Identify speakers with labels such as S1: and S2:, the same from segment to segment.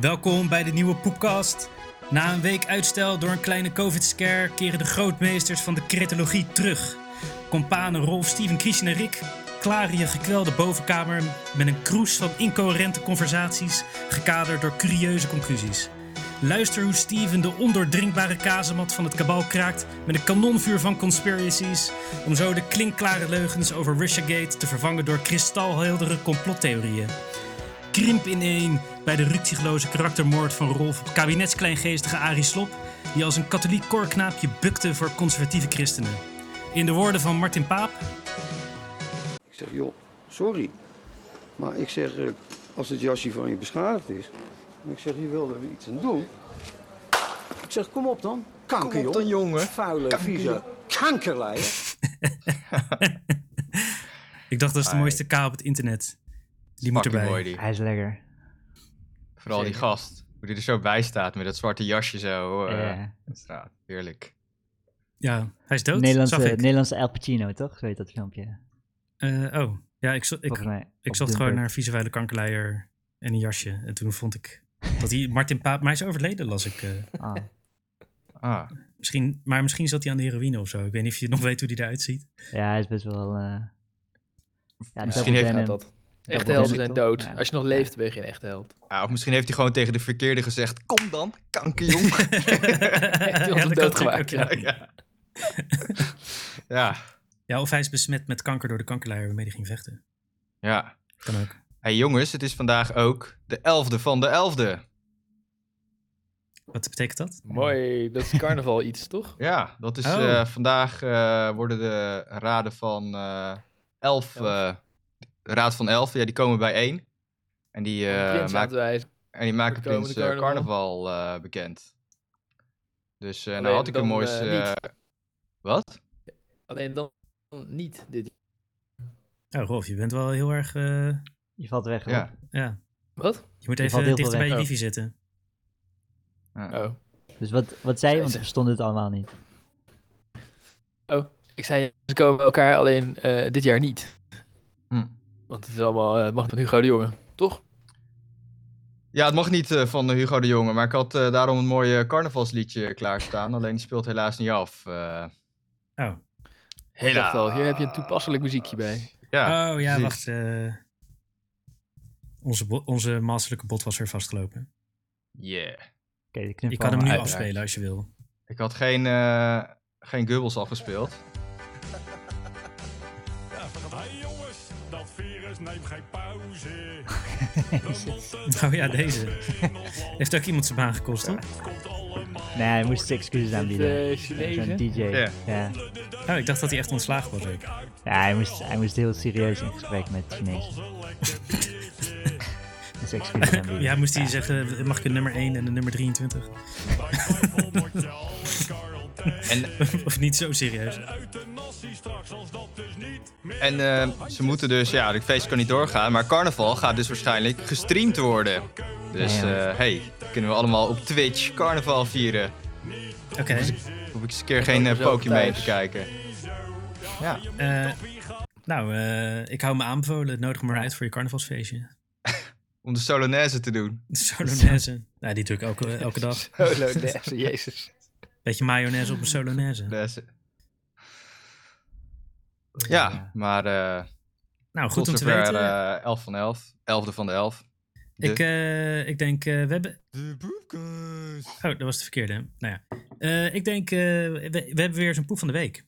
S1: Welkom bij de nieuwe Poepkast. Na een week uitstel door een kleine covid-scare keren de grootmeesters van de critologie terug. Companen Rolf, Steven, Christian en Rick klaren je gekwelde bovenkamer met een kroes van incoherente conversaties, gekaderd door curieuze conclusies. Luister hoe Steven de ondoordringbare kazemat van het kabal kraakt met een kanonvuur van conspiracies, om zo de klinkklare leugens over Russiagate te vervangen door kristalheldere complottheorieën krimp ineen bij de ruksigloze karaktermoord van Rolf op kabinetskleingeestige Arie Slop, die als een katholiek koorknaapje bukte voor conservatieve christenen. In de woorden van Martin Paap,
S2: Ik zeg, joh, sorry. Maar ik zeg, eh, als het jasje van je beschadigd is... en ik zeg, je wil er iets aan doen... Ik zeg, kom op dan. Kanker,
S3: Kom op
S2: joh.
S3: dan, jongen.
S2: Vuile, vieze kankerlijn.
S1: ik dacht dat is de
S3: Ai.
S1: mooiste K op het internet. Die moet
S3: Fucking
S1: erbij.
S3: mooi die.
S4: Hij is lekker.
S3: Vooral die gast. Hoe die er zo bij staat met dat zwarte jasje zo. eh
S4: Ja.
S3: op straat. Heerlijk.
S1: Ja, hij is dood,
S4: Nederlandse,
S1: zag ik.
S4: Nederlandse El Pacino, toch? Zo heet dat filmpje.
S1: Eh, oh, ja, ik, zo- ik,
S4: Volgens mij.
S1: ik
S4: op
S1: zocht
S4: Dunkirk.
S1: gewoon naar een visuele kankerleier en een jasje. En toen vond ik dat hij Martin Paap... Maar hij is overleden, las ik. eh.
S4: Ah,
S3: Ah,
S1: misschien, maar misschien zat hij aan de heroïne of zo. Ik weet niet of je nog weet hoe hij eruit ziet.
S4: ja, hij is best wel... eh ja,
S3: Misschien heeft-
S4: hij
S5: dat.
S4: wordt
S5: Echte helden
S4: moeilijk,
S5: zijn
S4: toch?
S5: dood.
S4: Ja.
S5: Als je nog leeft, ben je geen echte held.
S3: Ah, of misschien heeft hij gewoon tegen de verkeerde gezegd: Kom dan, kankerjong.
S1: ja,
S5: ons
S1: dat
S5: dood
S1: kan natuurlijk
S5: gemaakt,
S1: ook, ja.
S3: ja. ja,
S1: Ja, of hij is besmet met kanker door de kankerleier waarmee hij ging vechten.
S3: ja.
S1: Kan ook.
S3: Hey jongens, het is vandaag ook de 11e van de 11e.
S1: Wat betekent dat?
S5: Mooi, dat is carnaval iets, toch?
S3: Ja, dat is
S1: Oh.
S3: eh, vandaag eh, worden de raden van eh elf,
S5: Elf.
S3: eh, de raad van elf, ja, die komen bijeen. En die, eh,
S5: Prins
S3: maken,
S5: aanwijzen.
S3: en die maken
S5: komende
S3: Prins eh, Carnaval, eh, bekend. Dus eh nou
S5: Alleen
S3: had ik een
S5: Oh dan,
S3: moois...
S5: eh, niet.
S3: eh, wat?
S5: Alleen dan niet dit.
S1: Nou, Rolf, je bent wel heel erg. eh,
S4: Je valt weg.
S5: Oh.
S4: hoor.
S3: Ja.
S1: ja.
S5: Wat?
S1: Je moet
S4: Je
S1: even
S4: valt heel
S1: dichter
S4: veel
S1: bij je
S5: weg.
S1: wifi zitten.
S3: Ja.
S5: Oh.
S4: Dus wat, wat zei je?
S5: Jezus.
S4: Want we verstonden het allemaal niet.
S5: Ik zei, ze komen bij elkaar alleen eh, dit jaar niet.
S3: Hm.
S5: Want het is allemaal, eh, mag van Hugo de Jonge, toch?
S3: Ja, het mag niet eh, van Hugo de Jonge, maar ik had eh, daarom een mooi eh, carnavalsliedje klaarstaan. Alleen die speelt helaas niet af. eh.
S1: Oh,
S5: Ik dacht al, hier heb je een toepasselijk muziekje bij.
S3: ja,
S1: oh ja,
S3: precies.
S1: wacht. eh, onze, bo- onze masterlijke bot was er vastgelopen.
S3: Yeah.
S4: Oké, de
S1: Je
S4: knuffel
S1: kan hem nu
S4: maar uit.
S3: uiteraard.
S1: afspelen als je wil.
S3: Ik had geen, eh geen gubbels afgespeeld.
S6: Hey jongens, dat virus neemt geen pauze.
S1: Oh ja, deze. Heeft ook iemand zijn baan gekost, toch?
S4: Nee, hij moest excuses
S3: nou
S4: aanbieden.
S5: eh,
S4: Zo'n
S5: Chinezen?
S4: DJ.
S3: Ja.
S4: Ja.
S1: Oh, ik dacht dat hij echt ontslagen was ook.
S4: Ja, hij moest, hij moest heel serieus in gesprek met Chinees. dus excuses aanbieden.
S1: Ja, moest hij zeggen, mag ik een nummer 1 en een nummer 23?
S3: En,
S1: of niet zo serieus.
S3: en eh, ze moeten dus, ja, de feest kan niet doorgaan, maar carnaval gaat dus waarschijnlijk gestreamd worden. Dus
S4: Ja, ja.
S3: eh, hey, kunnen we allemaal op Twitch carnaval vieren?
S1: Oké.
S3: Hoef ik eens een keer geen
S5: ook
S3: eh,
S5: zelf
S3: Pokémon
S5: thuis.
S3: te kijken. Ja,
S1: eh, nou, eh, ik hou me aanbevolen. Nodig me maar uit voor je carnavalsfeestje.
S3: om de Solonaise te doen.
S1: Solonaise. nou, die doe ik elke, elke dag.
S5: Solo dance, Oh, jezus.
S1: Beetje mayonaise op een solonaise.
S3: Solonaise. eh, Ja, maar eh
S1: Nou, goed
S3: goed
S1: Oh, om
S3: tot
S1: te
S3: zover
S1: weten.
S3: eh 11 van 11. 11e van de 11. De-
S1: ik, eh, ik denk, eh, we hebben... Oh, dat was de verkeerde. hè? Nou ja. Eh, ik denk, eh, we, we hebben weer zo'n poep van de week.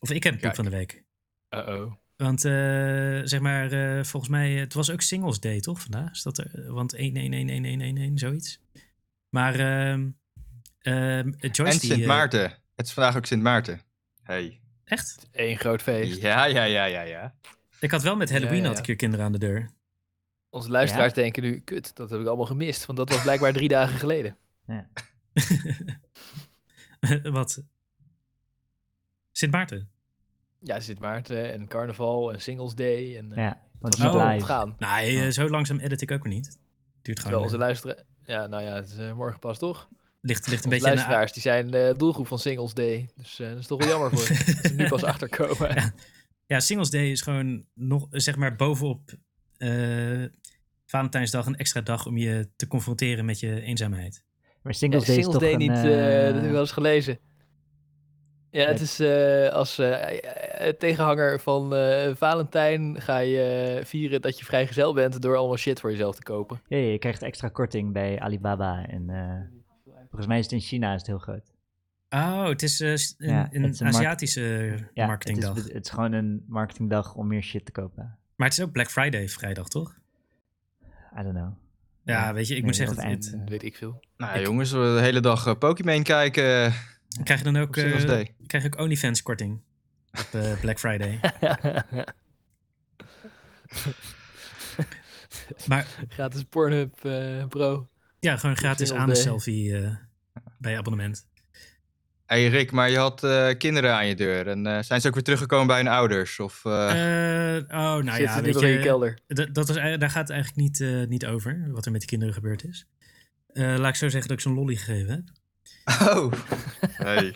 S1: Of ik heb een poep
S3: Kijk.
S1: van de week.
S5: Uh-oh.
S1: Want eh, zeg maar, eh, volgens mij, eh, het was ook Singles Day toch vandaag? Is dat er, eh, want 1 1 1 1 1 1 1 zoiets. Maar ehm ehm, Joyce
S3: En
S1: die,
S3: Sint
S1: eh,
S3: Maarten. Het is vandaag ook Sint Maarten. Hey.
S1: echt?
S5: Eén groot feest.
S3: Ja, ja, ja, ja, ja.
S1: Ik had wel met Halloween
S5: Ja, ja,
S1: had
S5: ja.
S1: ik hier kinderen aan de deur.
S5: Onze luisteraars denken nu, kut, dat heb ik allemaal gemist. Want dat was blijkbaar drie dagen geleden.
S1: Wat? Sint Maarten.
S5: Ja, Sint Maarten en carnaval en Singles Day. En, eh,
S4: Ja,
S5: Het
S4: want het
S5: was
S4: is niet
S1: Oh.
S5: allemaal
S4: live.
S5: ontgaan.
S1: Nee, eh, zo langzaam edit ik ook weer niet. Duurt
S5: Terwijl
S1: gewoon.
S5: onze
S1: eh,
S5: luisteren. Ja, nou ja, het is eh, morgen pas toch?
S1: ligt, ligt een
S5: Onze
S1: beetje aan de a-
S5: luisteraars die zijn de doelgroep van Singles Day. Dus eh, dat is toch wel jammer voor ze. dat ze nu pas achterkomen.
S1: Ja, Singles Day is gewoon nog, eh, zeg maar, bovenop eh, Valentijnsdag een extra dag om je te confronteren met je eenzaamheid.
S4: Maar
S5: Ja,
S4: Singles Day is
S5: Singles
S4: toch
S5: Day
S4: een,
S5: niet, eh,
S4: eh,
S5: dat heb ik wel eens gelezen. Ja, het
S4: Ja.
S5: is eh, als eh, eh, tegenhanger van eh, Valentijn ga je eh, vieren dat je vrijgezel bent door allemaal shit voor jezelf te kopen.
S4: ja, ja, je krijgt extra korting bij Alibaba en eh, volgens mij is het in China is het heel groot.
S1: Oh, het is eh, s- een,
S4: Ja,
S1: een
S4: het is een mark-
S1: Aziatische
S4: Ja,
S1: marketingdag.
S4: Het is, het is gewoon een marketingdag om meer shit te kopen.
S1: Maar het is ook Black Friday vrijdag, toch?
S4: I don't know.
S1: Ja,
S4: Ja,
S1: weet je, ik
S4: nee,
S1: moet
S4: dat
S1: zeggen,
S4: eind,
S1: het, het-
S4: eh,
S5: Weet ik veel.
S3: Nou ja, jongens, we de hele dag eh, Pokémon kijken eh,
S1: krijg je dan ook,
S3: op Singles
S1: eh,
S3: Day.
S1: krijg je ook OnlyFans korting op eh, Black Friday. maar
S5: Gratis Pornhub eh, Pro.
S1: ja, gewoon gratis
S5: Singles
S1: aan de
S5: Day.
S1: selfie eh, bij je abonnement.
S3: hey Rick, maar je had eh, kinderen aan je deur. En eh, zijn ze ook weer teruggekomen bij hun ouders? Of, eh,
S1: Eh, oh, nou
S5: Zit
S1: ja,
S5: het nu
S1: weet
S5: nog in je
S1: je,
S5: kelder?
S1: dat, dat was, ei- daar gaat het eigenlijk niet, eh, niet over, wat er met die kinderen gebeurd is. Eh, laat ik zo zeggen dat ik zo'n lolly gegeven heb.
S3: Oh, hey.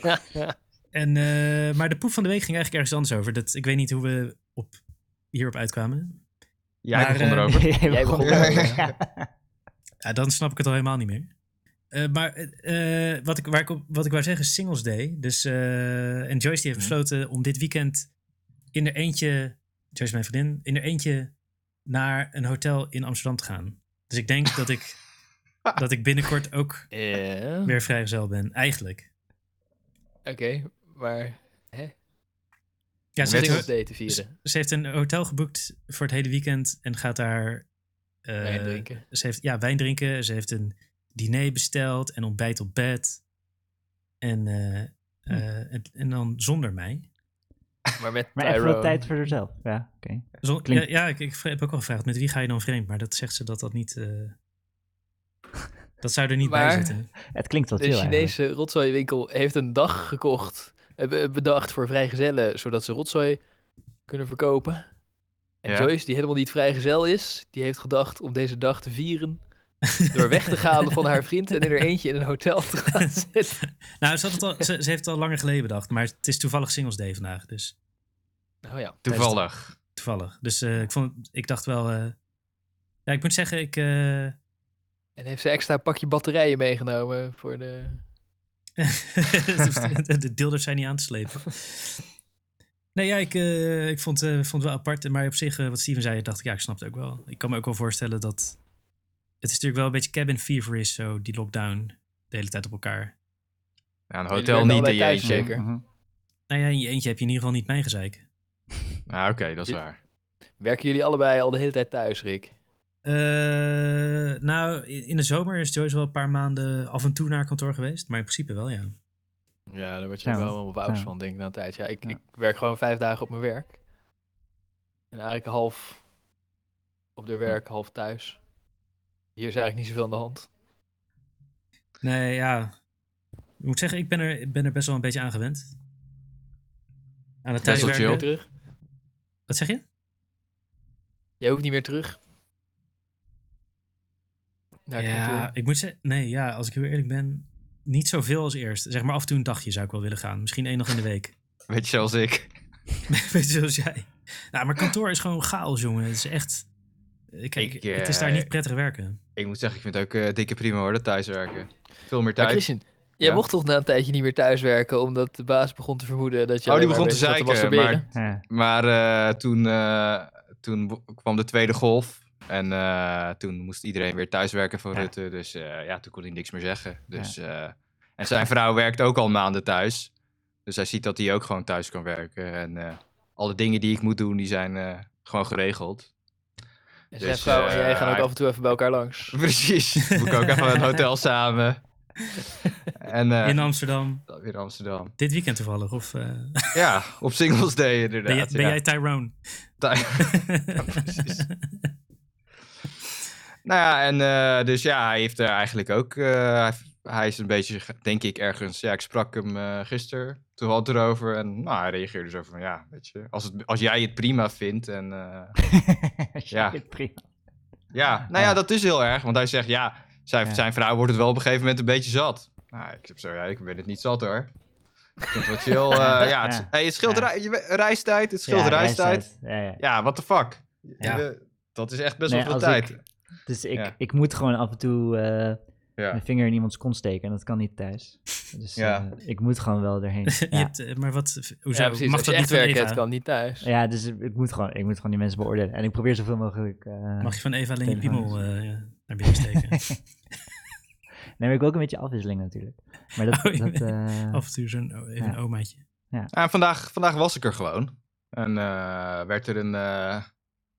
S1: En, eh, maar de poep van de week ging eigenlijk ergens anders over. Dat, ik weet niet hoe we op, hierop uitkwamen.
S3: Jij
S1: Maar,
S3: begon
S1: eh,
S3: erover.
S4: Jij
S5: begon
S3: erover,
S1: Ja, dan snap ik het al helemaal niet meer. Eh, maar eh, eh, wat, ik, waar ik op, wat ik wou zeggen is Singles Day. Dus, eh, en Joyce die heeft besloten om dit weekend in er eentje, Joyce mijn vriendin, in er eentje naar een hotel in Amsterdam te gaan. Dus ik denk dat ik, dat ik binnenkort ook
S5: Ja.
S1: weer vrijgezel ben, eigenlijk.
S5: Oké, maar
S1: Ja, ze,
S3: Met-
S1: heeft,
S5: Singles Day te
S3: Dus,
S1: ze,
S5: vieren.
S1: ze heeft een hotel geboekt voor het hele weekend en gaat daar... eh,
S5: Wijn drinken.
S1: Ze heeft ja, wijn drinken. Ze heeft een diner besteld en ontbijt op bed. En, eh, eh,
S4: Hm.
S1: het- en dan zonder mij.
S5: Maar met
S4: Maar even wat
S5: Tyrone.
S4: tijd voor zichzelf. Ja, oké.
S1: Zon-
S4: Klinkt-
S1: Ja, ja, ik, ik heb ook al gevraagd, met wie ga je dan vreemd? Maar dat zegt ze dat dat niet... eh, dat zou er niet
S5: Maar-
S1: bij zitten.
S4: Het klinkt wel
S5: De
S4: chill eigenlijk.
S5: Chinese rotzooiwinkel heeft een dag gekocht, eh, be- bedacht voor vrijgezellen, zodat ze rotzooi kunnen verkopen. En
S3: Ja.
S5: Joyce, die helemaal niet vrijgezel is, die heeft gedacht om deze dag te vieren door weg te gaan van haar vriend en in er eentje in een hotel te gaan zitten.
S1: nou, ze, had het al, ze, ze heeft het al langer geleden bedacht. Maar het is toevallig Singles Day vandaag, dus
S5: Oh ja,
S3: Toevallig.
S1: toevallig. Dus eh, ik, vond, ik dacht wel... eh, ja, ik moet zeggen, ik... eh,
S5: en heeft ze extra pakje batterijen meegenomen voor de...
S1: de de deelders zijn niet aan te slepen. Nee, ja, ik, eh, ik vond, eh, vond het wel apart. Maar op zich, eh, wat Steven zei, dacht ik, ja, ik snap het ook wel. Ik kan me ook wel voorstellen dat... Het is natuurlijk wel een beetje cabin fever is, zo die lockdown de hele tijd op elkaar.
S3: Ja, een
S5: Jullie
S3: hotel
S5: werden
S3: niet, een
S5: allebei thuis,
S3: jeetje.
S5: zeker?
S4: Mhm.
S1: Nou ja, in je eentje heb je in ieder geval niet mijn gezeik.
S3: Nou, oké, dat is waar.
S5: Werken jullie allebei al de hele tijd thuis, Rick?
S1: Eh, nou, in in de zomer is Joyce wel een paar maanden af en toe naar kantoor geweest. Maar in principe wel, ja.
S5: Ja, daar word je
S4: Ja,
S5: wel
S4: want-
S5: helemaal wauws
S4: ja.
S5: van, denk ik, na een tijd. Ja, ik,
S4: Ja.
S5: ik werk gewoon vijf dagen op mijn werk. En eigenlijk half op de werk, half thuis. Hier is eigenlijk niet zoveel aan de hand.
S1: Nee, ja. Ik moet zeggen, ik ben er, ik ben er best wel een beetje aan gewend. Aan het
S3: Best
S5: Jij
S3: wel
S5: hoeft niet
S1: thuiswerken.
S5: meer terug.
S1: Wat zeg je?
S5: Jij hoeft niet meer terug. Naar het
S1: ja,
S5: kantoor.
S1: ik moet zeggen, nee, ja, als ik heel eerlijk ben, niet zoveel als eerst. Zeg maar af en toe een dagje zou ik wel willen gaan. Misschien één dag in de week.
S3: Weet je, zoals ik.
S1: Weet je, zoals jij. Nou, maar kantoor is gewoon chaos, jongen. Het is echt. eh, Kijk,
S3: Ik, eh,
S1: het is daar niet prettig werken.
S3: Ik moet zeggen, ik vind het ook eh, dikke prima hoor, dat thuiswerken. Veel meer
S5: Maar
S3: tijd.
S5: Christian, jij
S3: Ja?
S5: mocht toch na een tijdje niet meer thuiswerken, omdat de baas begon te vermoeden dat je
S3: Oh, die
S5: alleen maar
S3: begon te
S5: bezig was
S3: zeiken,
S5: masturberen?
S3: maar
S4: Ja.
S3: Maar eh, toen, eh, toen wo- kwam de tweede golf. En eh, toen moest iedereen weer thuiswerken van
S4: Ja.
S3: Rutte. Dus eh, ja, toen kon hij niks meer zeggen. Dus, eh, en zijn vrouw werkt ook al maanden thuis. Dus hij ziet dat hij ook gewoon thuis kan werken. En eh, alle dingen die ik moet doen, die zijn eh, gewoon geregeld.
S5: En zijn
S3: Dus,
S5: vrouw en
S3: eh,
S5: jij gaan ook
S3: hij-
S5: af en toe even bij elkaar langs.
S3: Precies. Moet ik ook even een hotel samen. En eh,
S1: In Amsterdam,
S3: dan weer Amsterdam.
S1: dit weekend toevallig. Of eh,
S3: Ja, op Singles Day
S1: ben, jij,
S3: inderdaad.
S1: ben
S3: ja.
S1: jij Tyrone?
S3: Tij- precies. Nou ja, en eh, dus ja, hij heeft er eigenlijk ook. eh, hij, hij is een beetje, denk ik, ergens. Ja, ik sprak hem eh gisteren. Toen had het erover. En nou, hij reageerde zo van: Ja, weet je, als, het, als jij het prima vindt. En eh, Ja.
S4: Shit, prima.
S3: ja, nou ja, dat is heel erg. Want hij zegt: Ja, zijn,
S4: Ja.
S3: zijn vrouw wordt het wel op een gegeven moment een beetje zat. Nou, ik heb zo, ja, ik ben het niet zat hoor. Ik vind het wel chill. eh, ja, het,
S4: Ja.
S3: hey, het scheelt
S4: Ja.
S3: rei- je we- reistijd. Het scheelt
S4: Ja,
S3: reistijd.
S4: reistijd. Ja, ja.
S3: Ja, what the fuck.
S1: Ja.
S3: Je- Dat is echt best
S4: Nee,
S3: wel veel
S4: als
S3: tijd.
S4: ik- Dus ik,
S3: Ja.
S4: ik moet gewoon af en toe eh,
S3: Ja.
S4: mijn vinger in iemands kont steken. En dat kan niet thuis. Dus
S3: Ja.
S4: eh, ik moet gewoon wel erheen.
S1: Je
S4: ja.
S1: hebt, eh, maar wat, hoezo?
S5: ja, precies.
S1: Mag dat
S5: Als je
S1: niet
S5: echt
S1: van
S5: werken,
S1: Eva?
S5: het kan niet thuis.
S4: ja, dus ik moet, gewoon, ik moet gewoon die mensen beoordelen. En ik probeer zoveel mogelijk... eh,
S1: Mag je van Eva alleen je
S4: Telefoon
S1: piemel eh, naar binnen steken?
S4: Nee, maar ik wil ook een beetje afwisseling natuurlijk. Maar dat...
S1: Oh, je
S4: dat
S1: bent-
S4: eh,
S1: Af en toe zo'n even een
S4: Ja.
S1: omaatje.
S3: Ja, vandaag, vandaag was ik er gewoon. En eh, werd er een, eh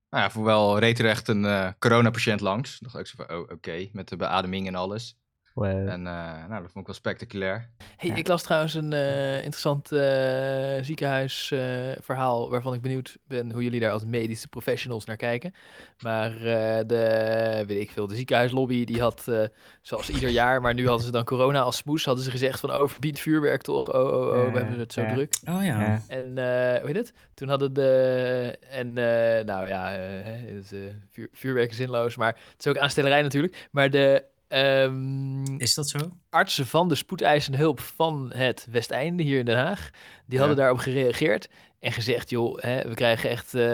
S3: nou ja, voorwel reed er echt een eh, coronapatiënt langs. Dacht ik zo van, oh, oké, met de beademing en alles.
S4: wow.
S3: En eh, nou, dat vond ik wel spectaculair.
S5: Hey,
S4: Ja.
S5: Ik las trouwens een eh, interessant eh, ziekenhuisverhaal waarvan ik benieuwd ben hoe jullie daar als medische professionals naar kijken. Maar eh, de, weet ik veel, de ziekenhuislobby die had, eh, zoals ieder jaar, maar nu hadden ze dan corona als smoes, hadden ze gezegd van oh, verbied vuurwerk toch, oh, oh, oh, we
S4: Ja,
S5: hebben het zo
S4: ja.
S5: druk.
S1: Oh ja.
S4: Ja.
S5: En eh, hoe heet het? Toen hadden de. En eh, nou ja, eh, hè, het, eh, vuur- vuurwerk is zinloos, maar het is ook aanstellerij natuurlijk. Maar de. ehm,
S1: Is dat zo?
S5: artsen van de spoedeisende hulp van het Westeinde hier in Den Haag, die
S3: Ja.
S5: hadden daarop gereageerd en gezegd, joh, hè, we krijgen echt eh,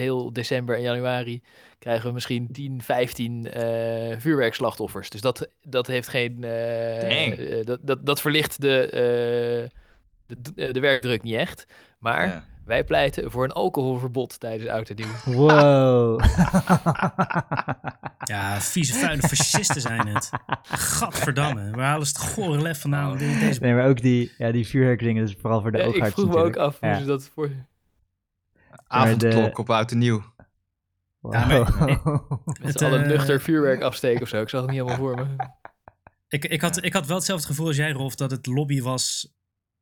S5: heel december en januari krijgen we misschien 10, 15 eh, vuurwerkslachtoffers. Dus dat, dat heeft geen... eh,
S3: Dang.
S5: eh, dat, dat, dat verlicht de, eh, de, de, de werkdruk niet echt. Maar
S3: Ja.
S5: wij pleiten voor een alcoholverbod tijdens oud en nieuw.
S4: Wow.
S1: Ja, vieze, vuile fascisten zijn het. Gadverdamme, waar halen ze het gore lef vandaan? om dit- Deze...
S4: nee, maar ook die, ja, die vuurwerkdingen, dat is vooral voor de
S5: Ja, ik
S4: oogarts
S5: vroeg me ook
S4: natuurlijk.
S5: af hoe
S4: Ja.
S5: ze dat voor...
S3: Avondklok
S4: de-
S3: op oud en nieuw.
S4: Wow.
S1: Ja, maar-
S5: Met
S1: Het,
S5: z'n allen
S1: eh,
S5: nuchter vuurwerk afsteken of zo. Ik zag het niet helemaal voor me.
S1: Ik, ik, had, ik had wel hetzelfde gevoel als jij, Rolf, dat het lobby was.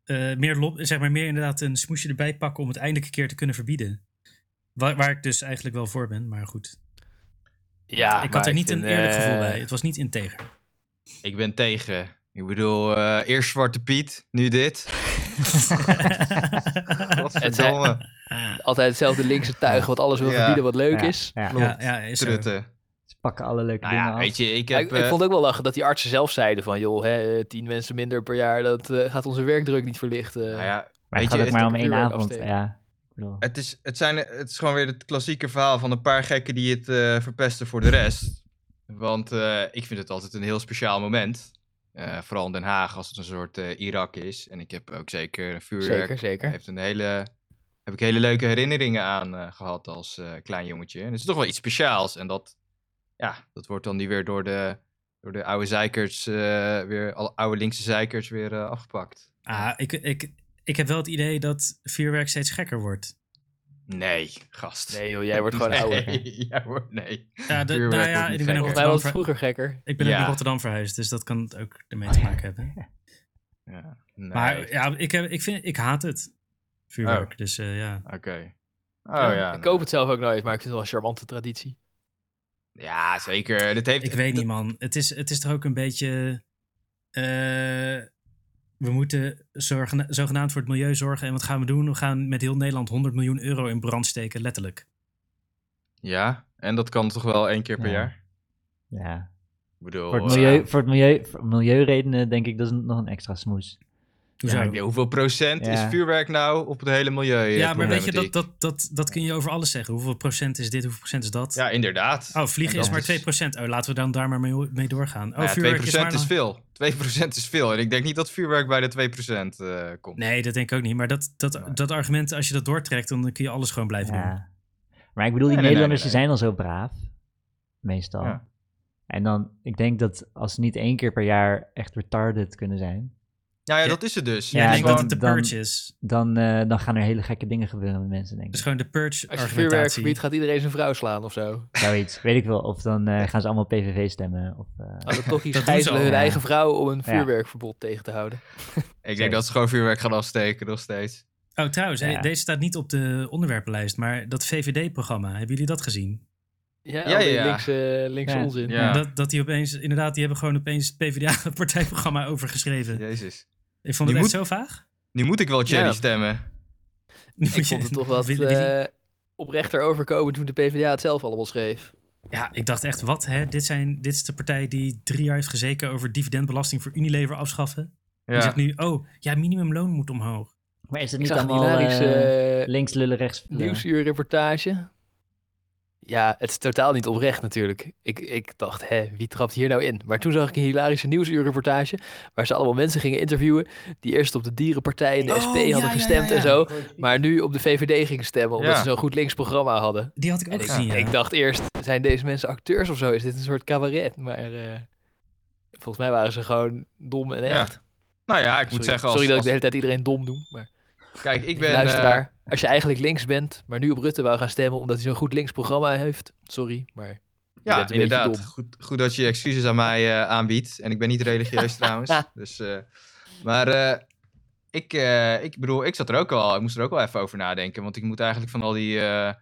S1: eh, meer, lob, zeg maar, meer inderdaad een smoesje erbij pakken om het eindelijk een keer te kunnen verbieden. Waar, waar ik dus eigenlijk wel voor ben, maar goed.
S5: Ja,
S1: ik
S5: maar
S1: had er niet een
S5: vind,
S1: eerlijk gevoel
S5: eh,
S1: bij. Het was niet integer.
S3: Ik ben tegen. Ik bedoel, eh, eerst Zwarte Piet, nu dit. Godverdomme.
S5: altijd hetzelfde linkse tuig wat alles wil
S3: Ja.
S5: verbieden wat leuk
S4: Ja,
S5: is.
S4: ja.
S1: ja, ja, is zo.
S3: Trutten.
S4: Ze pakken alle leuke
S3: Nou
S4: dingen
S3: ja,
S4: af.
S3: weet je, ik
S5: Ja,
S3: heb...
S5: ik, ik
S3: eh,
S5: vond ook wel lachen dat die artsen zelf zeiden van... joh, hè, tien mensen minder per jaar, dat eh, gaat onze werkdruk niet verlichten.
S3: nou ja,
S4: maar
S3: weet
S4: het
S3: je,
S4: gaat ook
S3: het-
S4: maar om één
S5: vuurwerk
S4: avond.
S5: afsteken.
S4: Ja. Ik bedoel,
S3: Het is, het, zijn, het is gewoon weer het klassieke verhaal van een paar gekken die het eh, verpesten voor de rest. Want eh, ik vind het altijd een heel speciaal moment. Eh, vooral in Den Haag, als het een soort eh, Irak is. En ik heb ook zeker een vuurwerk.
S5: zeker, zeker.
S3: Heeft een hele, heb ik hele leuke herinneringen aan eh, gehad als eh, klein jongetje. En het is toch wel iets speciaals. En dat, ja, dat wordt dan nu weer door de, door de oude zeikers, eh, weer alle oude linkse zeikers weer eh, afgepakt.
S1: Ah, ik, ik, ik heb wel het idee dat vuurwerk steeds gekker wordt.
S3: Nee, gast.
S5: Nee joh, jij wordt gewoon
S3: nee.
S5: ouder.
S3: Ja, hoor, nee.
S1: Ja, de-
S3: Vuurwerk
S1: nou
S3: wordt
S1: ja,
S3: niet
S1: ik ben, naar
S3: gekker.
S5: Volgens
S1: Rotterdam,
S5: mij was het
S1: ver-
S5: vroeg gekker.
S1: ik ben ook
S3: Ja.
S1: naar Rotterdam verhuisd, dus dat kan het ook ermee te maken hebben.
S3: Ja, nee.
S1: Maar ja, ik, heb, ik, vind, ik haat het. Vuurwerk. Dus eh, ja.
S3: Oké. Oh ja.
S5: ik
S3: nee.
S5: koop het zelf ook nooit, maar ik vind het wel een charmante traditie.
S3: Ja, zeker. Dit heeft...
S1: Ik weet niet, man. Het is, het is toch ook een beetje. eh, we moeten zorgen, zogenaamd voor het milieu zorgen. En wat gaan we doen? We gaan met heel Nederland 100 miljoen euro in brand steken, letterlijk.
S3: Ja, en dat kan toch wel één keer per
S4: Ja.
S3: jaar?
S4: ja.
S3: Ik bedoel...
S4: Voor, het
S3: eh,
S4: milieu, voor, het milieu, voor milieuredenen denk ik dat is nog een extra smoes.
S1: Hoezo?
S3: ja, hoeveel procent
S4: Ja.
S3: is vuurwerk nou op het hele milieu? eh,
S1: Ja, maar weet je, dat,
S3: problematiek?
S1: dat, dat, dat kun je over alles zeggen. Hoeveel procent is dit, hoeveel procent is dat?
S3: Ja, inderdaad.
S1: Oh, vliegen
S3: En
S1: is
S3: dat
S1: maar
S3: is-
S1: 2 Oh, laten we dan daar maar mee, mee doorgaan. Oh,
S3: Nou ja, 2%
S1: vuurwerk
S3: is,
S1: is maar... nog-
S3: veel. 2% is veel. En ik denk niet dat vuurwerk bij de 2% eh komt.
S1: Nee, dat denk ik ook niet. Maar dat, dat, dat argument, als je dat doortrekt, dan kun je alles gewoon blijven doen.
S4: Ja. Maar ik bedoel, die
S3: Nee, nee,
S4: Nederlanders
S3: nee,
S4: die zijn al zo braaf. Meestal.
S3: Ja.
S4: En dan, ik denk dat als ze niet één keer per jaar echt retarded kunnen zijn,
S3: Nou ja,
S1: Ja.
S3: dat is het dus.
S1: Ja,
S4: Ja,
S1: ik
S3: Het is
S1: denk dat het
S3: gewoon-
S1: de
S4: dan-
S1: purge is.
S4: dan, eh, dan gaan er hele gekke dingen gebeuren met mensen, denk
S1: Dat is
S4: ik.
S1: gewoon de purge
S5: Als je vuurwerk
S1: argumentatie.
S5: verbiedt, gaat iedereen zijn vrouw slaan of zo.
S4: Zoiets, weet ik wel. Of dan eh, gaan ze allemaal PVV stemmen. Of, eh,
S5: Als het toch iets
S1: Dat doen ze
S5: gijzelen
S1: al,
S5: hun
S4: ja.
S5: eigen vrouw om een
S4: Ja.
S5: vuurwerkverbod tegen te houden.
S3: Ik denk dat ze gewoon vuurwerk gaan afsteken nog steeds.
S1: Oh, trouwens, hé,
S4: Ja.
S1: deze staat niet op de onderwerpenlijst, maar dat VVD-programma, hebben jullie dat gezien?
S5: Ja,
S3: Ja,
S5: al die
S3: ja.
S5: linkse, linkse
S4: Ja.
S5: onzin.
S3: Ja.
S1: Dat, dat die opeens, inderdaad, die hebben gewoon opeens het PvdA-partijprogramma overgeschreven.
S3: Jezus.
S1: Ik vond
S3: Die
S1: het echt
S3: moet-
S1: zo vaag.
S3: Nu moet ik wel Cherry
S5: Ja.
S3: stemmen.
S1: Nu
S5: Ik
S1: moet je-
S5: vond het toch wat
S1: Willen jullie-
S5: eh, oprechter overkomen toen de PvdA het zelf allemaal schreef.
S1: Ja, ik dacht echt, wat hè? Dit, zijn, dit is de partij die drie jaar heeft gezeken over dividendbelasting voor Unilever afschaffen. Die
S3: Ja.
S1: zegt nu, oh, ja, minimumloon moet omhoog.
S4: maar is het
S5: Ik
S4: niet
S5: zag een
S4: allemaal eh,
S5: hilarische
S4: links lullen, rechts lullen?
S5: nieuwsuurreportage. Ja, het is totaal niet oprecht natuurlijk. Ik, ik dacht, hè, wie trapt hier nou in? Maar toen zag ik een hilarische nieuwsuurreportage... waar ze allemaal mensen gingen interviewen... die eerst op de dierenpartij en de
S1: Oh,
S5: SP
S1: ja,
S5: hadden
S1: ja,
S5: gestemd
S1: ja,
S5: en
S1: ja.
S5: zo... maar nu op de VVD gingen stemmen... omdat
S3: Ja.
S5: ze zo'n goed links programma hadden.
S1: Die had ik
S5: En
S1: ook
S5: ik,
S1: gezien, ja.
S5: ik dacht eerst, zijn deze mensen acteurs of zo? Is dit een soort cabaret? Maar eh, volgens mij waren ze gewoon dom en
S3: Ja.
S5: echt.
S3: Nou ja, ik
S5: sorry,
S3: moet zeggen... Als,
S5: sorry dat ik
S3: als-
S5: de hele tijd iedereen dom noem. Maar
S3: Kijk, ik ben...
S5: luisteraar,
S3: eh,
S5: als je eigenlijk links bent, maar nu op Rutte wou gaan stemmen... omdat hij zo'n goed links programma heeft. Sorry, maar je bent
S3: ja,
S5: een beetje
S3: inderdaad.
S5: dom.
S3: Goed, goed dat je je excuses aan mij eh, aanbiedt. En ik ben niet religieus trouwens. Dus, eh, maar eh, ik, eh, ik bedoel, ik zat er ook al... Ik moest er ook wel even over nadenken. Want ik moet eigenlijk van al die... eh,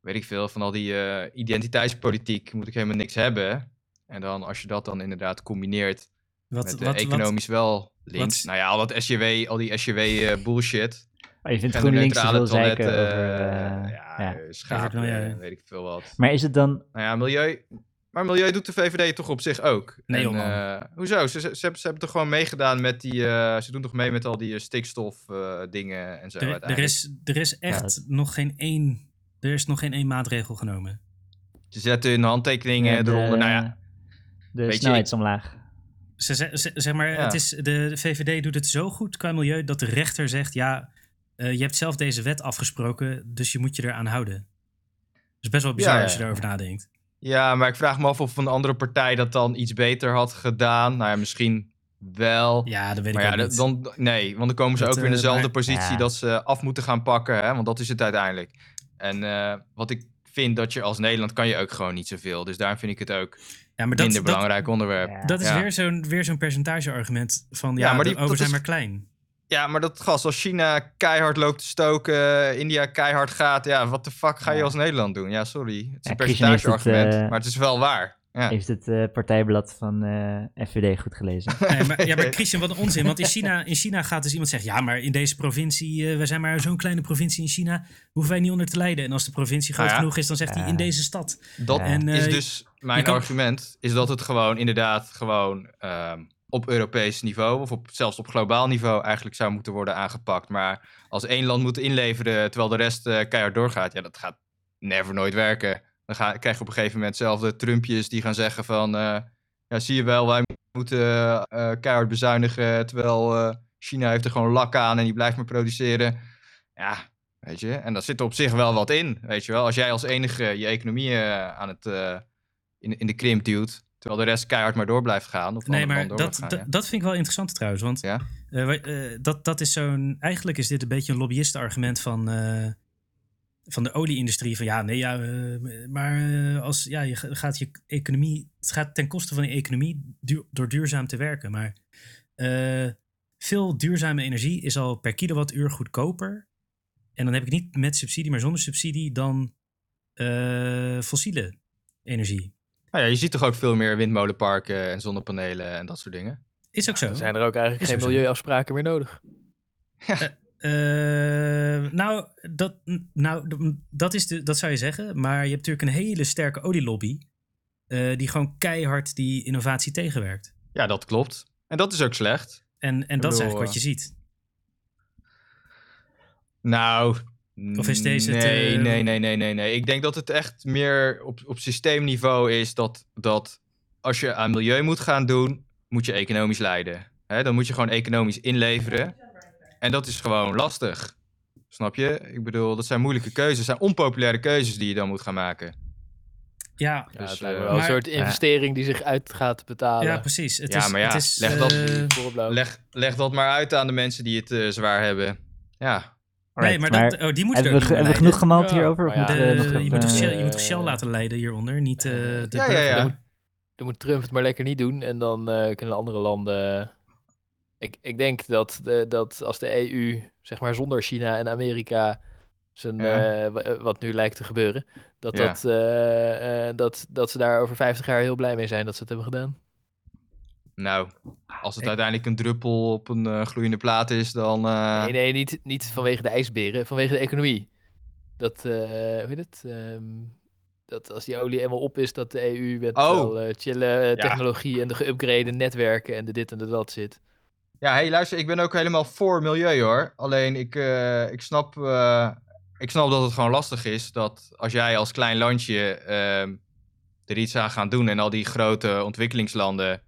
S3: weet ik veel, van al die eh, identiteitspolitiek moet ik helemaal niks hebben. En dan als je dat dan inderdaad combineert
S1: Wat,
S3: met
S1: wat,
S3: eh,
S1: wat,
S3: economisch wel links.
S1: wat-
S3: Nou ja, al dat SJW, al die SJW eh, bullshit.
S4: Oh, je vindt
S3: En de
S4: GroenLinks te
S3: neutrale
S4: veel zeiken
S3: toiletten,
S4: over...
S3: eh,
S4: eh,
S3: ja,
S4: ja.
S3: eh, schapen,
S1: Even- ja, ja.
S3: eh, weet ik veel wat.
S4: Maar is het dan... eh,
S3: Nou ja, milieu. Maar milieu doet de VVD toch op zich ook.
S1: Nee, joh, man.
S3: eh, hoezo? Ze, ze, ze hebben, ze hebben toch gewoon meegedaan met die. eh, ze doen toch mee met al die stikstofdingen en zo.
S1: Er, er
S3: uiteindelijk.
S1: is, er is echt
S4: Ja, dat-
S1: nog geen één... Er is nog geen één maatregel genomen.
S3: Ze zetten hun handtekeningen
S4: de-
S3: eronder. Nou
S1: eh,
S3: ja,
S4: De
S3: Weet je,
S4: snelheid
S3: ik-
S4: is omlaag.
S1: Ze, ze- ze- zeg maar,
S3: Ja.
S1: het is, de, de VVD doet het zo goed qua milieu dat de rechter zegt... ja, eh, je hebt zelf deze wet afgesproken, dus je moet je eraan houden. Dat is best wel bizar
S3: Ja, ja,
S1: als je
S3: ja.
S1: daarover nadenkt.
S3: Ja, maar ik vraag me af of een andere partij dat dan iets beter had gedaan. Nou ja, misschien wel.
S1: Ja, dat weet
S3: maar
S1: ik
S3: ja,
S1: ook
S3: dat-
S1: niet.
S3: dan, nee, want dan komen ze
S1: Dat,
S3: ook weer in
S1: eh,
S3: dezelfde
S1: maar-
S3: positie
S4: Ja.
S3: dat ze af moeten gaan pakken. Hè? Want dat is het uiteindelijk. En eh, wat ik vind dat je als Nederland kan je ook gewoon niet zoveel. Dus daarom vind ik het ook
S1: ja, maar dat, dat,
S3: minder belangrijk onderwerp.
S4: Ja.
S1: dat is
S3: Ja.
S1: weer zo'n weer zo'n percentageargument van ja,
S3: Ja, maar die-
S1: de over
S3: dat
S1: zijn
S3: is-
S1: maar klein.
S3: Ja, maar dat gas, als China keihard loopt te stoken, eh, India keihard gaat. Ja, wat de fuck ga je
S4: Ja.
S3: als Nederland doen? Ja, sorry. Het is
S4: Ja,
S3: een
S4: Christian heeft het,
S3: percentageargument,
S4: eh,
S3: maar het is wel waar. Ja.
S4: Heeft het eh, partijblad van eh, FVD goed gelezen?
S1: Nee, maar, ja, maar Christian, wat een onzin. Want in China, in China gaat dus iemand zeggen... ja, maar in deze provincie, eh, we zijn maar zo'n kleine provincie in China... hoeven wij niet onder te lijden. En als de provincie groot
S3: Ah, ja.
S1: genoeg is, dan zegt hij
S4: Ja.
S1: in deze stad.
S3: Dat
S4: Ja.
S1: En, eh,
S3: is dus mijn
S1: je kan-
S3: argument, is dat het gewoon inderdaad gewoon ehm, op Europees niveau of op, zelfs op globaal niveau eigenlijk zou moeten worden aangepakt. Maar als één land moet inleveren terwijl de rest eh, keihard doorgaat, ja, dat gaat never nooit werken. Dan ga, krijg je op een gegeven moment zelf de Trumpjes die gaan zeggen van, eh, ja, zie je wel, wij moeten eh, keihard bezuinigen terwijl eh, China heeft er gewoon lak aan en die blijft maar produceren. Ja, Weet je? En daar zit op zich wel wat in. Weet je wel? Als jij als enige je economie eh, aan het, eh, in, in de krimp duwt. Terwijl de rest keihard maar door blijft gaan. Of
S1: Nee, maar
S3: door
S1: dat,
S3: blijft
S1: dat-
S3: gaan,
S1: dat vind ik wel interessant trouwens. Want
S3: Ja.
S1: eh, wij- eh, dat, dat is zo'n... Eigenlijk is dit een beetje een lobbyistenargument van... eh, van de olieindustrie van ja, nee, ja, eh, maar eh, als ja, je ga- gaat je economie, het gaat ten koste van je economie duur- door duurzaam te werken. Maar eh, veel duurzame energie is al per kilowattuur goedkoper. En dan heb ik niet met subsidie, maar zonder subsidie dan eh, fossiele energie.
S3: ja. Nou ja, je ziet toch ook veel meer windmolenparken en zonnepanelen en dat soort dingen.
S1: Is ook zo.
S5: dan zijn er ook eigenlijk
S1: Is
S5: geen
S1: er zo.
S5: milieuafspraken meer nodig.
S1: Eh, nou, dat, nou d- dat, is de, dat zou je zeggen. Maar je hebt natuurlijk een hele sterke olielobby. eh, die gewoon keihard die innovatie tegenwerkt.
S3: Ja, dat klopt. En dat is ook slecht.
S1: En, en dat is
S3: bedoel,
S1: eigenlijk wat
S3: eh,
S1: je ziet.
S3: Nou.
S1: Of is deze het,
S3: nee,
S1: eh,
S3: nee, nee, nee, nee, nee. Ik denk dat het echt meer op, op systeemniveau is dat, dat als je aan milieu moet gaan doen, moet je economisch leiden. Hè, dan moet je gewoon economisch inleveren. En dat is gewoon lastig. Snap je? Ik bedoel, dat zijn moeilijke keuzes. Dat zijn onpopulaire keuzes die je dan moet gaan maken.
S1: Ja,
S5: Ja,
S3: Dus,
S5: het lijkt me
S3: eh,
S5: wel een
S1: maar-
S5: soort investering die zich uit gaat betalen.
S1: ja precies. Het
S3: Ja,
S1: is,
S3: maar ja,
S1: het is,
S3: leg dat-
S1: eh,
S5: Voor op blauw.
S3: Leg, leg dat maar uit aan de mensen die het eh, zwaar hebben. Ja.
S1: nee,
S4: Alright,
S1: maar, dat, oh, die moeten
S4: hebben
S1: er
S4: we,
S1: ook
S4: ge-
S1: niet
S4: hebben we
S1: mee
S4: genoeg gemald
S5: Ja,
S4: hierover? Of
S5: maar ja,
S4: moeten
S1: leiden.
S4: we
S1: Eh,
S4: nog
S1: je,
S4: even,
S1: moet toch
S4: Oh eh,
S1: Shell, je moet toch Shell laten leiden hieronder, niet eh, de
S3: Ja, ja,
S1: burger.
S3: ja.
S5: Dan moet Trump het maar lekker niet doen en dan eh, kunnen andere landen... eh, Ik, ik denk dat, de, dat als de EU, zeg maar zonder China en Amerika, zijn,
S3: Ja.
S5: eh, wa- eh, wat nu lijkt te gebeuren, dat,
S3: Ja.
S5: dat, eh, eh, dat, dat ze daar over 50 jaar heel blij mee zijn dat ze het hebben gedaan.
S3: Nou, als het
S1: Ik-
S3: uiteindelijk een druppel op een eh, gloeiende plaat is, dan. eh,
S5: Nee, nee, niet, niet vanwege de ijsberen, vanwege de economie. Dat, eh hoe heet het? Ehm, dat als die olie eenmaal op is, dat de EU met
S3: Oh.
S5: wel, eh, chille eh,
S3: Ja.
S5: technologie en de geüpgrade netwerken en de dit en de dat zit.
S3: Ja, hey, luister, ik ben ook helemaal voor milieu hoor. Alleen ik, eh, ik snap eh, ik snap dat het gewoon lastig is dat als jij als klein landje ehm, er iets aan gaat doen en al die grote ontwikkelingslanden,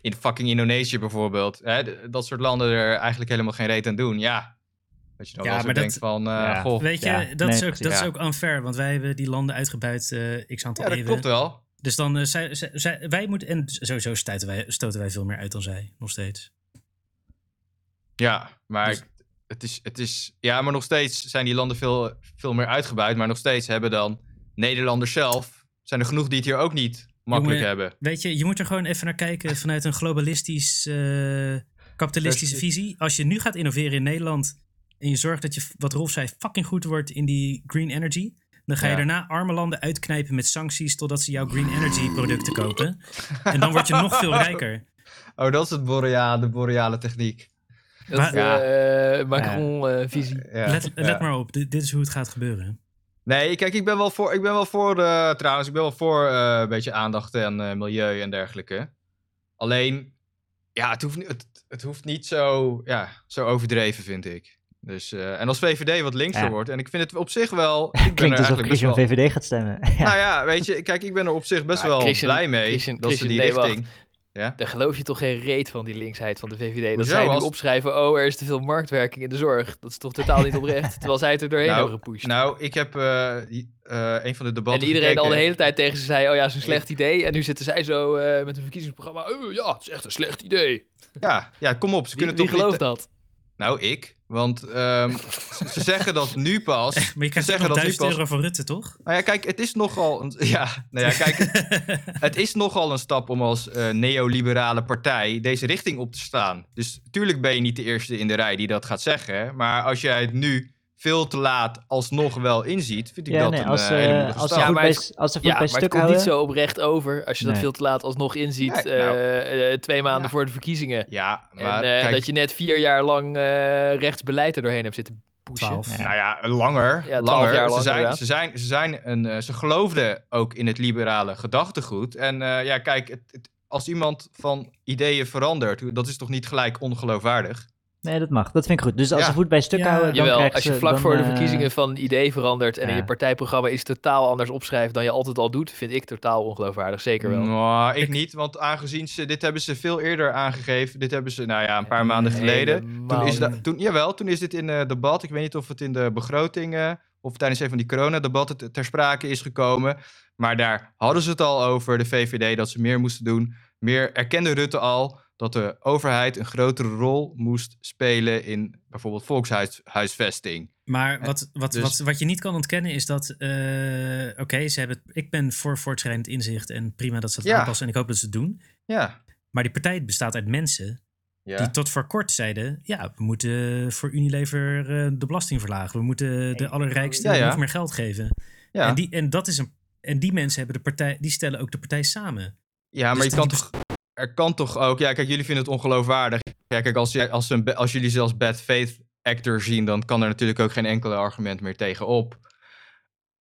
S3: in fucking Indonesië bijvoorbeeld, hè, d- dat soort landen er eigenlijk helemaal geen reet aan doen, ja. Dat je dan
S1: Ja,
S3: wel eens
S1: maar dat-
S3: denkt van, eh,
S4: Ja.
S3: goh,
S1: Weet je,
S4: Ja,
S1: dat, is
S4: nee,
S1: ook, dat
S3: precies.
S1: is ook unfair, want wij hebben die landen uitgebuit eh x aantal
S3: ja, dat
S1: eeuwen.
S3: klopt wel.
S1: Dus dan eh, zij, zij- zij- wij moeten. En sowieso stuiten wij, stoten wij veel meer uit dan zij, nog steeds.
S3: Ja, maar
S1: Dus-
S3: ik- het is, het is, ja, maar nog steeds zijn die landen veel, veel meer uitgebuit, maar nog steeds hebben dan Nederlanders zelf, zijn er genoeg die het hier ook niet makkelijk
S1: Jongen,
S3: hebben.
S1: Weet je, je moet er gewoon even naar kijken vanuit een globalistisch, eh, kapitalistische
S3: Precies.
S1: visie. Als je nu gaat innoveren in Nederland. en je zorgt dat je, wat Rolf zei, fucking goed wordt in die green energy. Dan ga je
S3: Ja.
S1: daarna arme landen uitknijpen met sancties totdat ze jouw green energy producten kopen. En dan word je nog veel rijker.
S3: Oh, dat is het boreale, de boreale techniek.
S5: Dat eh,
S1: Maar-
S5: is de Macron-visie.
S3: Ja,
S1: let,
S3: ja.
S1: let maar op, dit, dit is hoe het gaat gebeuren.
S3: Nee, kijk, ik ben wel voor, ik ben wel voor eh, trouwens, ik ben wel voor eh, een beetje aandacht en eh, milieu en dergelijke. Alleen, ja, het hoeft, ni- het, het hoeft niet zo, ja, zo overdreven, vind ik. Dus, eh, en als VVD wat linkser
S4: Ja.
S3: wordt, en ik vind het op zich wel... Ik ben
S4: Klinkt
S3: er
S4: alsof
S3: eigenlijk best
S4: Christian
S3: wel-
S4: VVD gaat stemmen.
S3: Nou ja, weet je, kijk, ik ben er op zich best
S5: Maar
S3: wel
S5: Christian-
S3: blij mee
S5: Christian-
S3: dat ze
S5: Christian,
S3: die
S5: nee, wacht.
S3: richting...
S5: Daar geloof je toch geen reet van, die linksheid van de VVD. Dat
S3: Hoezo?
S5: zij nu
S3: Als-
S5: opschrijven, oh, er is te veel marktwerking in de zorg. Dat is toch totaal niet oprecht, terwijl zij het er doorheen
S3: Nou,
S5: hebben gepusht.
S3: Nou, ik heb eh, die- eh, een van de
S5: en
S3: debatten
S5: iedereen al de
S3: gekeken.
S5: hele tijd tegen ze zei, oh ja, is een slecht idee. En nu zitten zij zo eh, met een verkiezingsprogramma, oh ja, het is echt een slecht idee.
S3: Ja, ja, kom op, ze
S5: Wie,
S3: kunnen
S5: wie
S3: toch niet...
S5: gelooft dat?
S3: Nou, ik. Want ehm, ze- ze zeggen dat nu pas.
S1: Maar je
S3: ze
S1: krijgt ook
S3: zeggen
S1: nog
S3: dat nu
S1: 1000
S3: pas.
S1: euro van Rutte, toch?
S3: Nou ja, kijk, het is nogal. Een, ja, nou ja, kijk, het, het is nogal een stap om als eh, neoliberale partij deze richting op te staan. Dus tuurlijk ben je niet de eerste in de rij die dat gaat zeggen. Maar als jij het nu veel te laat alsnog wel inziet, vind ik
S4: Ja,
S3: dat
S4: nee,
S3: een
S4: als,
S3: eh, hele
S4: eh,
S3: moedige
S4: als ze
S3: stap.
S4: goed
S5: maar
S4: bij
S5: het-
S4: s- als ze goed
S5: Ja,
S4: bij
S5: maar het
S4: stuk
S5: komt niet
S4: houden.
S5: zo oprecht over als je dat
S4: Nee.
S5: veel te laat alsnog inziet.
S3: Nee, nou.
S5: eh, eh, twee maanden
S3: Ja.
S5: voor de verkiezingen.
S3: Ja,
S5: En
S3: maar
S5: eh,
S3: kijk,
S5: dat je net vier jaar lang eh, rechtsbeleid er doorheen hebt zitten pushen.
S1: 12.
S3: Nou ja, langer.
S5: Ja, twaalf
S3: langer.
S5: jaar
S3: ze,
S5: lang,
S3: zijn,
S5: inderdaad.
S3: ze, zijn, ze, zijn een, eh, ze geloofden ook in het liberale gedachtegoed. En eh, ja, kijk, het, het- als iemand van ideeën verandert, dat is toch niet gelijk ongeloofwaardig?
S4: Nee, dat mag. Dat vind ik goed. Dus als
S3: Ja.
S4: ze goed bij stuk
S1: Ja.
S4: houden, dan
S5: Jawel,
S4: krijgen
S5: als je
S4: ze-
S5: vlak
S4: dan,
S5: voor de
S4: eh,
S5: verkiezingen van een idee verandert en in
S4: ja.
S5: je partijprogramma iets totaal anders opschrijft dan je altijd al doet, vind ik totaal ongeloofwaardig. Zeker wel.
S3: Nou, ik
S1: Ik-
S3: niet, want aangezien ze, dit hebben ze veel eerder aangegeven. Dit hebben ze, nou ja, een paar maanden geleden.
S5: Helemaal
S3: Toen is
S5: niet.
S3: da- toen, jawel, toen is dit in eh debat. Ik weet niet of het in de begroting eh, of tijdens een van die coronadebatten te- ter sprake is gekomen. Maar daar hadden ze het al over, de VVD, dat ze meer moesten doen. Meer erkende Rutte al dat de overheid een grotere rol moest spelen in bijvoorbeeld volkshuisvesting.
S1: Maar wat, wat,
S3: dus-
S1: wat, wat je niet kan ontkennen is dat. eh, Oké, ze hebben. het- Ik ben voor voortschrijdend inzicht en prima dat ze het
S3: Ja.
S1: aanpassen en ik hoop dat ze het doen.
S3: Ja.
S1: Maar die partij bestaat uit mensen die tot voor kort zeiden: ja, we moeten voor Unilever eh, de belasting verlagen. We moeten eh, de allerrijkste
S3: Ja, ja.
S1: nog meer geld geven.
S3: ja.
S1: En, die, en, dat is een, en die mensen hebben de partij, die stellen ook de partij samen.
S3: Ja, maar
S1: Dus
S3: je
S1: dat
S3: kan toch, er kan toch ook... Ja, kijk, jullie vinden het ongeloofwaardig. Ja, kijk, als, jij- als, een, ba- als jullie zelfs bad faith actor zien... dan kan er natuurlijk ook geen enkele argument meer tegenop.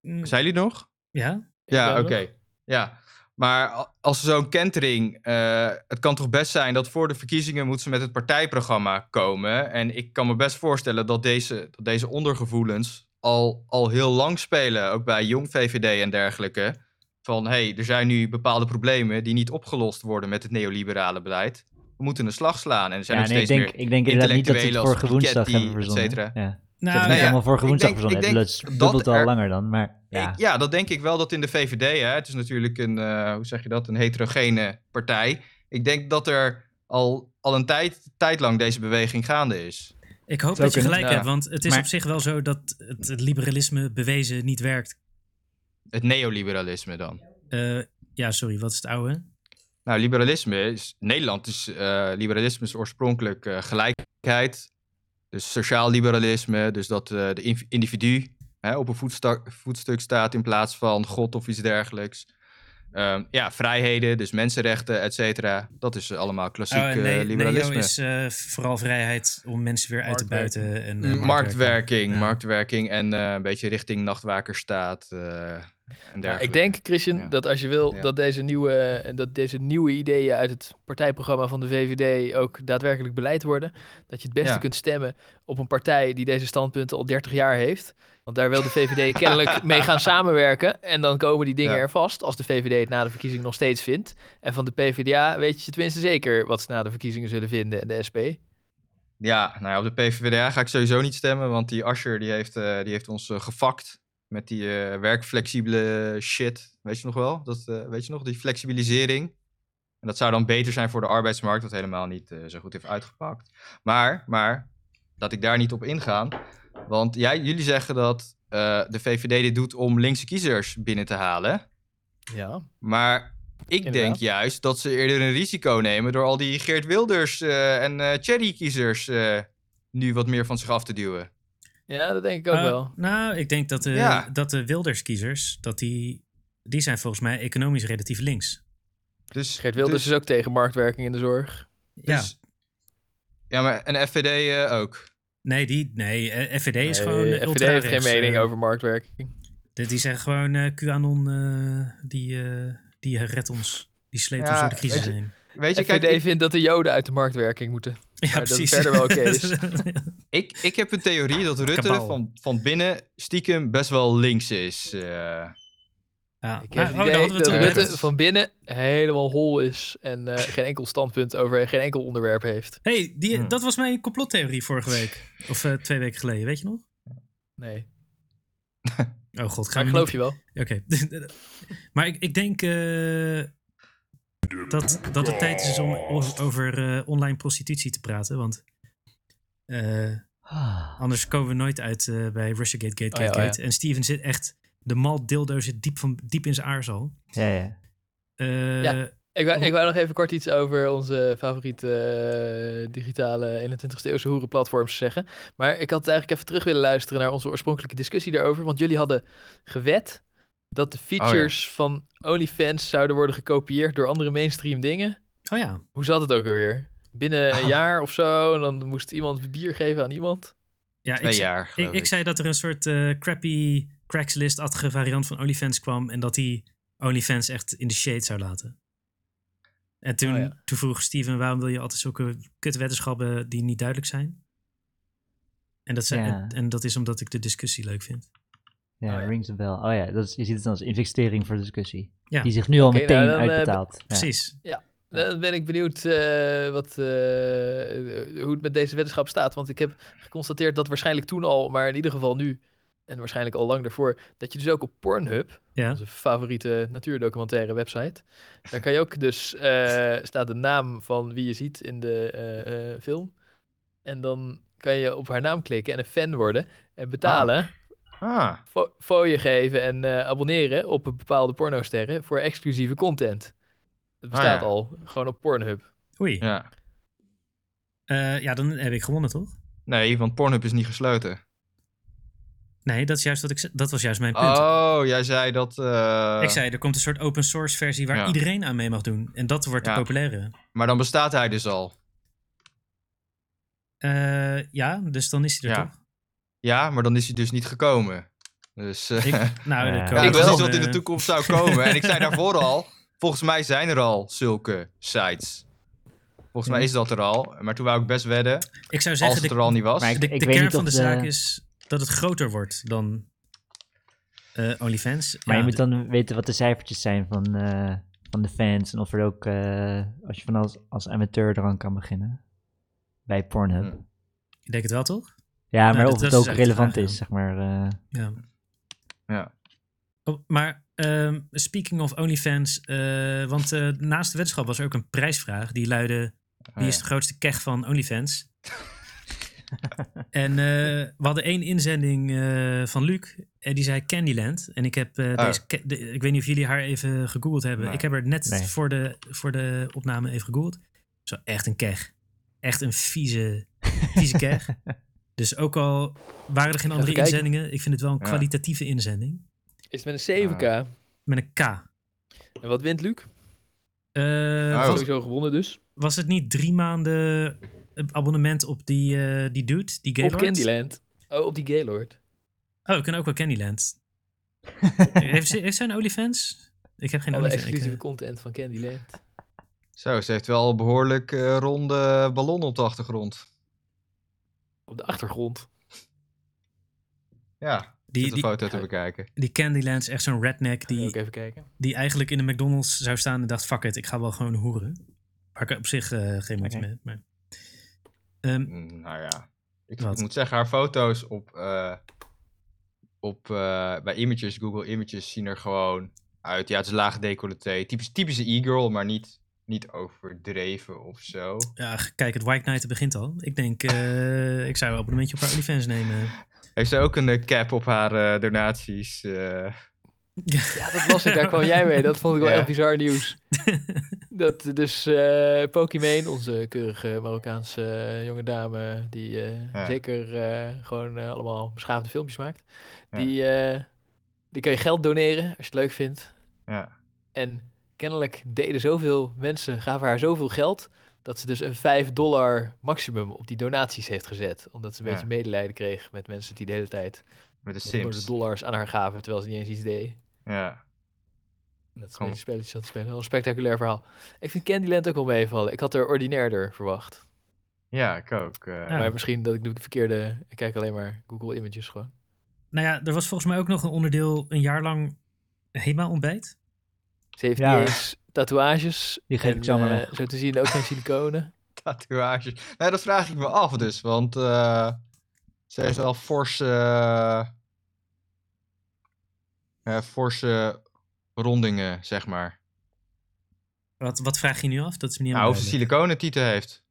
S1: Mm,
S3: Zijn jullie nog?
S1: Ja,
S3: Ja,
S5: ben
S3: oké.
S5: er
S3: Ja. Maar a- als zo'n kentering... eh, het kan toch best zijn dat voor de verkiezingen... moeten ze met het partijprogramma komen. En ik kan me best voorstellen dat deze, dat deze ondergevoelens... Al, al heel lang spelen, ook bij jong VVD en dergelijke. Van, hé, hey, er zijn nu bepaalde problemen... die niet opgelost worden met het neoliberale beleid. We moeten een slag slaan. En er zijn
S4: Ja,
S3: nog
S4: nee, ik
S3: steeds
S4: denk,
S3: meer...
S4: ik denk inderdaad niet dat ze het
S3: intellectuelen als
S4: vorige woensdag
S3: Piketty,
S4: hebben verzonnen.
S3: et cetera.
S4: Ja.
S1: nou,
S4: ze hebben
S3: nou
S4: het
S3: ja,
S4: allemaal vorige
S3: ik
S4: woensdag
S3: denk-
S4: verzonnen.
S3: ik
S4: Ik
S3: denk
S4: bedoel,
S3: dat
S4: het dubbelt al
S3: er-
S4: langer dan, maar ja.
S3: Ik- ja, dat denk ik wel dat in de VVD, hè, het is natuurlijk een, eh, hoe zeg je dat, een heterogene partij. Ik denk dat er al, al een tijd, tijd lang deze beweging gaande is.
S1: ik hoop
S4: Zou
S1: dat je
S4: kunnen.
S1: gelijk
S3: Ja.
S1: hebt, want het is
S4: Maar-
S1: op zich wel zo dat het, het liberalisme bewezen niet werkt.
S3: Het neoliberalisme dan.
S1: Eh, ja, sorry, wat is het oude?
S3: Nou, liberalisme is, Nederland is, eh, liberalisme is oorspronkelijk eh, gelijkheid. Dus sociaal liberalisme, dus dat eh, de inv- individu hè, op een voetsta- voetstuk staat in plaats van God of iets dergelijks. Ehm, ja, vrijheden, dus mensenrechten, et cetera. Dat is eh, allemaal klassiek
S1: Oh,
S3: eh,
S1: nee, nee,
S3: liberalisme.
S1: joh, is eh, vooral vrijheid om mensen weer uit te
S5: Marktwerking.
S1: buiten. En, eh,
S3: Mm, marktwerking,
S1: Ja.
S3: marktwerking en eh, een beetje richting nachtwakerstaat. eh en
S5: Ja, ik
S3: dergelijke.
S5: denk, Christian,
S3: Ja.
S5: dat als je wil
S3: Ja.
S5: dat, deze nieuwe, eh, dat deze nieuwe ideeën uit het partijprogramma van de VVD ook daadwerkelijk beleid worden, dat je het beste
S3: Ja.
S5: kunt stemmen op een partij die deze standpunten al 30 jaar heeft. Want daar wil de VVD kennelijk mee gaan samenwerken. En dan komen die dingen
S3: Ja.
S5: er vast als de VVD het na de verkiezing nog steeds vindt. En van de PvdA weet je tenminste zeker wat ze na de verkiezingen zullen vinden en de SP.
S3: Ja, nou ja, op de PVDA ga ik sowieso niet stemmen, want die Asher die heeft, eh, die heeft ons eh, gefakt met die eh, werkflexibele shit. Weet je nog wel? Dat, eh, weet je nog? Die flexibilisering. En dat zou dan beter zijn voor de arbeidsmarkt, wat helemaal niet eh, zo goed heeft uitgepakt. Maar, maar, dat ik daar niet op ingaan. Want jij, jullie zeggen dat eh, de VVD dit doet om linkse kiezers binnen te halen.
S5: Ja.
S3: Maar ik denk
S5: Inderdaad.
S3: juist dat ze eerder een risico nemen door al die Geert Wilders eh, en eh Cherry-kiezers eh, nu wat meer van zich af te duwen.
S5: ja, dat denk ik ook
S1: Eh,
S5: wel.
S1: Nou, ik denk dat de,
S3: Ja.
S1: dat de Wilders-kiezers, dat die, die zijn volgens mij economisch relatief links.
S3: Dus,
S5: Geert Wilders
S3: dus-
S5: is ook tegen marktwerking in de zorg.
S1: Ja.
S3: dus- ja, maar en FVD eh, ook.
S1: Nee, die, nee eh, FVD is
S5: Nee,
S1: gewoon eh.
S5: FVD heeft geen mening over marktwerking.
S1: over. Die zijn gewoon eh, QAnon, eh, die, eh, die redt ons. Die sleept
S3: Ja,
S1: ons door de crisis
S3: weet je-
S1: heen.
S3: Weet je,
S5: Ik
S3: kijk,
S5: VVD
S3: ik,
S5: vindt dat de Joden uit de marktwerking moeten.
S1: Ja, Nou,
S5: dat het verder wel oké is.
S3: ik, ik heb een theorie dat Rutte
S1: Kabaal.
S3: van, van binnen stiekem best wel links is. eh.
S1: ja.
S5: Ik
S1: maar-
S5: heb het
S1: oh, daar
S5: idee
S1: hadden we het
S5: dat
S1: al
S3: Rutte-
S1: over.
S5: Rutte van binnen helemaal hol is en eh, geen enkel standpunt over geen enkel onderwerp heeft.
S1: hey, die,
S3: Hmm.
S1: dat was mijn complottheorie vorige week. Of eh, twee weken geleden, weet je nog?
S5: Nee,
S1: Oh god, ga
S5: maar ik
S1: me
S5: geloof je wel.
S1: niet- Oké. maar ik, ik denk eh, dat, dat het tijd is om o- over eh, online prostitutie te praten. Want eh,
S4: Ah,
S1: anders komen we nooit uit eh, bij Russiagate, Gate,
S5: Oh ja,
S1: Gate,
S5: oh ja.
S1: Gate. En Steven zit echt... De mal dildo zit diep, van, diep in zijn aarzel.
S4: ja, ja.
S1: Eh,
S5: Ja. Ik wou,
S1: Oh.
S5: ik wou nog even kort iets over onze favoriete eh, digitale 21ste eeuwse hoerenplatforms zeggen. Maar ik had eigenlijk even terug willen luisteren naar onze oorspronkelijke discussie daarover. Want jullie hadden gewet dat de
S3: Oh
S5: features van OnlyFans zouden worden gekopieerd door andere mainstream dingen.
S1: Oh ja.
S5: Hoe zat het ook alweer? Binnen een jaar of zo, en dan moest iemand bier geven aan iemand.
S1: ja ik,
S3: twee
S1: zei-
S3: jaar.
S1: ik,
S3: geloof
S1: ik zei dat er een soort eh, crappy Craigslist-achtige variant van OnlyFans kwam. En dat die OnlyFans echt in de shade zou laten. En toen,
S5: Oh ja.
S1: toen vroeg Steven, waarom wil je altijd zulke kutwetenschappen die niet duidelijk zijn? En dat, zei,
S4: Ja.
S1: en, en dat is omdat ik de discussie leuk vind.
S4: Ja,
S5: Oh ja.
S4: rings a bell. Oh ja, dat is, je ziet het dan als investering voor discussie.
S1: Ja.
S4: Die zich nu al
S5: Oké, nou,
S4: meteen
S5: dan, eh,
S4: uitbetaalt. Ja.
S1: Precies.
S5: Dan ben ik benieuwd eh, wat, eh, eh, hoe het met deze wetenschap staat. Want ik heb geconstateerd dat waarschijnlijk toen al, maar in ieder geval nu, en waarschijnlijk al lang daarvoor, dat je dus ook op Pornhub,
S1: Ja.
S5: onze favoriete natuurdocumentaire website, daar kan je ook dus, eh, staat de naam van wie je ziet in de eh, eh, film. En dan kan je op haar naam klikken en een fan worden en betalen.
S3: ik. Ah,
S5: fo- fooien geven en eh, abonneren op een bepaalde pornosterren voor exclusieve content. Dat
S3: Ah,
S5: bestaat
S3: ja.
S5: al, gewoon op Pornhub.
S1: Oei. Ja.
S3: ja.
S1: ja, dan heb ik gewonnen, toch?
S3: Nee, want Pornhub is niet gesloten.
S1: Nee, dat, is juist wat ik, ze- dat was juist mijn punt.
S3: Oh, jij zei dat... eh,
S1: Ik zei, er komt een soort open source versie waar
S3: Ja.
S1: iedereen aan mee mag doen. En dat wordt
S3: Ja.
S1: de populaire.
S3: Maar dan bestaat hij dus al.
S1: Eh, ja, dus dan is hij er
S3: Ja.
S1: toch?
S3: Ja, maar dan is hij dus niet gekomen. Dus eh,
S1: Ik,
S3: ja,
S1: nou,
S4: Ja.
S1: er
S4: Ik
S1: komen
S3: ik wist
S1: gewoon,
S3: niet wat in de
S1: eh,
S3: toekomst zou komen. En ik zei daarvoor al, volgens mij zijn er al zulke sites. Volgens mij is dat er al. Maar toen wou ik best wedden,
S1: Ik zou
S3: als
S1: zeggen,
S3: het
S1: de,
S3: er al niet was.
S4: Maar ik-
S1: de,
S4: ik
S1: de
S4: weet
S1: kern
S4: niet
S1: van
S4: of
S1: de
S4: de-
S1: zaak is dat het groter wordt dan eh, OnlyFans.
S4: Maar
S1: Ja,
S4: je moet
S1: d-
S4: dan weten wat de cijfertjes zijn van, eh, van de fans. En of er ook, eh, als je van als, als amateur eraan kan beginnen. Bij Pornhub.
S5: Hmm.
S3: Hm.
S1: Ik denk het wel, toch?
S4: Ja, maar
S1: Nou, dat-
S4: of het
S1: dat
S4: ook
S1: is echt de
S4: relevant
S1: vraag,
S4: is,
S1: ja.
S4: zeg maar. eh,
S1: Ja.
S3: Ja.
S1: Oh, maar ehm, speaking of OnlyFans, eh, want eh, naast de wetenschap was er ook een prijsvraag. Die luidde, wie
S3: Oh,
S1: is de grootste keg van OnlyFans? en eh, we hadden één inzending eh, van Luc en die zei Candyland. En ik heb eh,
S3: Oh.
S1: deze, ca- de- ik weet niet of jullie haar even gegoogeld hebben.
S3: Nee.
S1: Ik heb haar net
S4: Nee.
S1: voor, de, voor de opname even gegoogeld. Zo echt een keg. Echt een vieze, vieze keg. Dus ook al waren er geen andere
S5: kijken.
S1: inzendingen, ik vind het wel een
S3: Ja.
S1: kwalitatieve inzending.
S5: Is het met een 7k?
S1: Met een K.
S5: En wat wint Luc?
S1: Eh,
S3: Oh.
S1: was,
S5: Sowieso gewonnen dus.
S1: was het niet drie maanden eh, abonnement op die, eh, die dude, die Gaylord?
S5: Op Candyland. Oh, op die Gaylord.
S1: Oh, we kunnen ook wel Candyland. heeft, ze, heeft zij een OnlyFans? Ik heb geen
S5: Alle
S1: OnlyFans. Ik,
S5: exclusieve
S1: eh,
S5: content van Candyland.
S3: Zo, ze heeft wel behoorlijk eh, ronde ballonnen op de achtergrond.
S5: Op de achtergrond.
S3: Ja,
S1: die,
S3: zit de
S1: die,
S3: foto te bekijken.
S1: die Candyland is echt zo'n redneck
S5: Die... Ook
S1: die,
S5: even kijken.
S1: die eigenlijk in de McDonald's zou staan en dacht, fuck it, ik ga wel gewoon hoeren. Waar ik op zich eh, geen moeite
S4: Oké.
S1: mee heb. Maar... Ehm,
S3: Mm, Nou ja, ik,
S1: Wat?
S3: ik moet zeggen, haar foto's op, eh, op, eh, bij images, Google Images, zien er gewoon uit. Ja, het is laag decolleté. Typisch, typische e-girl, maar niet, niet overdreven of zo.
S1: ja, kijk, het White Night begint al. Ik denk, eh, ik zou een abonnementje op haar OnlyFans nemen.
S3: Heeft ze ook een eh, cap op haar eh, donaties? eh.
S5: Ja, dat las ik. Daar kwam jij mee. Dat vond ik wel
S3: Ja.
S5: echt bizar nieuws. Dat eh, dus eh Pokimane, onze keurige Marokkaanse eh, jonge dame, die eh,
S3: Ja.
S5: zeker eh, gewoon eh, allemaal beschaafde filmpjes maakt.
S3: Ja.
S5: Die, eh, die kan je geld doneren als je het leuk vindt.
S3: ja.
S5: En kennelijk deden zoveel mensen, gaven haar zoveel geld, dat ze dus een 5 dollar maximum op die donaties heeft gezet. Omdat ze een
S3: Ja.
S5: beetje medelijden kreeg met mensen die de hele tijd
S3: Met de
S5: honderden
S3: Sims.
S5: dollars aan haar gaven, terwijl ze niet eens iets deed.
S3: Ja.
S5: Dat is een
S3: Kan.
S5: beetje spelletjes aan het spelen. Wel een spectaculair verhaal. Ik vind Candyland ook wel meevallen. Ik had er ordinairder verwacht.
S3: ja, ik ook. eh.
S1: Ja.
S5: Maar misschien dat ik de verkeerde... Ik kijk alleen maar Google Images gewoon.
S1: Nou ja, er was volgens mij ook nog een onderdeel een jaar lang helemaal ontbijt.
S5: Ze heeft
S4: Ja.
S5: niet eens tatoeages.
S4: Die geef
S5: en,
S4: ik zo maar
S5: eh,
S4: weg.
S5: Zo te zien ook geen siliconen.
S3: tatoeages. Nou, dat vraag ik me af dus, want eh, ze heeft wel forse, eh, eh, forse rondingen, zeg maar.
S1: Wat, wat vraag je nu af? Dat is me niet
S3: nou, of ze
S1: helemaal
S3: siliconen tieten heeft.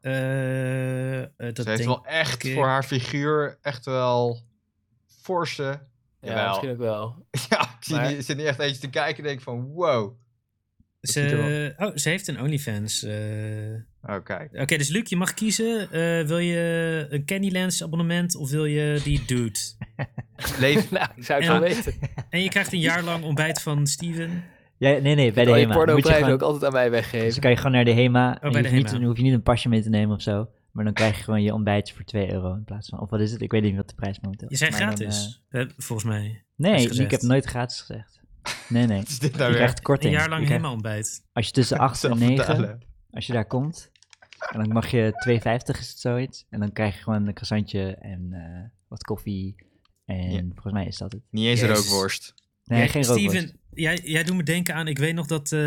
S1: duidelijk. Eh, eh, dat
S3: ze heeft
S1: denk-
S3: wel echt
S1: ik.
S3: voor haar figuur echt wel forse.
S5: Ja,
S3: Jawel.
S5: misschien ook wel.
S3: Ja, ik zie
S5: Maar-
S3: niet- ik zit niet echt eentje te kijken en denk van wow. ziet er
S1: ze, oh, ze heeft een OnlyFans. eh.
S3: Oh, kijk.
S1: Oké, dus Luc, je mag kiezen. Eh, wil je een Candylands abonnement of wil je die dude?
S3: Leef,
S5: nou, ik zou het
S1: Ja.
S5: wel weten.
S1: En je krijgt een jaar lang ontbijt van Steven.
S4: Ja, nee, nee, bij de
S5: Al Oh, je
S4: HEMA. Dan moet je
S5: pornoprijzen
S4: gewoon-
S5: ook altijd aan mij
S4: Dus
S5: weggeven.
S4: dan kan je gewoon naar de HEMA. en
S1: bij
S4: je
S1: de
S4: hoeft niet,
S1: HEMA.
S4: dan hoef je niet een pasje mee te nemen of zo. Maar dan krijg je gewoon je ontbijtje voor 2 euro in plaats van... Of wat is het? Ik weet niet wat de prijs momenteel
S1: Je
S4: is.
S1: zei
S4: maar dan,
S1: gratis.
S4: eh,
S1: Eh, volgens mij. is
S4: nee,
S1: gezegd.
S4: ik heb nooit gratis gezegd. Nee, nee.
S3: wat is dit
S4: Je
S3: nou weer?
S4: krijgt korting.
S1: Een jaar
S4: Je
S1: lang
S4: krijgt-
S1: helemaal ontbijt.
S4: Als je tussen 8 en
S3: Zelf
S4: 9,
S3: vertalen.
S4: als je daar komt, en dan mag je 2,50 is het zoiets. En dan krijg je gewoon een croissantje en eh, wat koffie. En
S3: Ja.
S4: volgens mij is dat het.
S3: Niet eens een
S1: Jezus.
S3: rookworst.
S4: Nee,
S1: Jij-
S4: geen rookworst. Het
S1: Steven, jij, jij doet me denken aan. Ik weet nog dat. eh,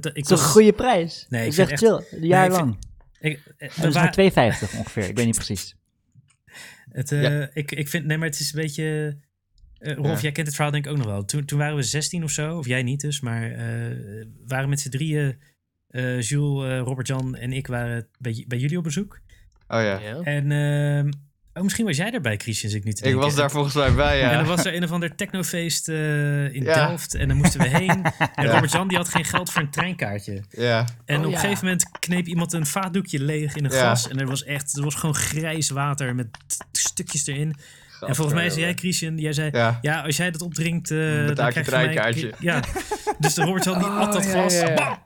S1: dat ik
S4: is toch een
S1: was-
S4: goede prijs?
S1: Nee, ik
S4: ik zeg
S1: vind
S4: chill, een
S1: Nee,
S4: jaar
S1: ik
S4: lang.
S1: Ik, eh, we
S4: Dat is
S1: wa-
S4: maar 2,50 ongeveer, ik weet niet precies.
S1: Het, eh,
S3: Ja.
S1: ik, ik vind, nee, maar het is een beetje. eh, Rolf,
S3: Ja.
S1: jij kent het verhaal denk ik ook nog wel. Toen, toen waren we 16 of zo, of jij niet dus, maar eh waren met z'n drieën. eh, Jules, eh, Robert-Jan en ik waren bij, bij jullie op bezoek.
S3: Oh ja.
S5: Ja.
S1: En ehm, oh, misschien was jij daarbij, Christian, zit ik niet te
S3: Ik
S1: denken.
S3: was daar volgens mij bij, ja.
S1: En er was er een of ander technofeest eh, in
S3: Ja.
S1: Delft en daar moesten we heen. En Robert-Jan die had geen geld voor een treinkaartje.
S3: ja.
S1: En
S5: Oh,
S1: op een
S5: ja.
S1: gegeven moment kneep iemand een vaatdoekje leeg in een
S3: Ja.
S1: glas. En er was echt, er was gewoon grijs water met t- stukjes erin. en volgens mij zei jij, Christian, jij zei...
S3: Ja.
S1: Ja, als jij dat opdrinkt, eh dan krijg
S3: Betaal ik je
S1: je van mij-
S3: treinkaartje.
S1: Ja, dus de Robert-Jan die at dat
S5: Oh, ja,
S1: glas.
S5: ja, ja.
S1: Bam!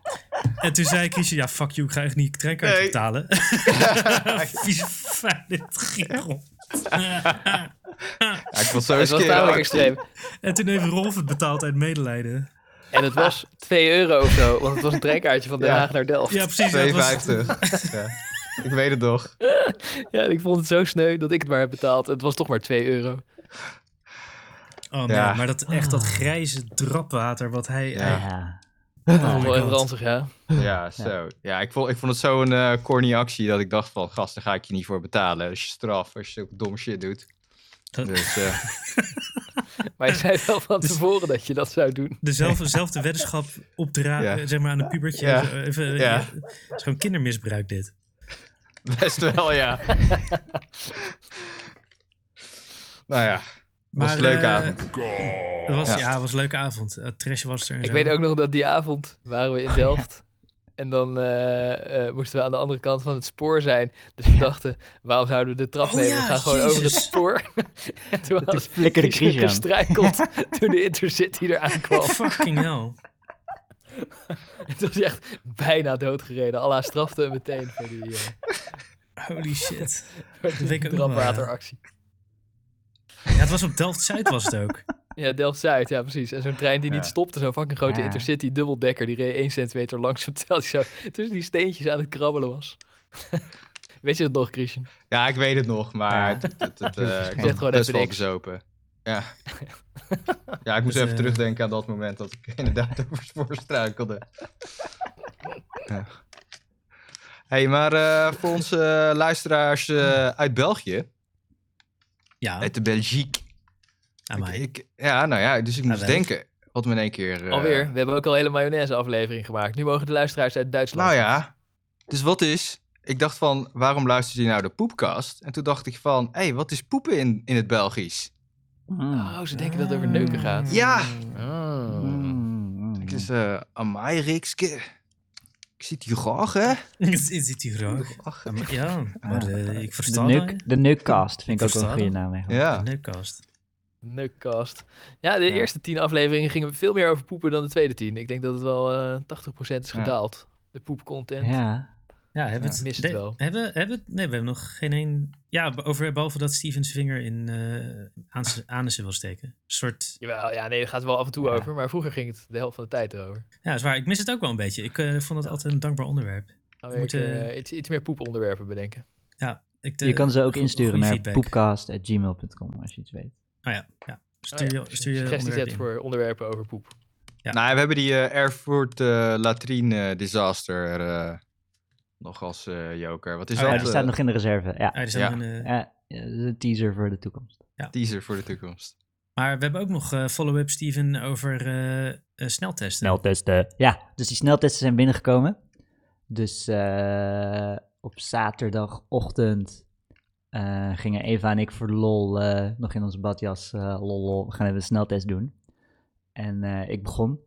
S1: En toen zei Christian, ja, fuck you, ik ga echt niet treinkaartje
S3: Nee.
S1: betalen. Vieze vuile giegel.
S3: Ja, ik was zo
S5: Dat was tamelijk
S3: skeer.
S5: extreem.
S1: En toen heeft Rolf het betaald uit medelijden.
S5: En het was 2 euro of zo, want het was een treinkaartje van Den
S3: Ja.
S5: Haag naar Delft.
S1: Ja,
S5: Ja.
S1: precies. dat was-
S3: 52. ja. Ik weet het nog.
S5: ik vond het zo sneu dat ik het maar heb betaald. Het was toch maar 2 euro.
S1: Oh man,
S3: Ja.
S1: maar dat echt dat grijze drapwater wat hij...
S3: Ja.
S4: Ja.
S5: Dat
S1: my
S5: was wel even
S1: God.
S5: ranzig, ja.
S3: Ja, zo. Ja, ik vond, ik vond het zo'n eh corny actie dat ik dacht van... Gast, daar ga ik je niet voor betalen. Dat is je straf als je zulke dom shit doet.
S1: Dat-
S3: Dus eh,
S5: Maar je zei wel van tevoren dat je dat zou doen.
S1: dezelfde, dezelfde weddenschap opdragen,
S3: Ja.
S1: zeg maar aan een pubertje.
S3: Ja.
S1: Even, even-
S3: Ja.
S1: Het is gewoon kindermisbruik dit.
S3: best wel, ja. nou ja, was een leuke
S1: eh,
S3: avond.
S1: Het was, ja.
S3: Ja.
S1: het was een leuke avond. Eh, trash was er. en
S5: Ik
S1: zo.
S5: weet ook nog dat die avond waren we in
S1: Oh,
S5: Delft. En dan eh, eh, moesten we aan de andere kant van het spoor zijn. Dus we dachten, waarom zouden we de trap
S1: Oh
S5: nemen?
S1: ja,
S5: we gaan gewoon over het
S1: Jezus.
S5: spoor. en toen
S4: Toen
S5: was
S4: flikkerde
S5: Chris
S4: Christian.
S5: gestruikeld toen de Intercity eraan kwam.
S1: Oh, Fucking hell.
S5: Het was echt bijna doodgereden. Allah strafte hem meteen voor die, eh,
S1: Holy shit.
S5: voor die
S1: weet ik ook nog wel, ja.
S5: trapwateractie.
S1: Ja, het was op Delft-Zuid was het ook.
S5: Ja, Delft-Zuid, ja precies. En zo'n trein die
S3: Ja.
S5: niet stopte, zo'n fucking grote
S4: Ja.
S5: intercity dubbeldekker, die reed 1 centimeter langzaam terwijl hij zo tussen die steentjes aan het krabbelen was. Weet je dat nog, Christian?
S3: Ja, ik weet het nog, maar
S4: Ja.
S3: het, het, het,
S4: is
S3: eh, ik
S4: geen-
S3: was
S5: Zeg gewoon
S3: best
S5: even
S3: wel
S5: niks.
S3: bezopen. Ja. ja, ik moest
S1: Dus,
S3: even
S1: eh,
S3: terugdenken aan dat moment dat ik inderdaad over voor struikelde. ja. hey, maar eh, voor onze eh, luisteraars eh, uit België,
S1: Ja,
S3: uit de Belgique.
S1: aan mij.
S3: Ik, ik- ja, nou ja, dus ik moest
S1: wel.
S3: denken. Wat me in één keer... eh,
S5: Alweer, we hebben ook al een hele mayonaise-aflevering gemaakt. Nu mogen de luisteraars uit Duitsland.
S3: Nou ja, dus wat is... Ik dacht van, waarom luistert je nou de poepkast? En toen dacht ik van, hé, hey, wat is poepen in, in het Belgisch?
S4: Nou
S5: Oh, ze denken dat het over neuken gaat.
S3: Ja!
S4: Mm.
S3: Het Ah. is eh amai, Rikske. Ik zit hier graag, hè?
S1: Is, is dit hier graag?
S3: Ach,
S1: Ja, maar eh, ik
S4: De,
S1: versta dat.
S4: neuk, de Neukcast vind ik ook wel een
S1: Verstaan
S4: goede
S1: dat?
S4: naam eigenlijk.
S3: ja.
S1: Neukast.
S5: Neukkast. Ja, de eerste tien afleveringen gingen veel meer over poepen dan de tweede tien. Ik denk dat het wel eh 80% is
S3: Ja.
S5: gedaald. De poepcontent.
S4: Ja.
S1: Ja, hebben we het...
S5: ik mis het
S1: de-
S5: wel.
S1: Hebben, hebben, we het- nee, we hebben nog geen één... Ja, be- over, behalve dat Stevens vinger in eh aan zijn anussen wil steken. Een soort...
S5: Jawel, ja, nee, daar gaat het wel af en toe
S4: Ja.
S5: over. Maar vroeger ging het de helft van de tijd erover.
S1: Ja, is waar. Ik mis het ook wel een beetje. Ik eh, vond het altijd een dankbaar onderwerp.
S5: Gaan
S1: We
S5: we
S1: moeten-
S5: even, eh, iets, iets meer poeponderwerpen bedenken.
S1: Ik, eh,
S4: Je kan ze ook
S1: go-
S4: insturen
S1: goede
S4: naar
S1: feedback.
S4: poepcast.gmail.com als je iets weet.
S1: Oh ja, ja.
S4: Ah,
S1: Stuur je, stuur je
S5: Oh Suggesties
S1: onderwerp
S5: hebt
S1: in.
S5: voor onderwerpen over poep.
S1: Ja.
S3: Nou, we hebben die eh, Erfurt eh, latrine disaster eh, nog als eh, joker. Wat is
S1: Oh,
S3: dat?
S4: Ja,
S1: ja,
S4: die
S3: eh,
S4: staat nog in de reserve. Ja.
S1: Ah, er zijn
S3: Ja.
S1: een, eh,
S4: Ja, de teaser voor de toekomst.
S3: Teaser voor de toekomst.
S1: maar we hebben ook nog eh, follow-up, Steven, over eh, eh, sneltesten.
S4: Sneltesten. Ja, dus die sneltesten zijn binnengekomen. Dus eh, op zaterdagochtend eh, gingen Eva en ik voor de lol eh, nog in onze badjas. eh, lol, lol, we gaan even een sneltest doen. En eh, ik begon.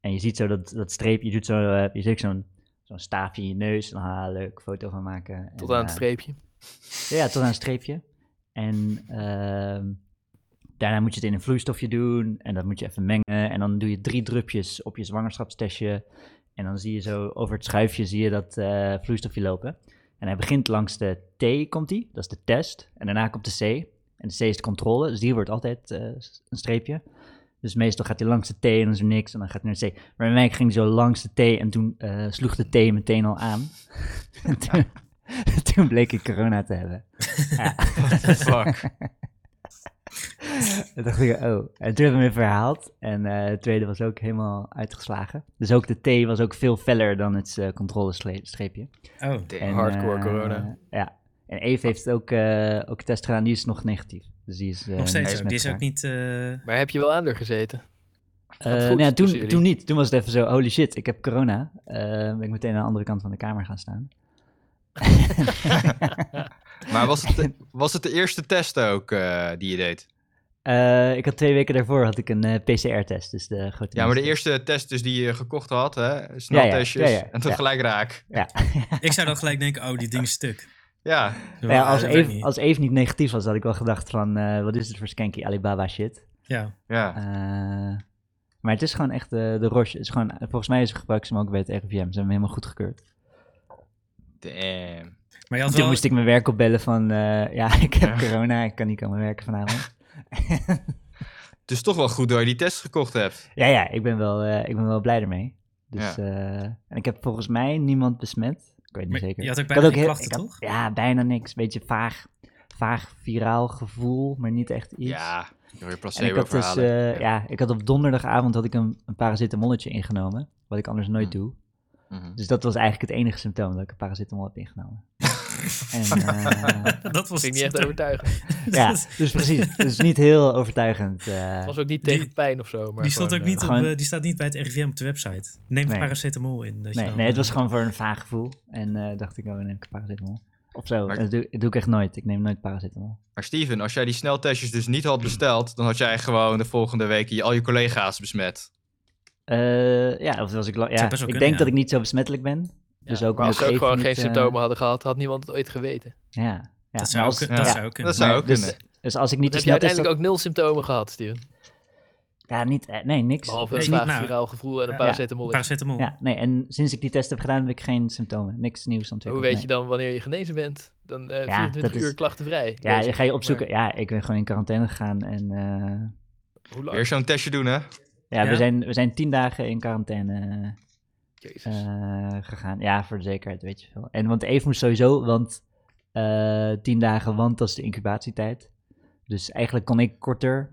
S4: En je ziet zo dat, dat streepje, je doet zo, eh, je zet zo'n zo'n staafje in je neus. En, ah, leuk, foto van maken.
S5: Tot
S4: En,
S5: aan het
S4: eh,
S5: streepje.
S4: Ja, tot aan een streepje. En ehm, daarna moet je het in een vloeistofje doen. En dat moet je even mengen. En dan doe je drie drupjes op je zwangerschapstestje. En dan zie je zo over het schuifje zie je dat eh, vloeistofje lopen. En hij begint langs de T, komt hij. Dat is de test. En daarna komt de C. En de C is de controle. Dus die wordt altijd eh, een streepje. Dus meestal gaat hij langs de T en dan is er niks. En dan gaat hij naar de C. Maar bij mij ging hij zo langs de T en toen eh, sloeg de T meteen al aan. en toen, toen bleek ik corona te hebben.
S3: What the fuck?
S4: En dacht ik, oh. En toen hebben we hem verhaald. En eh, het tweede was ook helemaal uitgeslagen. Dus ook de T was ook veel feller dan het eh, controlestreepje.
S1: Oh,
S4: En,
S5: Hardcore
S4: eh,
S5: corona.
S4: Ja. En Eve heeft ook, eh, ook een test gedaan. Die is nog negatief. Dus die is, eh,
S1: nog
S4: niet
S1: steeds ook. Die is ook
S4: besmetbaar.
S1: niet... eh,
S5: Maar heb je wel aan er gezeten?
S4: Eh,
S5: Gaat goed
S4: nou ja,
S5: tussen
S4: toen,
S5: jullie.
S4: toen niet. Toen was het even zo, holy shit, ik heb corona. Eh, ben ik meteen aan de andere kant van de kamer gaan staan.
S3: maar was het, de, was het de eerste test ook eh, die je deed?
S4: Eh, ik had twee weken daarvoor had ik een eh, PCR-test. Dus de grote
S3: Ja, maar de
S4: meeste-
S3: eerste test dus die je gekocht had, hè? Sneltestjes.
S4: ja, ja, ja.
S3: En toen
S4: Ja.
S3: gelijk raak.
S1: eh, ik zou dan gelijk denken, oh, die ding is stuk.
S3: Ja,
S1: Zo,
S4: Nou ja, als,
S1: eh, dat
S4: Eve,
S1: niet.
S4: als Eve niet negatief was, had ik wel gedacht van, eh, wat is dit voor skanky Alibaba shit?
S1: Ja,
S3: ja.
S4: Eh, maar het is gewoon echt eh, de Roche. Het is gewoon, volgens mij is gebruiken ze hem ook bij het RIVM. Ze hebben hem helemaal goed gekeurd.
S3: Damn.
S1: maar je had
S4: Toen
S1: wel...
S4: moest ik mijn werk opbellen van... eh, ja, ik heb
S3: Ja.
S4: corona, ik kan niet komen werken vanavond.
S3: Dus toch wel goed dat je die test gekocht hebt.
S4: ja, ja, ik ben wel, eh, ik ben wel blij ermee. Dus,
S3: Ja.
S4: eh, en ik heb volgens mij niemand besmet. Ik weet niet
S1: Maar
S4: zeker.
S1: je had ook
S4: Ik
S1: bijna geen
S4: heel-
S1: klachten,
S4: ik had-
S1: toch?
S4: Ja, bijna niks. Beetje vaag, vaag viraal gevoel, maar niet echt iets.
S3: Ja, door je
S4: En ik had dus,
S3: placebo-verhalen.
S4: eh, ja. ik had op donderdagavond had ik een, een paracetamolletje ingenomen, wat ik anders nooit
S3: Hm.
S4: doe.
S3: Mhm.
S4: Dus dat was eigenlijk het enige symptoom dat ik een paracetamol heb ingenomen. en, eh,
S1: dat was
S5: Ging niet echt overtuigend.
S4: ja, dus precies. Dus niet heel overtuigend. eh.
S5: Het was ook niet
S1: Die-
S5: tegen pijn of zo. Maar
S1: Die, stond ook
S5: gewoon, eh,
S1: niet op,
S4: gewoon-
S1: eh, die staat niet bij het RIVM op de website. Neem
S4: Nee.
S1: paracetamol in. dat je
S4: nee,
S1: dan,
S4: nee, het
S1: eh,
S4: was gewoon voor een vaag gevoel. En eh, dacht ik, oh, dan neem ik een paracetamol. Of zo.
S3: Maar-
S4: Dat doe, dat doe ik echt nooit. Ik neem nooit paracetamol.
S3: Maar Steven, als jij die sneltestjes dus niet had besteld, dan had jij gewoon de volgende week je, al je collega's besmet.
S4: Eh, ja, of was ik, la- ja,
S1: zou
S4: ik
S1: best wel
S4: denk
S1: kunnen, ja.
S4: dat ik niet zo besmettelijk ben. Dus ook
S5: maar als
S4: omdat
S5: ze ook
S4: Eve
S5: gewoon
S4: niet,
S5: geen
S4: eh,
S5: symptomen hadden gehad, had niemand het ooit geweten.
S4: Ja, ja.
S1: Dat
S4: maar
S1: zou,
S4: als,
S1: ook,
S3: ja.
S1: dat zou ook kunnen.
S3: Dat zou ook
S4: dus,
S3: kunnen.
S4: dus als ik niet de
S5: heb je
S4: sneltest
S5: uiteindelijk
S4: had...
S5: ook nul symptomen gehad, Steven?
S4: Ja, niet, eh, nee, niks.
S5: Behalve
S1: Nee,
S5: een
S1: niet
S5: vaag
S1: nou.
S5: viraal gevoel en een
S1: Ja.
S5: paracetamol.
S1: Paracetamol.
S4: Ja, nee, en sinds ik die test heb gedaan heb ik geen symptomen. Niks nieuws
S5: Maar Hoe
S4: ontwikkeld.
S5: weet
S4: nee.
S5: je dan wanneer je genezen bent? Dan eh
S4: Ja,
S5: 24
S4: dat
S5: uur
S4: is-
S5: klachtenvrij.
S4: Ja,
S5: lees
S4: dan
S5: ik.
S4: ga je opzoeken. Ja, ik ben gewoon in quarantaine gegaan en eh,
S5: Hoe lang?
S3: Weer zo'n testje doen, hè?
S4: Ja,
S1: Ja?
S4: We, zijn, we zijn tien dagen in quarantaine
S5: Jezus.
S4: eh, gegaan. Ja, voor de zekerheid, weet je veel. En want Eve moest sowieso, want eh, tien dagen, want dat is de incubatietijd. Dus eigenlijk kon ik korter.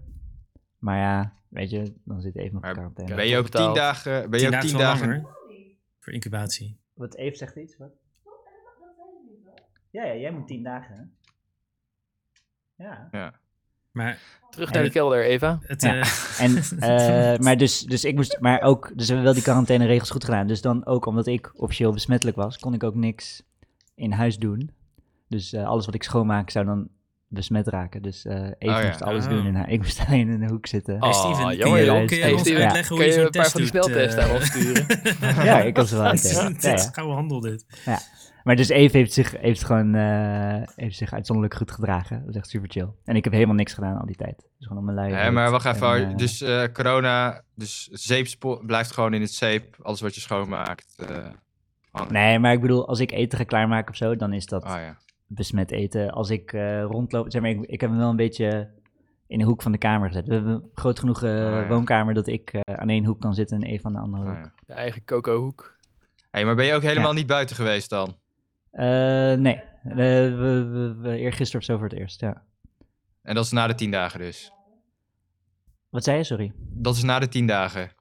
S4: Maar ja, weet je, dan zit Eve nog in
S3: Maar
S4: quarantaine.
S5: Ja,
S3: Ben je
S5: toch
S3: ook tien
S5: betaald.
S3: dagen... Ben
S1: Tien
S3: je ook
S1: dagen is
S3: tien
S1: wel
S3: dagen...
S1: langer, hè? Voor incubatie.
S4: Wat Eve zegt iets, wat? Ja, ja, jij moet tien dagen. hè? Ja.
S1: Maar
S5: Terug naar de kelder, Eva.
S1: het...
S4: Ja.
S1: eh,
S4: En, eh, maar dus, dus ik moest, maar ook, dus we hebben wel die quarantaineregels goed gedaan. Dus dan ook omdat ik officieel besmettelijk was, kon ik ook niks in huis doen. Dus eh, alles wat ik schoonmaak zou dan besmet raken. Dus eh Eve
S3: Oh ja.
S4: moest alles
S1: Oh.
S4: doen in haar. Ik moest alleen in de hoek zitten.
S1: hey,
S5: Oh,
S1: Steven, kun
S5: jongen,
S1: je,
S4: jongen.
S1: ook, eh,
S4: Hey,
S1: ons
S4: Steven,
S1: uitleggen
S5: kun
S1: hoe je
S5: je
S1: zo'n
S5: een
S1: test
S5: paar van die
S1: doet?
S5: sneltesten
S1: eh?
S5: aan ons sturen?
S4: Ja, ik kan ze wel
S1: Het is-
S4: uitleggen.
S1: het
S4: Ja,
S1: is
S4: ja.
S1: gouden handel dit.
S4: Maar dus Eve heeft zich, heeft gewoon, eh, heeft zich uitzonderlijk goed gedragen. Dat is echt super chill. En ik heb helemaal niks gedaan al die tijd. Dus gewoon om mijn luier.
S3: Hè, maar wacht even.
S4: En,
S3: hoor.
S4: eh,
S3: dus eh, corona, dus zeepspo blijft gewoon in het zeep. Alles wat je schoonmaakt. eh, hangen.
S4: Nee, maar ik bedoel, als ik eten ga klaarmaken of zo, dan is dat...
S3: Oh ja.
S4: besmet eten. Als ik eh, rondloop, zeg maar, ik, ik heb hem wel een beetje in de hoek van de kamer gezet. We hebben een groot genoeg eh,
S3: Ah, ja.
S4: woonkamer dat ik eh, aan één hoek kan zitten en even aan de andere
S3: Oh,
S4: hoek.
S3: ja.
S5: De eigen cocohoek.
S3: Hey, maar ben je ook helemaal niet buiten geweest dan?
S4: Eh, nee, Eh, we, we, we- eergisteren of zo voor het eerst, ja.
S3: En dat is na de tien dagen dus.
S4: Wat zei je, sorry?
S3: Dat is na de tien dagen.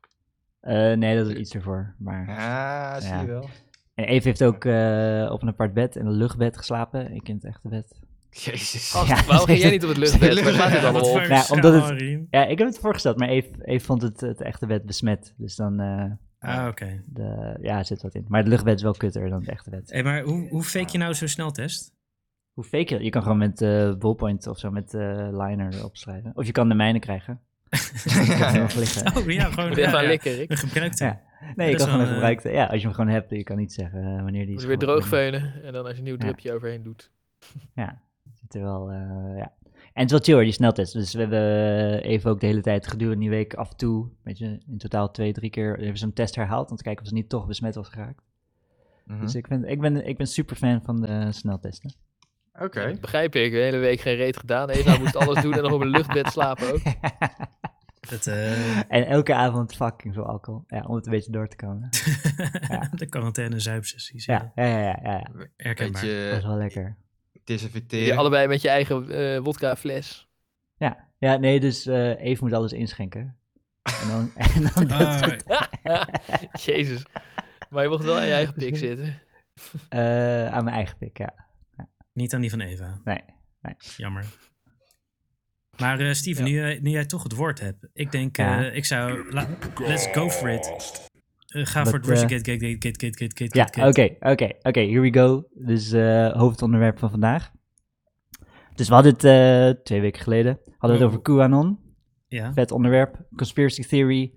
S4: Eh, nee, dat is iets ervoor. Maar...
S3: Ah, zie
S4: Ja.
S3: je wel.
S4: En Eve heeft ook eh, op een apart bed, in een luchtbed geslapen. Ik in het echte bed.
S3: Jezus.
S5: Gast,
S4: Ja.
S5: waarom ging jij niet op het luchtbed? Waar gaat dit
S1: Wat
S5: allemaal
S1: voor
S5: op?
S4: Nou,
S1: verhaal,
S4: omdat het-
S1: Rien.
S4: Ja, ik heb het voorgesteld, maar Eve, Eve vond het, het echte bed besmet. Dus dan, eh,
S1: Ah, oké.
S4: de, ja, er zit wat in. Maar het luchtbed is wel kutter dan het echte bed.
S1: Hey, maar hoe, hoe fake je nou zo'n sneltest?
S4: Hoe fake je dat? Je kan gewoon met eh ballpoint of zo, met eh, liner erop schrijven. Of je kan de mijne krijgen. Ik heb ze nog liggen.
S1: Oh ja, gewoon
S5: Moet
S1: ja,
S5: even aan
S1: ja.
S5: likken, Rick.
S1: een gebruikte.
S4: Ja. Nee, je
S1: Dat is
S4: kan gewoon
S1: wel,
S4: een
S1: eh,
S4: gebruikte. Ja, als je hem gewoon hebt, je kan niet zeggen eh, wanneer die
S5: Moet
S4: is.
S5: je weer
S4: gemaakt.
S5: droog veunen. En dan als je een nieuw
S4: Ja.
S5: drupje overheen doet.
S4: Zit er wel, eh, ja. En het is wel chill hoor, die sneltest. Dus we hebben even ook de hele tijd gedurende die week af en toe, weet je, in totaal twee, drie keer even zo'n test herhaald. Om te kijken of ze niet toch besmet was geraakt.
S3: Mhm.
S4: Dus ik, vind, ik, ben, ik ben super fan van de sneltesten.
S3: Oké.
S5: Dat begrijp ik. De hele week geen reet gedaan. Eva moest alles doen en nog op een luchtbed slapen ook.
S1: Dat, eh,
S4: en elke avond fucking veel alcohol. Ja, om het een beetje door te komen.
S1: de quarantaine zuipsessies. Ja.
S4: Ja, ja, ja, ja, ja.
S3: Weet
S1: Herkenbaar.
S4: Dat is
S3: je,
S4: wel lekker.
S3: desinfecteren.
S5: Je allebei met je eigen eh wodkafles.
S4: Ja, nee, dus eh Eve moet alles inschenken. En dan, en dan dat
S1: Ah,
S4: soort-
S5: Jezus. Maar je mocht wel aan je eigen pik zitten.
S4: eh, aan mijn eigen pik, ja.
S1: niet aan die van Eva.
S4: Nee, nee.
S1: Jammer. Maar eh, Steven, nu, jij- nu jij toch het woord hebt. Ik denk, eh,
S4: Ja.
S1: ik zou... la- let's go for it. Eh, ga
S4: Wat,
S1: voor het woordje.
S4: eh,
S1: Gate, gate, gate, gate, gate, gate, gate,
S4: Ja,
S1: gate, gate.
S4: oké, oké, oké, here we go. Dus eh, hoofdonderwerp van vandaag. Dus we hadden het eh, twee weken geleden, hadden we het over QAnon.
S1: Ja.
S4: vet onderwerp. Conspiracy theory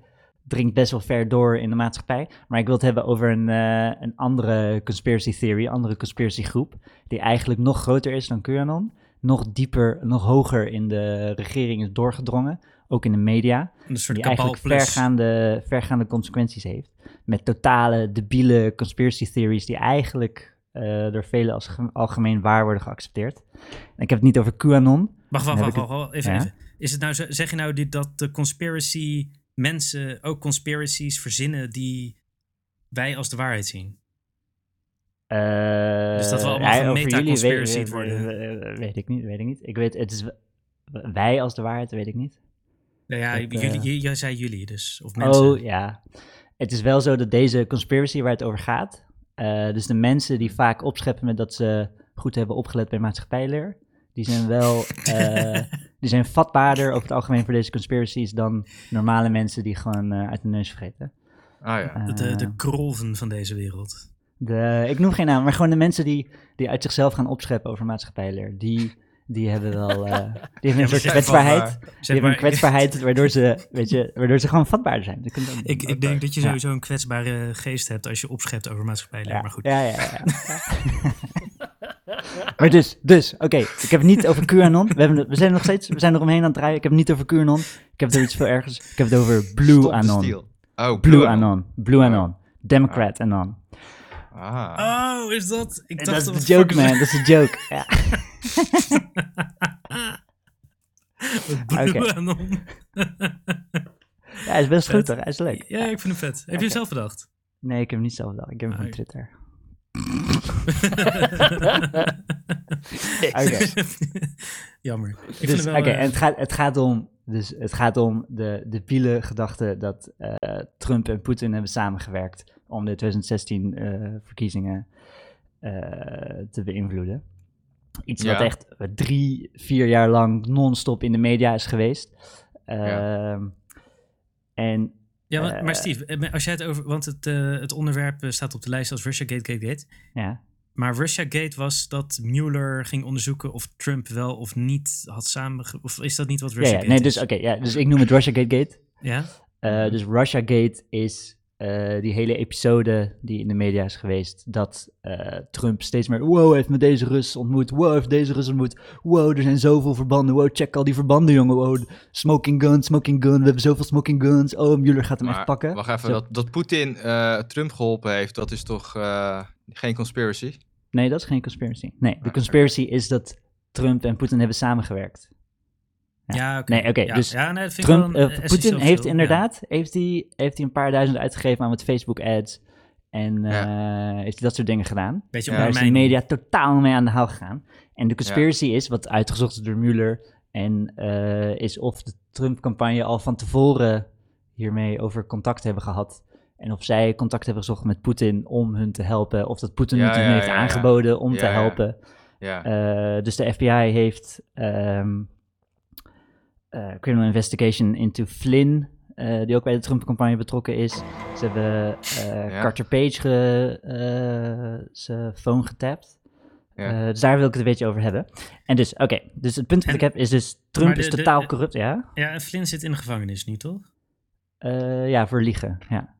S4: dringt best wel ver door in de maatschappij. Maar ik wil het hebben over een, eh, een andere conspiracy theory, andere conspiracy groep. Die eigenlijk nog groter is dan QAnon. Nog dieper, nog hoger in de regering is doorgedrongen. Ook in de media.
S1: Een soort
S4: die
S1: kabal
S4: eigenlijk
S1: plus.
S4: vergaande, vergaande consequenties heeft. Met totale, debiele conspiracy theories die eigenlijk eh, door velen als ge- algemeen waar worden geaccepteerd. En ik heb het niet over QAnon.
S1: Wacht, wacht,
S4: Dan
S1: wacht,
S4: heb
S1: wacht,
S4: ik
S1: wacht, Even,
S4: Ja?
S1: even. Is het nou, zo- zeg je nou dit, dat de conspiracy mensen ook conspiracies verzinnen die wij als de waarheid zien?
S4: Eh,
S1: Dus dat we allemaal
S4: ja,
S1: een
S4: over jullie
S1: metaconspiracy
S4: weet-
S1: worden.
S4: eh, Weet ik niet, weet ik niet. Ik weet, het is w- wij als de waarheid, weet ik niet.
S1: Nou ja,
S4: Dat, eh,
S1: jullie, j- jij zei jullie dus. Of mensen.
S4: Oh ja, het is wel zo dat deze conspiracy waar het over gaat, eh, dus de mensen die vaak opscheppen met dat ze goed hebben opgelet bij maatschappijleer, die zijn wel, eh, die zijn vatbaarder over het algemeen voor deze conspiracies dan normale mensen die gewoon eh, uit de neus vergeten.
S3: Ah ja.
S1: De, de, de krolven van deze wereld.
S4: De, ik noem geen naam, maar gewoon de mensen die, die uit zichzelf gaan opscheppen over maatschappijleer. Die, die hebben wel. eh, die hebben een soort
S1: zeg
S4: kwetsbaarheid. Die
S1: eh, Zeg
S4: hebben een
S1: maar,
S4: kwetsbaarheid waardoor ze, weet je, waardoor ze gewoon vatbaar zijn. Dat kunt ook-
S1: ik, ik
S4: ook
S1: denk
S4: waar.
S1: dat je
S4: Ja.
S1: sowieso een kwetsbare geest hebt als je opschept over maatschappijleer.
S4: Ja,
S1: Maar goed.
S4: ja, ja. ja, ja. maar dus, dus oké. Ik heb het niet over QAnon. We, hebben, het- we zijn nog steeds, we zijn er omheen aan het draaien. Ik heb het niet over QAnon. Ik heb het over iets veel ergers. Ik heb het over Blue
S3: Stop de
S4: Anon.
S3: stiel. Oh,
S4: Blue Anon. Blue Anon. Democrat Anon.
S3: Ah.
S1: Oh, is dat? Ik dacht
S4: Eh, Dat is
S1: het
S4: de joke,
S1: fucking-
S4: man. Dat is de joke. Ja.
S1: Blue Anon.
S4: Ja, hij is best
S1: Vet.
S4: goed hoor, hij is leuk.
S1: Ja, ik vind hem vet. Heb je hem
S4: Oké.
S1: zelf bedacht?
S4: Nee, ik heb hem niet zelf gedaan, ik heb hem van
S1: Nee.
S4: Twitter.
S5: Jezus.
S4: Oké.
S1: Jammer. Ik vind
S4: Dus,
S1: hem wel,
S4: oké,
S1: eh,
S4: en het gaat, het gaat om, dus het gaat om de, de biele gedachte dat eh, Trump en Poetin hebben samengewerkt om de 2016-verkiezingen eh, te beïnvloeden. Iets wat
S3: Ja.
S4: echt drie, vier jaar lang non-stop in de media is geweest. Ehm, En
S1: ja, maar, maar
S4: eh,
S1: Steve, eh, als jij het over... Want het, eh, het onderwerp eh, staat op de lijst als Russia Gate, Gate, Gate.
S4: ja,
S1: Maar Russia Gate was dat Mueller ging onderzoeken of Trump wel of niet had samen... Of is dat niet wat
S4: ja,
S1: Russia
S4: ja,
S1: Gate
S4: nee,
S1: is?
S4: dus, oké, ja, dus ik noem het Russia Gate Gate.
S1: Ja?
S3: Mhm.
S4: Eh, dus Russia Gate is eh, die hele episode die in de media is geweest. Dat eh, Trump steeds meer. Wow, hij heeft met deze Rus ontmoet. Wow, hij heeft deze Rus ontmoet. Wow, er zijn zoveel verbanden. Wow, check al die verbanden, jongen. Wow, smoking gun, smoking gun. We hebben zoveel smoking guns. Oh, Mueller gaat hem echt pakken.
S3: Wacht even,
S4: Zo.
S3: dat, dat Poetin eh, Trump geholpen heeft, dat is toch eh, geen conspiracy?
S4: Nee, dat is geen conspiracy. Nee, de
S3: Ah, oké.
S4: conspiracy is dat Trump en Poetin hebben samengewerkt. Ja.
S1: Ja, oké.
S4: Nee, oké,
S1: Ja,
S4: dus
S1: ja, nee, dat vind ik
S4: Trump,
S1: wel een
S4: eh,
S1: essentieel
S4: Poetin heeft
S1: verschil.
S4: inderdaad heeft hij, heeft hij een paar duizend uitgegeven aan wat Facebook-ads. En eh, heeft hij dat soort dingen gedaan.
S1: Ja, beetje
S3: Ja,
S1: onder
S4: Daar is de
S1: mijn-
S4: media totaal mee aan de haal gegaan. En de conspiracy is, wat uitgezocht is door Mueller, en eh, is of de Trump-campagne al van tevoren hiermee over contact hebben gehad. En of zij contact hebben gezocht met Poetin om hun te helpen. Of dat Poetin
S3: Ja,
S4: het hun
S3: ja,
S4: heeft
S3: ja, ja.
S4: aangeboden om te
S3: Ja, ja.
S4: helpen.
S3: Ja.
S4: Eh, dus de FBI heeft ehm, eh, Criminal Investigation into Flynn, eh, die ook bij de Trump-campagne betrokken is. Ze hebben eh,
S3: Ja.
S4: Carter Page ge, eh, zijn phone getapt.
S3: Ja.
S4: Eh, dus daar wil ik het een beetje over hebben. En dus, oké, dus het punt dat
S1: En-
S4: ik heb is dus, Trump
S1: maar de-
S4: is
S1: de-
S4: totaal
S1: de-
S4: corrupt, ja?
S1: Ja, en Flynn zit in de gevangenis nu, toch?
S4: Eh, ja, voor liegen, ja.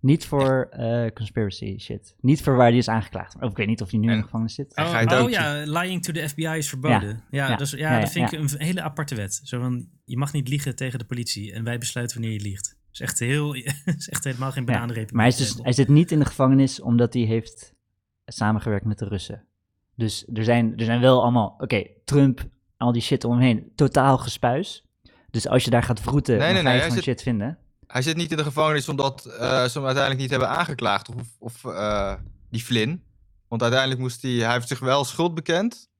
S4: Niet voor eh, conspiracy shit. Niet voor waar die is aangeklaagd. Of ik weet niet of hij nu in de
S3: En-
S4: gevangenis zit.
S3: Hij
S1: Oh,
S3: gaat
S1: oh
S3: ook-
S1: ja, lying to the FBI is verboden. Ja,
S4: ja,
S1: dat, is- ja,
S4: ja, ja,
S1: dat vind ik een hele aparte wet. Zo van, je mag niet liegen tegen de politie en wij besluiten wanneer je liegt. Dat is echt, heel, is echt helemaal geen
S4: Ja,
S1: bananenreep.
S4: Maar hij, is dus, hij zit niet in de gevangenis omdat hij heeft samengewerkt met de Russen. Dus er zijn, er zijn wel allemaal, oké, Trump, al die shit omheen, totaal gespuis. Dus als je daar gaat vroeten,
S3: Nee,
S4: dan
S3: nee,
S4: ga
S3: nee,
S4: je
S3: hij
S4: gewoon
S3: zit-
S4: shit vinden.
S3: Hij zit niet in de gevangenis omdat eh, ze hem uiteindelijk niet hebben aangeklaagd. Of, of eh, die Flynn. Want uiteindelijk moest hij... Hij heeft zich wel schuld bekend.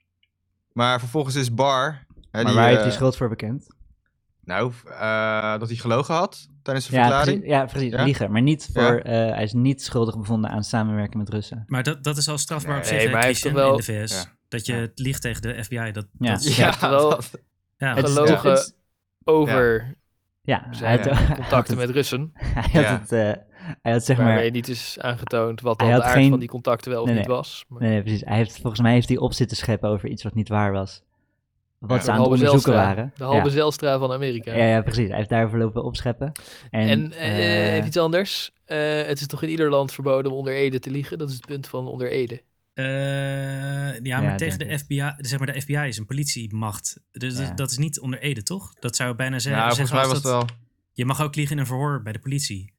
S3: Maar vervolgens is Barr... Hè,
S4: maar waar heeft
S3: eh,
S4: hij schuld voor bekend?
S3: Nou, eh, dat hij gelogen had tijdens zijn
S4: Ja,
S3: verklaring.
S4: precies, ja, precies
S3: Ja?
S4: liegen. Maar niet voor,
S3: Ja.
S4: eh, hij is niet schuldig bevonden aan samenwerken met Russen.
S1: Maar dat, dat is al strafbaar op
S3: Nee,
S1: zich, hè,
S5: maar hij heeft
S1: Christian,
S5: toch wel-
S1: in de VS.
S3: Ja.
S1: Dat je het liegt tegen de FBI. Dat,
S4: Ja.
S1: dat is-
S5: Ja, terwijl-
S3: dat-
S1: ja.
S5: Het is
S4: toch-
S5: gelogen
S4: het is-
S5: over
S4: ja, hij
S5: zijn
S4: had,
S3: Dus ja,
S4: hij had
S5: contacten
S4: het-
S5: met Russen,
S4: Hij
S3: Ja.
S4: had, het, eh, hij had zeg maar...
S5: waarmee niet is aangetoond wat
S4: Hij
S5: dan de
S4: had
S5: aard
S4: geen-
S5: van die contacten wel of
S4: Nee,
S5: niet
S4: nee.
S5: was. Maar...
S4: Nee, nee, precies. Hij heeft, volgens mij heeft hij op zitten scheppen over iets wat niet waar was. Wat
S3: Ja,
S4: ze
S5: de
S4: aan het
S5: halve
S4: onderzoeken
S5: Zijlstra.
S4: waren.
S5: De halve
S4: ja.
S5: Zijlstra van Amerika.
S4: Ja, ja, precies. Hij heeft daarvoor lopen opscheppen. En,
S5: En eh,
S4: eh,
S5: even iets anders. Eh, het is toch in ieder land verboden om onder Ede te liegen? Dat is het punt van onder Ede.
S1: Eh, ja, maar
S4: Ja,
S1: tegen
S4: denk
S1: de FBI, zeg maar de FBI is een politiemacht. Dus
S4: Ja.
S1: dat is niet onder Ede, toch? Dat zou bijna zeggen.
S3: nou, volgens
S1: zeggen
S3: mij was
S1: als
S3: het
S1: dat-
S3: wel...
S1: Je mag ook liegen in een verhoor bij de politie.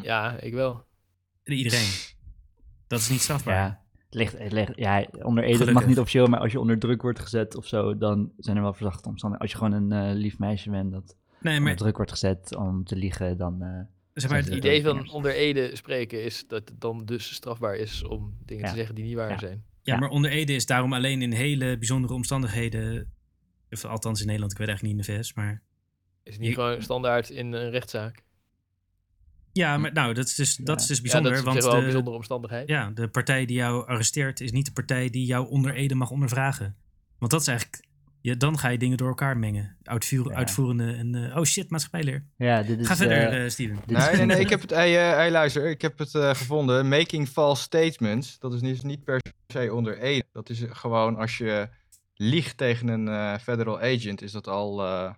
S5: Ja, ik wel.
S1: Iedereen. Dat is niet strafbaar.
S4: ja, het ligt, het ligt, ja, onder Ede het mag
S1: Gelukkig.
S4: niet officieel, maar als je onder druk wordt gezet of zo, dan zijn er wel verzachte omstandigheden. Als je gewoon een eh, lief meisje bent dat
S1: Nee,
S4: onder
S1: maar,
S4: druk wordt gezet om te liegen, dan... eh,
S1: zeg maar
S4: Het
S5: Het
S4: Ja,
S5: idee
S4: dat
S5: van
S4: is-
S5: onder Ede spreken is dat het dan dus strafbaar is om dingen
S4: Ja.
S5: te zeggen die niet waar
S4: Ja.
S5: zijn.
S1: Ja,
S4: Ja.
S1: maar onder Ede is daarom alleen in hele bijzondere omstandigheden. Of althans in Nederland, ik weet eigenlijk niet in de VS. Maar
S5: Is het niet
S1: Je-
S5: gewoon standaard in een rechtszaak?
S4: Hm.
S1: ja, maar nou, dat is dus, dat is dus bijzonder.
S5: ja, dat is op
S1: want
S5: zich wel
S1: de,
S5: een bijzondere omstandigheid.
S1: ja, de partij die jou arresteert is niet de partij die jou onder Ede mag ondervragen. Want dat is eigenlijk. Je, dan ga je dingen door elkaar mengen. Uitvuur,
S4: Ja.
S1: Uitvoerende en. eh, oh shit, maatschappijleer.
S4: ja, dit is...
S1: ga verder,
S4: eh,
S1: eh, Steven.
S4: dit is-
S3: Nee, nee, nee, ik heb het, hey, eh, hey, luister, ik heb het eh, gevonden. Making false statements, dat is niet, niet per se onder Ede. Dat is gewoon als je liegt tegen een eh, federal agent, is dat al, eh,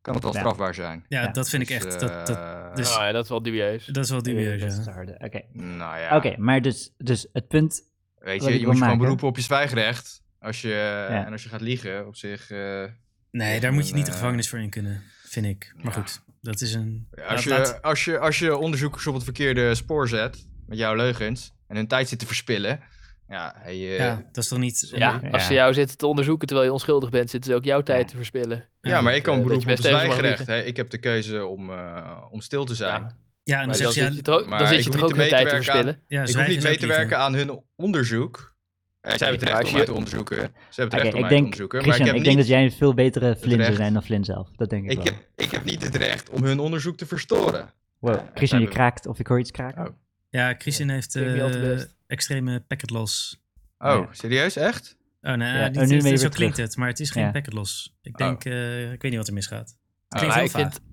S3: kan het al
S4: Ja.
S3: strafbaar zijn.
S1: Ja,
S4: ja,
S1: dat vind ik
S3: Dus,
S1: echt. dat, dat,
S3: eh,
S1: dus-
S5: Nou ja, dat is wel dubieus.
S1: dat is wel dubieus.
S5: eh,
S4: dat is
S1: ja.
S4: te harde. Oké,
S3: nou ja,
S4: Oké, maar dus, dus het punt
S3: weet
S4: wat
S3: je, je moet
S4: ik wil
S3: je gewoon
S4: maken.
S3: beroepen op je zwijgrecht. Als je,
S4: Ja.
S3: En als je gaat liegen, op zich... eh,
S1: Nee,
S3: Tegen
S1: daar moet je
S3: een,
S1: niet de
S3: eh,
S1: gevangenis voor in kunnen, vind ik. Maar
S3: ja.
S1: goed, dat is een.
S3: als,
S1: laat- laat-
S3: je, als, je, als je onderzoekers op het verkeerde spoor zet, met jouw leugens, en hun tijd zit te verspillen, Ja, hij, eh,
S1: Ja, dat is toch niet...
S5: Ja,
S4: Ja.
S5: als ze jou zitten te onderzoeken terwijl je onschuldig bent, zitten ze ook jouw tijd te verspillen.
S3: ja, maar ik kan
S5: eh, dat
S3: beroep
S5: je
S3: op
S5: best
S3: het
S5: tegen ze mag
S3: zwijgrecht. hè. Ik heb de keuze om, eh, om stil te zijn.
S5: Ja,
S1: Ja, en dan
S5: Maar
S1: zegt
S5: dan
S1: ze,
S5: zit
S1: ja,
S5: je toch ook-
S3: maar
S5: dan
S3: ik
S5: zit je
S3: hoef
S5: toch
S3: niet
S5: ook
S3: te
S5: hun tijd te
S3: meewerken aan-
S5: verspillen.
S1: ja,
S3: ik hoef
S1: zwijgen
S3: niet
S1: is
S3: mee
S1: ook
S3: te
S1: liever.
S3: werken aan hun onderzoek. Eh, Zij hebben het recht
S5: als
S3: om
S5: je-
S3: mij te onderzoeken. Ze hebben het recht om
S4: Oké,
S3: mij
S4: ik
S3: te
S4: denk,
S3: onderzoeken. Maar ik heb
S4: Christian, ik, denk dat
S3: niet-
S4: jij een veel betere Flynn zou
S3: recht.
S4: zijn dan Flynn zelf. Dat denk ik,
S3: Ik
S4: wel.
S3: heb, ik heb niet het recht om hun onderzoek te verstoren.
S4: Wow. Christian, je
S3: hebben-
S4: kraakt of ik hoor iets kraken.
S3: Oh.
S1: Ja, Christian heeft
S5: klinkt niet al te
S1: eh,
S5: best.
S1: extreme packet loss.
S3: Oh,
S4: Ja.
S3: serieus? Echt?
S1: Oh, nee,
S4: Ja,
S1: niet-
S4: oh, nu
S1: dit-
S4: ben je
S1: zo
S4: weer
S1: klinkt
S4: terug.
S1: het, maar het is geen
S4: Ja.
S1: packet loss. Ik denk, eh, ik weet niet wat er misgaat. Het
S3: Oh,
S1: klinkt
S5: Maar
S1: heel
S5: ik
S1: vaag.
S5: vind,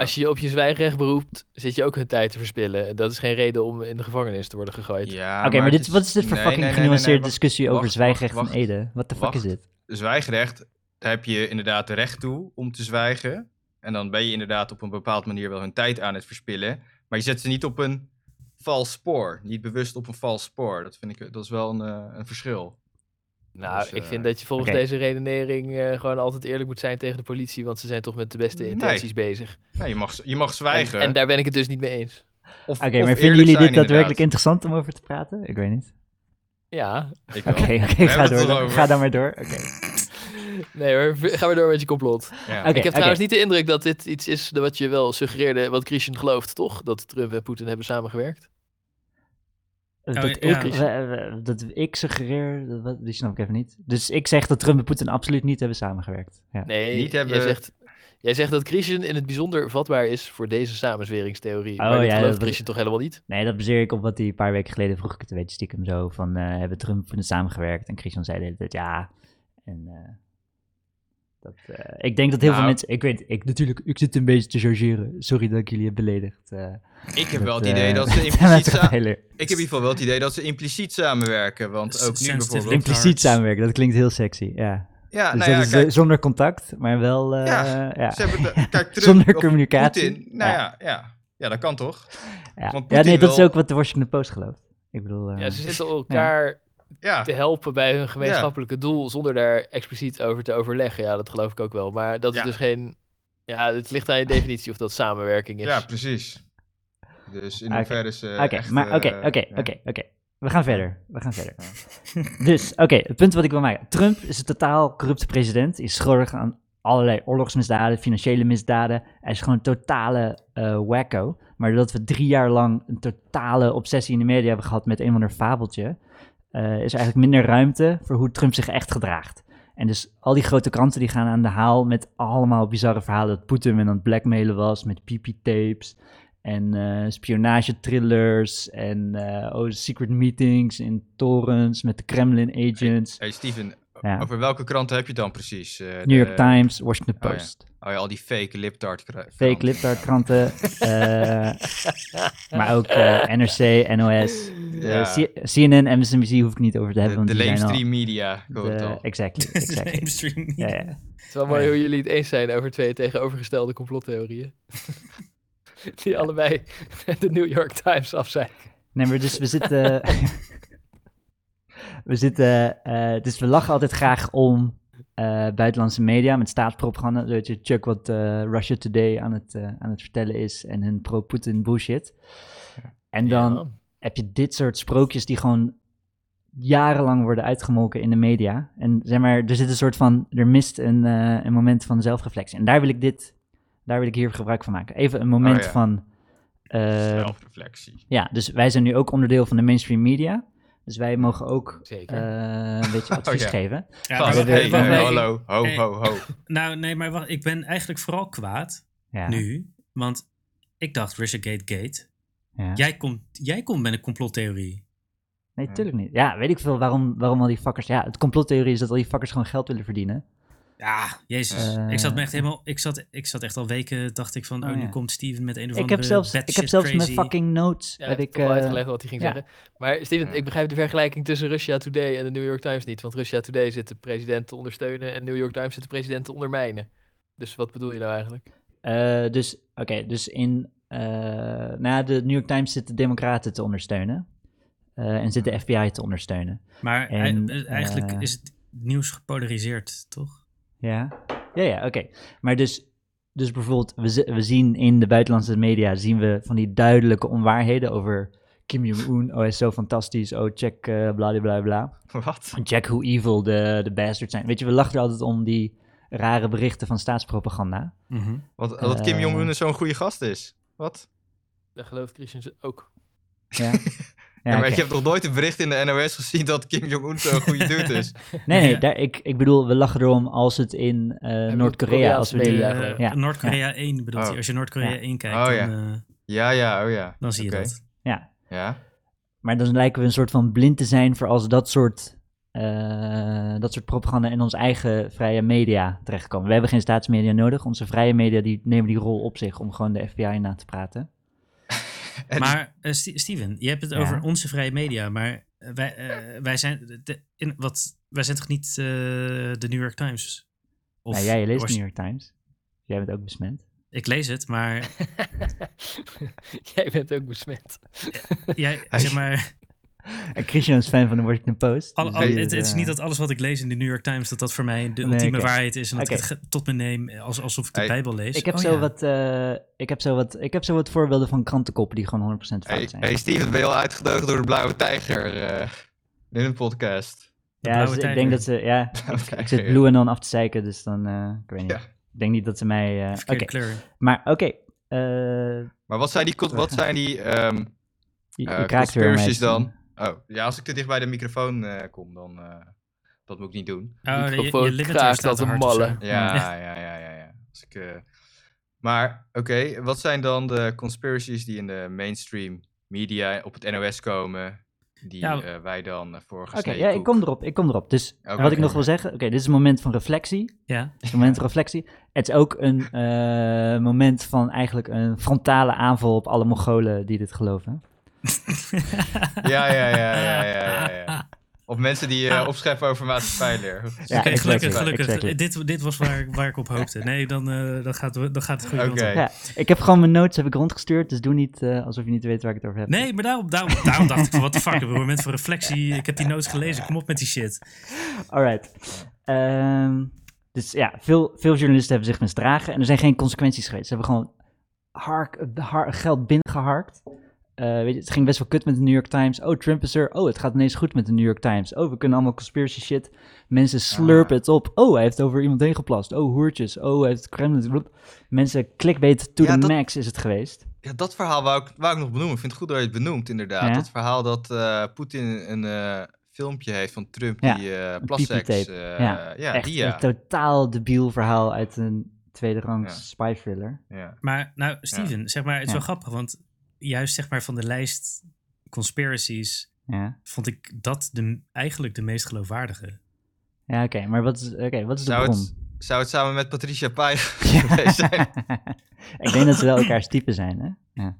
S5: als je je op je zwijgrecht beroept, zit je ook hun tijd te verspillen. Dat is geen reden om in de gevangenis te worden gegooid.
S3: Ja,
S4: Oké, maar, dit, wat is dit voor
S3: Nee,
S4: fucking
S3: nee, nee, nee,
S4: genuanceerde
S3: wacht.
S4: discussie over
S3: Wacht,
S4: zwijgrecht
S3: wacht,
S4: van Ede? Wat de fuck is
S3: Wacht.
S4: dit?
S3: zwijgrecht, daar heb je inderdaad de recht toe om te zwijgen. En dan ben je inderdaad op een bepaalde manier wel hun tijd aan het verspillen. Maar je zet ze niet op een vals spoor. Niet bewust op een vals spoor. Dat vind ik, dat is wel een, eh, een verschil.
S5: Nou,
S3: Dus,
S5: ik
S3: eh,
S5: vind dat je volgens
S4: oké.
S5: deze redenering eh, gewoon altijd eerlijk moet zijn tegen de politie, want ze zijn toch met de beste
S3: Nee.
S5: intenties bezig.
S3: Nou, je mag, je mag
S5: En,
S3: zwijgen.
S5: en daar ben ik het dus niet mee eens.
S3: of,
S4: Oké,
S3: of
S4: maar
S3: eerlijk
S4: vinden jullie dit
S3: zijn
S4: daadwerkelijk
S3: inderdaad.
S4: interessant om over te praten? Ik weet niet.
S5: Ja,
S3: Ik wel.
S4: Oké, oké,
S3: hebben
S4: ga
S3: het
S4: door.
S3: er
S4: Dan,
S3: over.
S4: ga dan maar door. Oké,
S5: nee hoor, v- gaan we door met je complot.
S3: Ja.
S4: Oké,
S5: ik heb
S4: oké.
S5: trouwens niet de indruk dat dit iets is wat je wel suggereerde, wat Christian gelooft, toch? Dat Trump en Poetin hebben samengewerkt.
S1: Oh,
S4: Dat,
S1: ja.
S4: ik, we- we- dat ik suggereer, dat- wat- die snap ik even niet. Dus ik zeg dat Trump en Poetin absoluut niet hebben samengewerkt. Ja.
S5: Nee,
S3: Niet hebben-
S5: jij, zegt, jij zegt dat Christian in het bijzonder vatbaar is voor deze samenzweringstheorie.
S4: Oh,
S5: maar dat
S4: ja,
S5: gelooft
S4: dat-
S5: Christian toch helemaal niet?
S4: Nee, dat baseer ik op wat hij een paar weken geleden vroeg. Ik het een beetje stiekem zo van, eh, hebben Trump en Poetin samengewerkt? En Christian zei de hele tijd ja. En eh, dat, eh, ik denk dat heel
S3: Nou.
S4: veel mensen... Ik weet, ik, natuurlijk, ik zit een beetje te chargeren. Sorry dat ik jullie heb beledigd. eh,
S3: Ik heb wel het
S4: met,
S3: idee
S4: eh,
S3: dat ze
S4: met
S3: impliciet
S4: Red
S3: sa-
S4: Taylor.
S3: Ik heb in ieder geval wel het idee dat ze impliciet samenwerken. Want
S1: S-
S3: ook nu
S1: sensitive
S3: bijvoorbeeld.
S1: link.
S4: Impliciet
S1: Arts.
S4: samenwerken, dat klinkt heel sexy, ja.
S3: Ja, nou
S4: Dus dat
S3: ja,
S4: is eh,
S3: kijk,
S4: zonder contact, maar wel... eh,
S3: Ja,
S4: ja,
S3: ze hebben de- kijk, Trump
S4: Zonder
S3: of
S4: communicatie.
S3: Poetin. Nou ja, ja. ja, dat kan toch?
S4: Ja,
S3: Want
S4: Ja,
S3: Poetin
S4: nee, dat is
S3: wil-
S4: ook wat de Washington Post gelooft. Ik bedoel, eh,
S5: Ja, ze zitten elkaar
S3: Ja.
S5: te helpen bij hun gemeenschappelijke doel zonder daar expliciet over te overleggen. Ja, dat geloof ik ook wel. Maar dat
S3: Ja.
S5: is dus geen... Ja, het ligt aan je definitie of dat samenwerking is.
S3: Ja, precies. Dus in
S4: Oké.
S3: hoeverre ze.
S4: oké,
S3: echt,
S4: maar oké,
S3: eh,
S4: oké,
S3: ja.
S4: oké, oké. We gaan verder, we gaan verder. dus, oké, het punt wat ik wil maken. Trump is een totaal corrupte president. Hij is schuldig aan allerlei oorlogsmisdaden, financiële misdaden. Hij is gewoon een totale eh wacko. Maar doordat we drie jaar lang een totale obsessie in de media hebben gehad met een of ander fabeltje... eh, is er eigenlijk minder ruimte voor hoe Trump zich echt gedraagt. En dus al die grote kranten die gaan aan de haal met allemaal bizarre verhalen... dat Poetin men aan het blackmailen was met pipi-tapes... En eh spionagetrillers en eh, oh, secret meetings in torens met de Kremlin agents.
S3: Hey Steven, o-
S4: Ja.
S3: over welke krant heb je het dan precies? Eh,
S4: New York
S3: de-
S4: Times, Washington
S3: oh ja.
S4: Post.
S3: Oh ja, al die fake liptart. kra-
S4: Fake
S3: kranten.
S4: lipdart kranten. eh, maar ook eh, NRC, NOS. eh,
S3: Ja.
S4: C- CNN, MSNBC hoef ik niet over te
S3: De, de
S4: hebben. want die zijn al-
S3: mainstream media. ik hoor het
S4: de-
S3: al.
S4: exactly, exactly.
S1: Mainstream.
S4: ja, ja.
S5: Het is wel mooi hoe jullie het eens zijn over twee tegenovergestelde complottheorieën. Die allebei de New York Times af zijn.
S4: Nee, maar dus we zitten. we zitten. eh, dus we lachen altijd graag om eh, buitenlandse media met staatspropaganda. Weet je, check wat eh, Russia Today aan het, eh, aan het vertellen is en hun pro-Putin bullshit. En dan
S5: Ja.
S4: heb je dit soort sprookjes die gewoon jarenlang worden uitgemolken in de media. En zeg maar, er zit een soort van, er mist een, eh, een moment van zelfreflectie. En daar wil ik dit, daar wil ik hier gebruik van maken. Even een moment
S5: Oh
S3: ja.
S4: van... eh,
S3: Zelfreflectie.
S4: ja, dus wij zijn nu ook onderdeel van de mainstream media. Dus wij mogen ook
S5: Zeker.
S4: eh, een beetje advies
S3: ja.
S4: geven.
S1: Ja, maar
S3: Gast,
S1: wacht,
S3: hey,
S1: wacht,
S3: eh,
S1: nee,
S3: hallo, ho,
S1: Hey.
S3: ho, ho.
S1: Nou, nee, maar wacht, ik ben eigenlijk vooral kwaad
S4: Ja,
S1: nu, want ik dacht Russia Gate Gate.
S4: ja.
S1: Jij komt, jij komt met een complottheorie.
S4: Nee, tuurlijk niet. Ja, weet ik veel waarom, waarom al die fuckers... Ja, het complottheorie is dat al die fuckers gewoon geld willen verdienen.
S1: Ja, jezus.
S4: Eh.
S1: ik zat me echt helemaal, ik zat, ik zat echt al weken, dacht ik van, oh,
S4: Oh,
S1: nu
S4: ja.
S1: komt Steven met een of
S4: Ik heb
S1: andere
S4: zelfs, ik heb
S1: batshit
S4: zelfs mijn
S1: crazy-
S4: fucking notes.
S5: Ja,
S4: heb
S5: ik
S4: ik,
S5: heb al
S4: eh,
S5: uitgelegd wat hij ging
S4: ja.
S5: zeggen. Maar Steven, ik begrijp de vergelijking tussen Russia Today en de New York Times niet. Want Russia Today zit de president te ondersteunen en New York Times zit de president te ondermijnen. Dus wat bedoel je nou eigenlijk?
S4: Eh, dus, oké, dus in... eh na de New York Times zit de Democraten te ondersteunen. eh, en zit de FBI te ondersteunen.
S1: Maar
S4: En,
S1: ei- eigenlijk
S4: eh,
S1: is het nieuws gepolariseerd, toch?
S4: Ja, ja, ja oké. Maar dus, dus bijvoorbeeld, we, zi- we zien in de buitenlandse media zien we van die duidelijke onwaarheden over Kim Jong-un, oh hij is zo fantastisch, oh check eh bla bla bla.
S3: Wat?
S4: Check hoe evil de, de bastards zijn. Weet je, we lachen er altijd om die rare berichten van staatspropaganda.
S1: Mhm.
S3: Wat, dat Kim
S4: Eh.
S3: Jong-un zo'n goede gast is. Wat?
S5: Daar gelooft Christian ze ook.
S4: Ja,
S3: Ja,
S4: ja,
S3: maar
S4: oké.
S3: ik heb toch nooit een bericht in de NOS gezien dat Kim Jong-un zo'n goede dude is?
S4: Nee, nee
S1: Ja.
S4: daar, ik, ik bedoel, we lachen erom als het in eh, Noord-Korea,
S5: Koreaanse
S4: als we
S5: media
S4: die...
S5: Ja,
S1: Eh,
S5: gewoon.
S4: ja,
S1: Noord-Korea 1 bedoelt
S3: Oh.
S1: hij. Als je Noord-Korea
S4: Ja.
S1: 1 kijkt,
S3: Oh,
S1: dan,
S3: ja.
S1: eh,
S3: Ja, ja, oh ja.
S1: dan zie je
S3: Oké.
S1: dat.
S4: Ja,
S3: Ja?
S4: maar dan lijken we een soort van blind te zijn voor als dat soort, eh, dat soort propaganda in ons eigen vrije media terechtkomen. We hebben geen staatsmedia nodig. Onze vrije media die nemen die rol op zich om gewoon de FBI na te praten.
S3: En-
S1: Maar eh, Ste- Steven, je hebt het
S4: Ja.
S1: over onze vrije media, maar eh, wij, eh, wij, zijn, de, in, wat, wij zijn toch niet eh, de New York Times? Of
S4: nou, jij je leest
S1: de
S4: de New
S1: Washi-
S4: York Times. Jij bent ook besmet.
S1: Ik lees het, maar
S5: Jij bent ook besmet.
S1: jij, zeg maar,
S4: En Christian is fan van de Washington Post.
S1: al,
S4: dus
S1: al-
S4: die
S1: het, het is
S4: eh,
S1: niet dat alles wat ik lees in de New York Times, dat dat voor mij de
S4: Nee,
S1: ultieme
S4: oké.
S1: waarheid is en dat ik
S4: Oké.
S1: het ge- tot me neem eh, als, alsof ik de
S3: Hey,
S1: Bijbel lees.
S4: Ik heb,
S1: Oh
S4: zo
S1: ja.
S4: wat, eh, ik, heb zo wat, ik heb zo wat voorbeelden van krantenkoppen die gewoon 100% fout
S3: Hey,
S4: zijn.
S3: hey Steven, ben je al uitgenodigd door de Blauwe Tijger eh, in een podcast?
S4: ja,
S1: blauwe
S4: dus ik
S1: tijger.
S4: denk dat ze. Ja,
S3: Blauwe
S4: ik
S3: Tijger,
S4: zit
S3: ja.
S4: Blue en dan af te zeiken, dus dan. eh, ik weet niet.
S3: Ja.
S4: Ik denk niet dat ze mij. eh, oké,
S1: Verkeerde kleur.
S4: maar oké. eh,
S3: Maar wat zijn die, co- wat zijn die ehm
S4: je,
S3: eh,
S4: je kraakt weer.
S3: conspiracies
S4: meisje.
S3: dan? Oh, ja, als ik te dicht bij de microfoon eh, kom, dan... eh, dat moet ik niet doen.
S1: Oh, je- je,
S5: Microfoon
S1: limiter
S5: kraakt
S1: staat
S5: als
S1: te
S5: een
S1: hard of zo.
S5: malle.
S3: Ja, ja, ja, ja. ja. Als ik, eh, Maar oké, wat zijn dan de conspiracies die in de mainstream media op het NOS komen, die
S1: Ja,
S3: eh, wij dan eh, voor
S4: Nou, Oké,
S3: gesneden
S4: ja, ik
S3: koek-
S4: kom erop. Ik kom erop. Dus
S3: Oké,
S4: wat ik
S3: oké.
S4: nog wil zeggen. Oké, dit is een moment van reflectie.
S1: Ja.
S4: Het is een moment van reflectie. Het is ook een eh, moment van eigenlijk een frontale aanval op alle Mongolen die dit geloven.
S3: Ja, ja, ja, ja, ja, ja, ja. Of mensen die
S1: Ah.
S3: eh, opscheppen over maatschappijleer.
S4: Ja,
S1: Oké,
S4: exactly,
S1: gelukkig, gelukkig. Eh,
S4: exactly.
S1: Dit, dit was waar, waar ik op hoopte. Nee, dan, eh, dan, gaat, dan gaat het goed.
S3: Oké.
S4: Ja, ik heb gewoon mijn notes heb ik rondgestuurd, dus doe niet eh, alsof je niet weet waar ik het over heb.
S1: Nee, maar daarom, daarom, daarom dacht ik van, what the fuck, we hebben een moment voor reflectie. Ik heb die notes gelezen, kom op met die shit.
S4: Alright. Ehm, dus ja, veel, veel journalisten hebben zich misdragen en er zijn geen consequenties geweest. Ze hebben gewoon hark, har- geld binnengeharkt. Eh, weet je, het ging best wel kut met de New York Times. Oh, Trump is er. Oh, het gaat ineens goed met de New York Times. Oh, we kunnen allemaal conspiracy shit. Mensen
S3: Ah.
S4: slurpen het op. Oh, hij heeft over iemand heen geplast. Oh, hoertjes. Oh, hij heeft Kremlin. bloep. Mensen, clickbait to
S3: Ja,
S4: the
S3: dat-
S4: max is het geweest.
S3: Ja, dat verhaal wou ik, wou ik nog benoemen. Ik vind het goed dat je het benoemt, inderdaad.
S4: Ja.
S3: Dat verhaal dat eh, Poetin een eh, filmpje heeft van Trump
S4: Ja,
S3: die eh plasseks...
S4: piepjetape.
S3: eh,
S4: Ja,
S3: ja,
S4: Echt
S3: die ja.
S4: een totaal debiel verhaal uit een tweede rang
S3: Ja.
S4: spy thriller.
S3: ja.
S1: Maar nou, Steven, zeg maar, het is wel grappig, want juist zeg maar van de lijst conspiracies
S4: Ja.
S1: vond ik dat de, eigenlijk de meest geloofwaardige.
S4: Ja, oké, maar wat is, oké, wat is de
S3: Zou
S4: bron?
S3: het, zou het samen met Patricia Pai geweest zijn?
S4: ik denk dat ze wel elkaars type zijn, hè? Ja.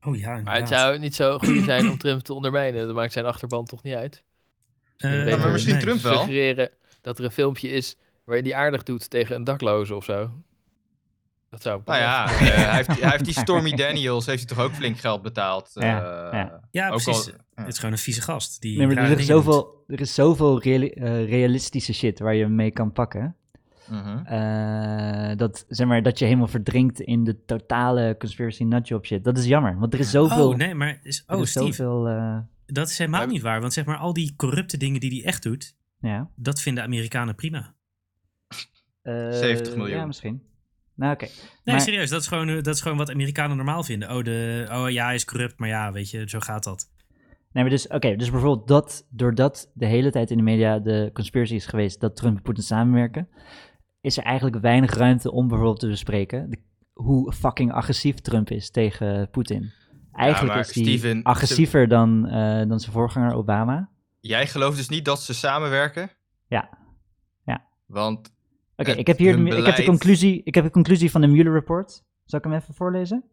S1: Oh ja,
S5: Maar het
S1: inderdaad.
S5: zou niet zo goed zijn om Trump te ondermijnen. Dat maakt zijn achterban toch niet uit.
S1: Eh,
S5: Ja, maar misschien
S1: nee.
S3: Trump wel.
S5: Suggereren dat er een filmpje is waarin hij aardig doet tegen een dakloze of zo. Dat zou...
S3: Nou ja, eh, hij, heeft, hij heeft die Stormy Daniels, heeft hij toch ook flink geld betaald?
S4: Ja,
S3: eh,
S4: ja.
S1: Ja,
S3: ook
S1: precies.
S3: al-
S1: Het is gewoon een vieze gast. Die
S4: Nee, maar
S1: rare
S4: er is
S1: dingen doet.
S4: zoveel, er is zoveel reali- eh, realistische shit waar je mee kan pakken.
S3: Mhm.
S4: Eh, dat, zeg maar, dat je helemaal verdrinkt in de totale conspiracy nutjob shit. Dat is jammer, want er is zoveel...
S1: Oh, nee, maar... Is,
S4: er
S1: oh,
S4: is
S1: Steven,
S4: zoveel eh,
S1: dat is helemaal niet waar. Want zeg maar, al die corrupte dingen die hij echt doet,
S4: ja.
S1: dat vinden Amerikanen prima.
S4: Eh,
S3: 70 miljoen.
S4: Ja, misschien. Nou, oké.
S1: Nee,
S4: Maar-
S1: serieus, dat is, gewoon, eh, dat is gewoon wat Amerikanen normaal vinden. Oh, de, oh ja, hij is corrupt, maar ja, weet je, zo gaat dat.
S4: Nee, maar dus, oké, dus bijvoorbeeld dat, doordat de hele tijd in de media de conspiracy is geweest dat Trump en Poetin samenwerken, is er eigenlijk weinig ruimte om bijvoorbeeld te bespreken de- hoe fucking agressief Trump is tegen Poetin. Eigenlijk
S3: maar
S4: is die
S3: Steven, ze-
S4: agressiever dan, eh, dan zijn voorganger Obama.
S3: Jij gelooft dus niet dat ze samenwerken?
S4: Ja. Ja.
S3: Want
S4: Oké,
S3: Het-
S4: ik heb hier
S3: hun
S4: de, ik heb de,
S3: beleid-
S4: conclusie, ik heb de conclusie van de Mueller Report. Zal ik hem even voorlezen?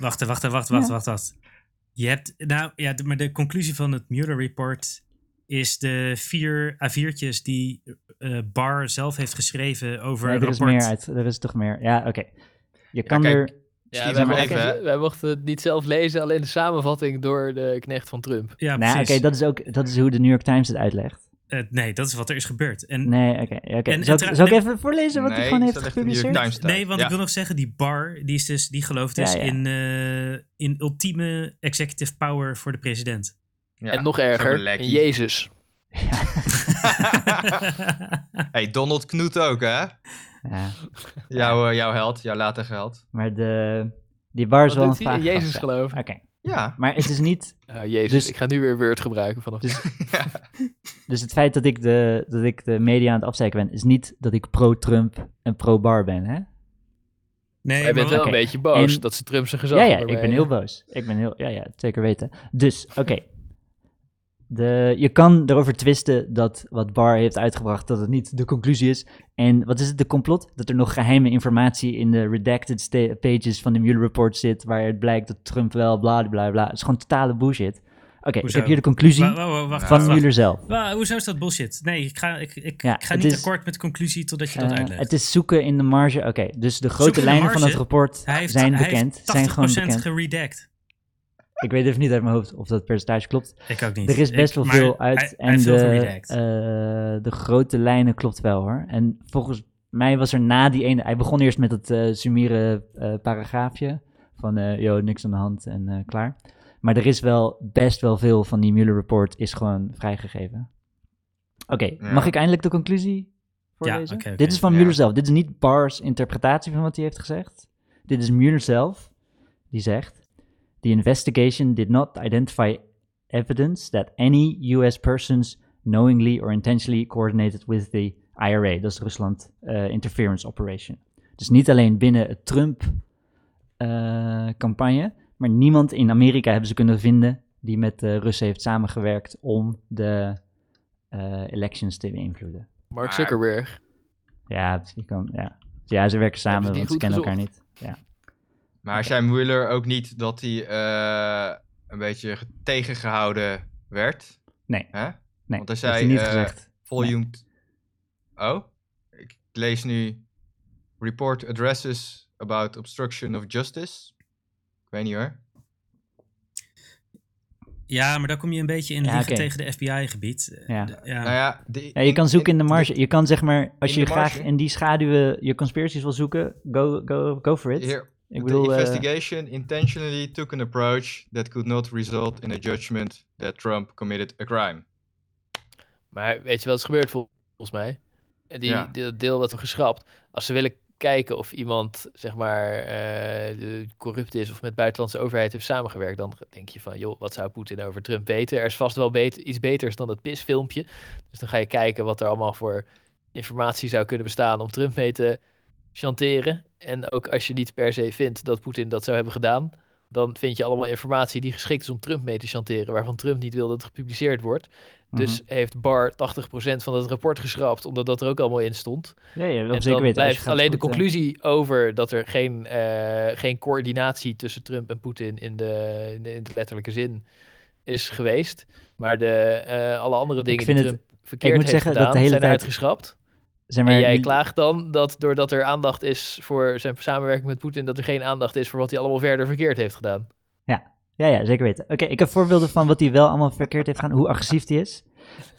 S1: Wacht, wacht, wacht, wacht,
S4: Ja.
S1: wacht, wacht. Je hebt, nou ja, de- maar de conclusie van het Mueller Report is de vier A4'tjes die eh, Barr zelf heeft geschreven over
S4: Nee,
S1: een
S4: er is
S1: rapport.
S4: meer uit. Er is toch meer. Ja, oké. Je kan
S3: kijk,
S4: er.
S5: Ja,
S3: Steven,
S5: wij,
S3: maar
S5: mochten,
S3: even, hè?
S5: wij mochten het niet zelf lezen, alleen de samenvatting door de knecht van Trump.
S1: Ja,
S4: nou,
S1: precies.
S4: oké, dat is ook dat is hoe de New York Times het uitlegt.
S1: Eh, nee, dat is wat er is gebeurd. En
S4: Nee, oké. oké.
S1: En-
S4: Zal,
S1: en tra-
S4: ik- zal ik
S1: nee.
S4: even voorlezen wat hij
S3: Nee,
S4: gewoon heeft
S3: dat ligt in de New York
S4: gepubliceerd?
S3: Times staat.
S1: Nee, want
S3: Ja.
S1: ik wil nog zeggen, die bar, die, is dus, die gelooft dus
S4: Ja, ja.
S1: In, eh, in ultieme executive power voor de president.
S3: Ja,
S5: en nog
S3: zo'n
S5: erger,
S3: lekkie.
S5: een Jezus.
S3: hey, Donald Knoet ook, hè?
S4: Ja,
S3: Jouw, eh, jouw held, jouw latere held.
S4: maar de, die bar is
S5: Wat
S4: wel een
S5: doet hij?
S4: vraag.
S5: In Jezus geloven.
S4: Oké,
S3: Ja.
S4: maar het is niet
S5: Ah, Jezus,
S4: Dus-
S5: ik ga nu weer Word gebruiken vanaf nu.
S4: Dus het feit dat ik de, dat ik de media aan het afzeiken ben, is niet dat ik pro-Trump en pro-Bar ben, hè?
S1: Nee,
S5: Jij bent
S1: maar-
S5: wel
S4: Oké,
S5: een beetje boos
S4: en-
S5: dat ze Trump zijn gezag
S4: Ja, ja, ik
S5: ondermijnen.
S4: ben heel boos. Ik ben heel, ja, ja, zeker weten. Dus, oké. De, je kan erover twisten dat wat Barr heeft uitgebracht, dat het niet de conclusie is. En wat is het, de complot? Dat er nog geheime informatie in de redacted sta- pages van de Mueller report zit, waaruit blijkt dat Trump wel bla bla bla. Het is gewoon totale bullshit. Oké, ik
S1: Hoezo?
S4: heb hier de conclusie
S1: Wa- wa- wa- wacht,
S4: van
S1: wacht, wacht.
S4: Mueller zelf.
S1: Wa- hoezo is dat bullshit? Nee, ik ga, ik, ik,
S4: Ja,
S1: ik ga
S4: het
S1: niet
S4: is-
S1: akkoord met de conclusie totdat je dat
S4: Eh,
S1: uitlegt.
S4: het is zoeken in de marge. Oké, dus de
S1: Zoeken
S4: grote
S1: in de
S4: lijnen van
S1: marge?
S4: het rapport
S1: hij heeft,
S4: zijn
S1: hij
S4: bekend.
S1: heeft 80%
S4: zijn gewoon bekend.
S1: geredact.
S4: Ik weet even niet uit mijn hoofd of dat percentage klopt.
S1: Ik ook niet.
S4: Er is
S1: Ik-
S4: best wel
S1: maar
S4: veel uit.
S1: hij- hij
S4: en
S1: heeft veel
S4: de,
S1: geredact.
S4: eh, de grote lijnen klopt wel hoor. En volgens mij was er na die ene. Hij begon eerst met dat eh sumiere eh, paragraafje. Van eh yo, niks aan de hand en eh, klaar. Maar er is wel best wel veel van die Mueller report is gewoon vrijgegeven. Oké,
S3: Ja.
S4: mag ik eindelijk de conclusie voorlezen?
S1: oké, oké.
S4: Dit is van
S3: Ja.
S4: Mueller zelf. Dit is niet Barr's interpretatie van wat hij heeft gezegd. Dit is Mueller zelf die zegt: The investigation did not identify evidence that any US persons knowingly or intentionally coordinated with the IRA. Dat is Rusland eh, Interference Operation. Dus niet alleen binnen het Trump-campagne, maar niemand in Amerika hebben ze kunnen vinden die met de Russen heeft samengewerkt om de eh, elections te beïnvloeden.
S5: Mark Zuckerberg.
S4: Ja, je kan, ja. Dus ja ze werken samen,
S5: die
S4: want ze
S5: goed
S4: kennen
S5: gezocht?
S4: elkaar niet. Ja.
S3: Maar zei Mueller ook niet dat hij eh, een beetje ge- tegengehouden werd?
S4: Nee.
S3: Hè?
S4: Nee,
S3: Want hij
S4: dat
S3: zei,
S4: heeft hij niet
S3: eh,
S4: gezegd.
S3: Volume... t- Oh? Ik lees nu... Report addresses about obstruction of justice. Ik weet niet hoor.
S1: Ja, maar dan kom je een beetje in
S4: Ja,
S1: liegen
S4: oké.
S1: tegen de FBI-gebied.
S4: Ja.
S1: Eh, ja.
S3: Nou ja, de-
S4: Ja, je kan zoeken in de marge. Je kan zeg maar, als
S3: in
S4: je
S3: de
S4: graag
S3: marge?
S4: in die schaduwen je conspiracies wil zoeken, go, go, go for it.
S3: Hier,
S4: Ik
S3: the
S4: bedoel, eh,
S3: investigation intentionally took an approach that could not result in a judgment that Trump committed a crime.
S5: Maar weet je wat is gebeurd vol- volgens mij? En Die,
S3: Ja.
S5: die- dat deel dat we geschrapt. Als ze willen kijken of iemand, zeg maar, eh, de- corrupt is of met buitenlandse overheid heeft samengewerkt, dan denk je van, joh, wat zou Poetin over Trump weten? Er is vast wel bet- iets beters dan dat pisfilmpje. Dus dan ga je kijken wat er allemaal voor informatie zou kunnen bestaan om Trump mee te chanteren. En ook als je niet per se vindt dat Poetin dat zou hebben gedaan, dan vind je allemaal informatie die geschikt is om Trump mee te chanteren, waarvan Trump niet wil dat het gepubliceerd wordt.
S4: Mhm.
S5: Dus heeft Barr 80% van dat rapport geschrapt, omdat dat er ook allemaal in stond.
S4: ja, ja, op
S5: en
S4: zeker
S5: dan
S4: weten. Als je
S5: blijft
S4: gaat
S5: alleen de
S4: zoeken-
S5: conclusie over dat er geen, eh, geen coördinatie tussen Trump en Poetin in de, in de, in de letterlijke zin is geweest. Maar de, eh, alle andere dingen
S4: vind
S5: die
S4: het-
S5: Trump verkeerd
S4: moet
S5: heeft
S4: zeggen dat
S5: gedaan,
S4: de hele
S5: zijn
S4: tijd-
S5: uitgeschrapt.
S4: Zeg
S5: En
S4: maar,
S5: jij
S4: die-
S5: klaagt dan dat doordat er aandacht is voor zijn samenwerking met Poetin, dat er geen aandacht is voor wat hij allemaal verder verkeerd heeft gedaan.
S4: Ja, ja, zeker weten. Oké, ik heb voorbeelden van wat hij wel allemaal verkeerd heeft gedaan, hoe agressief hij is.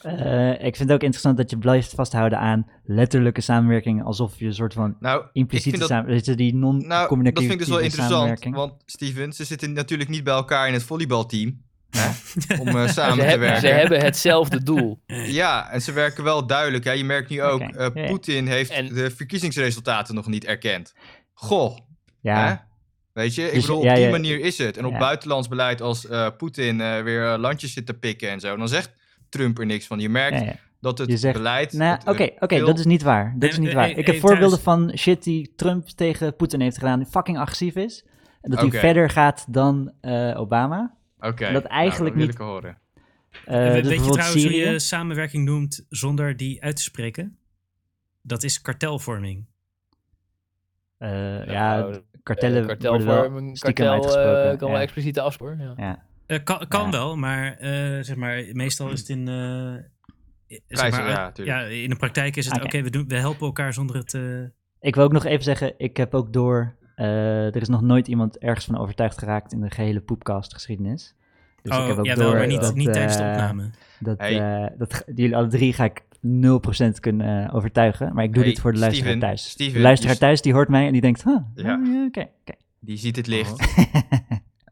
S4: Eh, ik vind het ook interessant dat je blijft vasthouden aan letterlijke samenwerking, alsof je een soort van
S3: Nou, ik vind
S4: impliciete
S3: dat,
S4: samenwerking, die
S3: nou,
S4: non-communicatieve
S3: dat vind ik dus wel interessant.
S4: samenwerking.
S3: Want Steven, ze zitten natuurlijk niet bij elkaar in het volleybalteam hè, om eh,
S5: Ze,
S3: samen te
S5: hebben, ze
S3: werken.
S5: hebben hetzelfde doel.
S3: Ja, en ze werken wel duidelijk. Hè. Je merkt nu ook,
S4: Oké,
S3: eh,
S4: ja, ja.
S3: Poetin heeft
S5: En-
S3: de verkiezingsresultaten nog niet erkend. Goh,
S4: ja,
S3: hè? Weet je, ik
S4: Dus
S3: bedoel,
S4: ja,
S3: op die
S4: ja.
S3: manier is het. En op
S4: Ja.
S3: buitenlands beleid als eh, Poetin eh, weer eh, landjes zit te pikken en zo, dan zegt Trump er niks van. Je merkt
S4: ja, ja.
S3: dat het
S4: Je zegt,
S3: beleid...
S4: Nou,
S3: het,
S4: oké,
S3: eh,
S4: oké,
S3: veel-
S4: dat is niet waar. Dat
S1: Nee,
S4: is niet
S1: eh,
S4: waar.
S1: eh,
S4: Ik heb
S1: eh,
S4: voorbeelden van shit die Trump tegen Poetin heeft gedaan, die fucking agressief is. En dat
S3: Oké.
S4: hij verder gaat dan eh, Obama.
S3: Oké,
S4: dat
S3: nou,
S4: eigenlijk
S3: wil
S4: niet-
S3: ik horen.
S4: Eh,
S1: We-
S4: dat
S1: weet je
S4: bijvoorbeeld
S1: trouwens hoe
S4: Syrië.
S1: je samenwerking noemt zonder die uit te spreken? Dat is kartelvorming.
S4: Eh, ja,
S5: Nou,
S4: kartellen
S5: Eh,
S4: worden wel
S5: kartelvorming,
S4: stiekem
S5: kartel,
S4: uitgesproken.
S5: eh, kan
S4: ja.
S5: wel expliciete afspraak. Ja.
S1: Eh, kan kan
S4: Ja.
S1: wel, maar, eh, zeg maar meestal is het in... eh, zeg
S3: Prijzen,
S1: maar,
S3: ja,
S1: ja,
S3: natuurlijk.
S1: in de praktijk is het
S4: Oké. Dus
S1: oké, we, doen- we helpen elkaar zonder het... eh,
S4: Ik wil ook nog even zeggen, ik heb ook door... eh, er is nog nooit iemand ergens van overtuigd geraakt in de gehele poepcast geschiedenis. Dus
S1: oh,
S4: ik heb ook
S1: jawel,
S4: door
S1: maar niet,
S4: dat,
S1: niet tijdens de
S4: eh,
S1: opname.
S4: Dat,
S3: Hey.
S4: eh, dat ge- jullie alle drie ga ik 0% kunnen eh, overtuigen. Maar ik doe
S3: Hey,
S4: dit voor de luisteraar
S3: Steven,
S4: thuis. de
S3: Steven,
S4: luisteraar
S3: je-
S4: thuis die hoort mij en die denkt, huh, oh,
S3: Ja.
S4: ja, oké. oké.
S3: Die ziet het licht.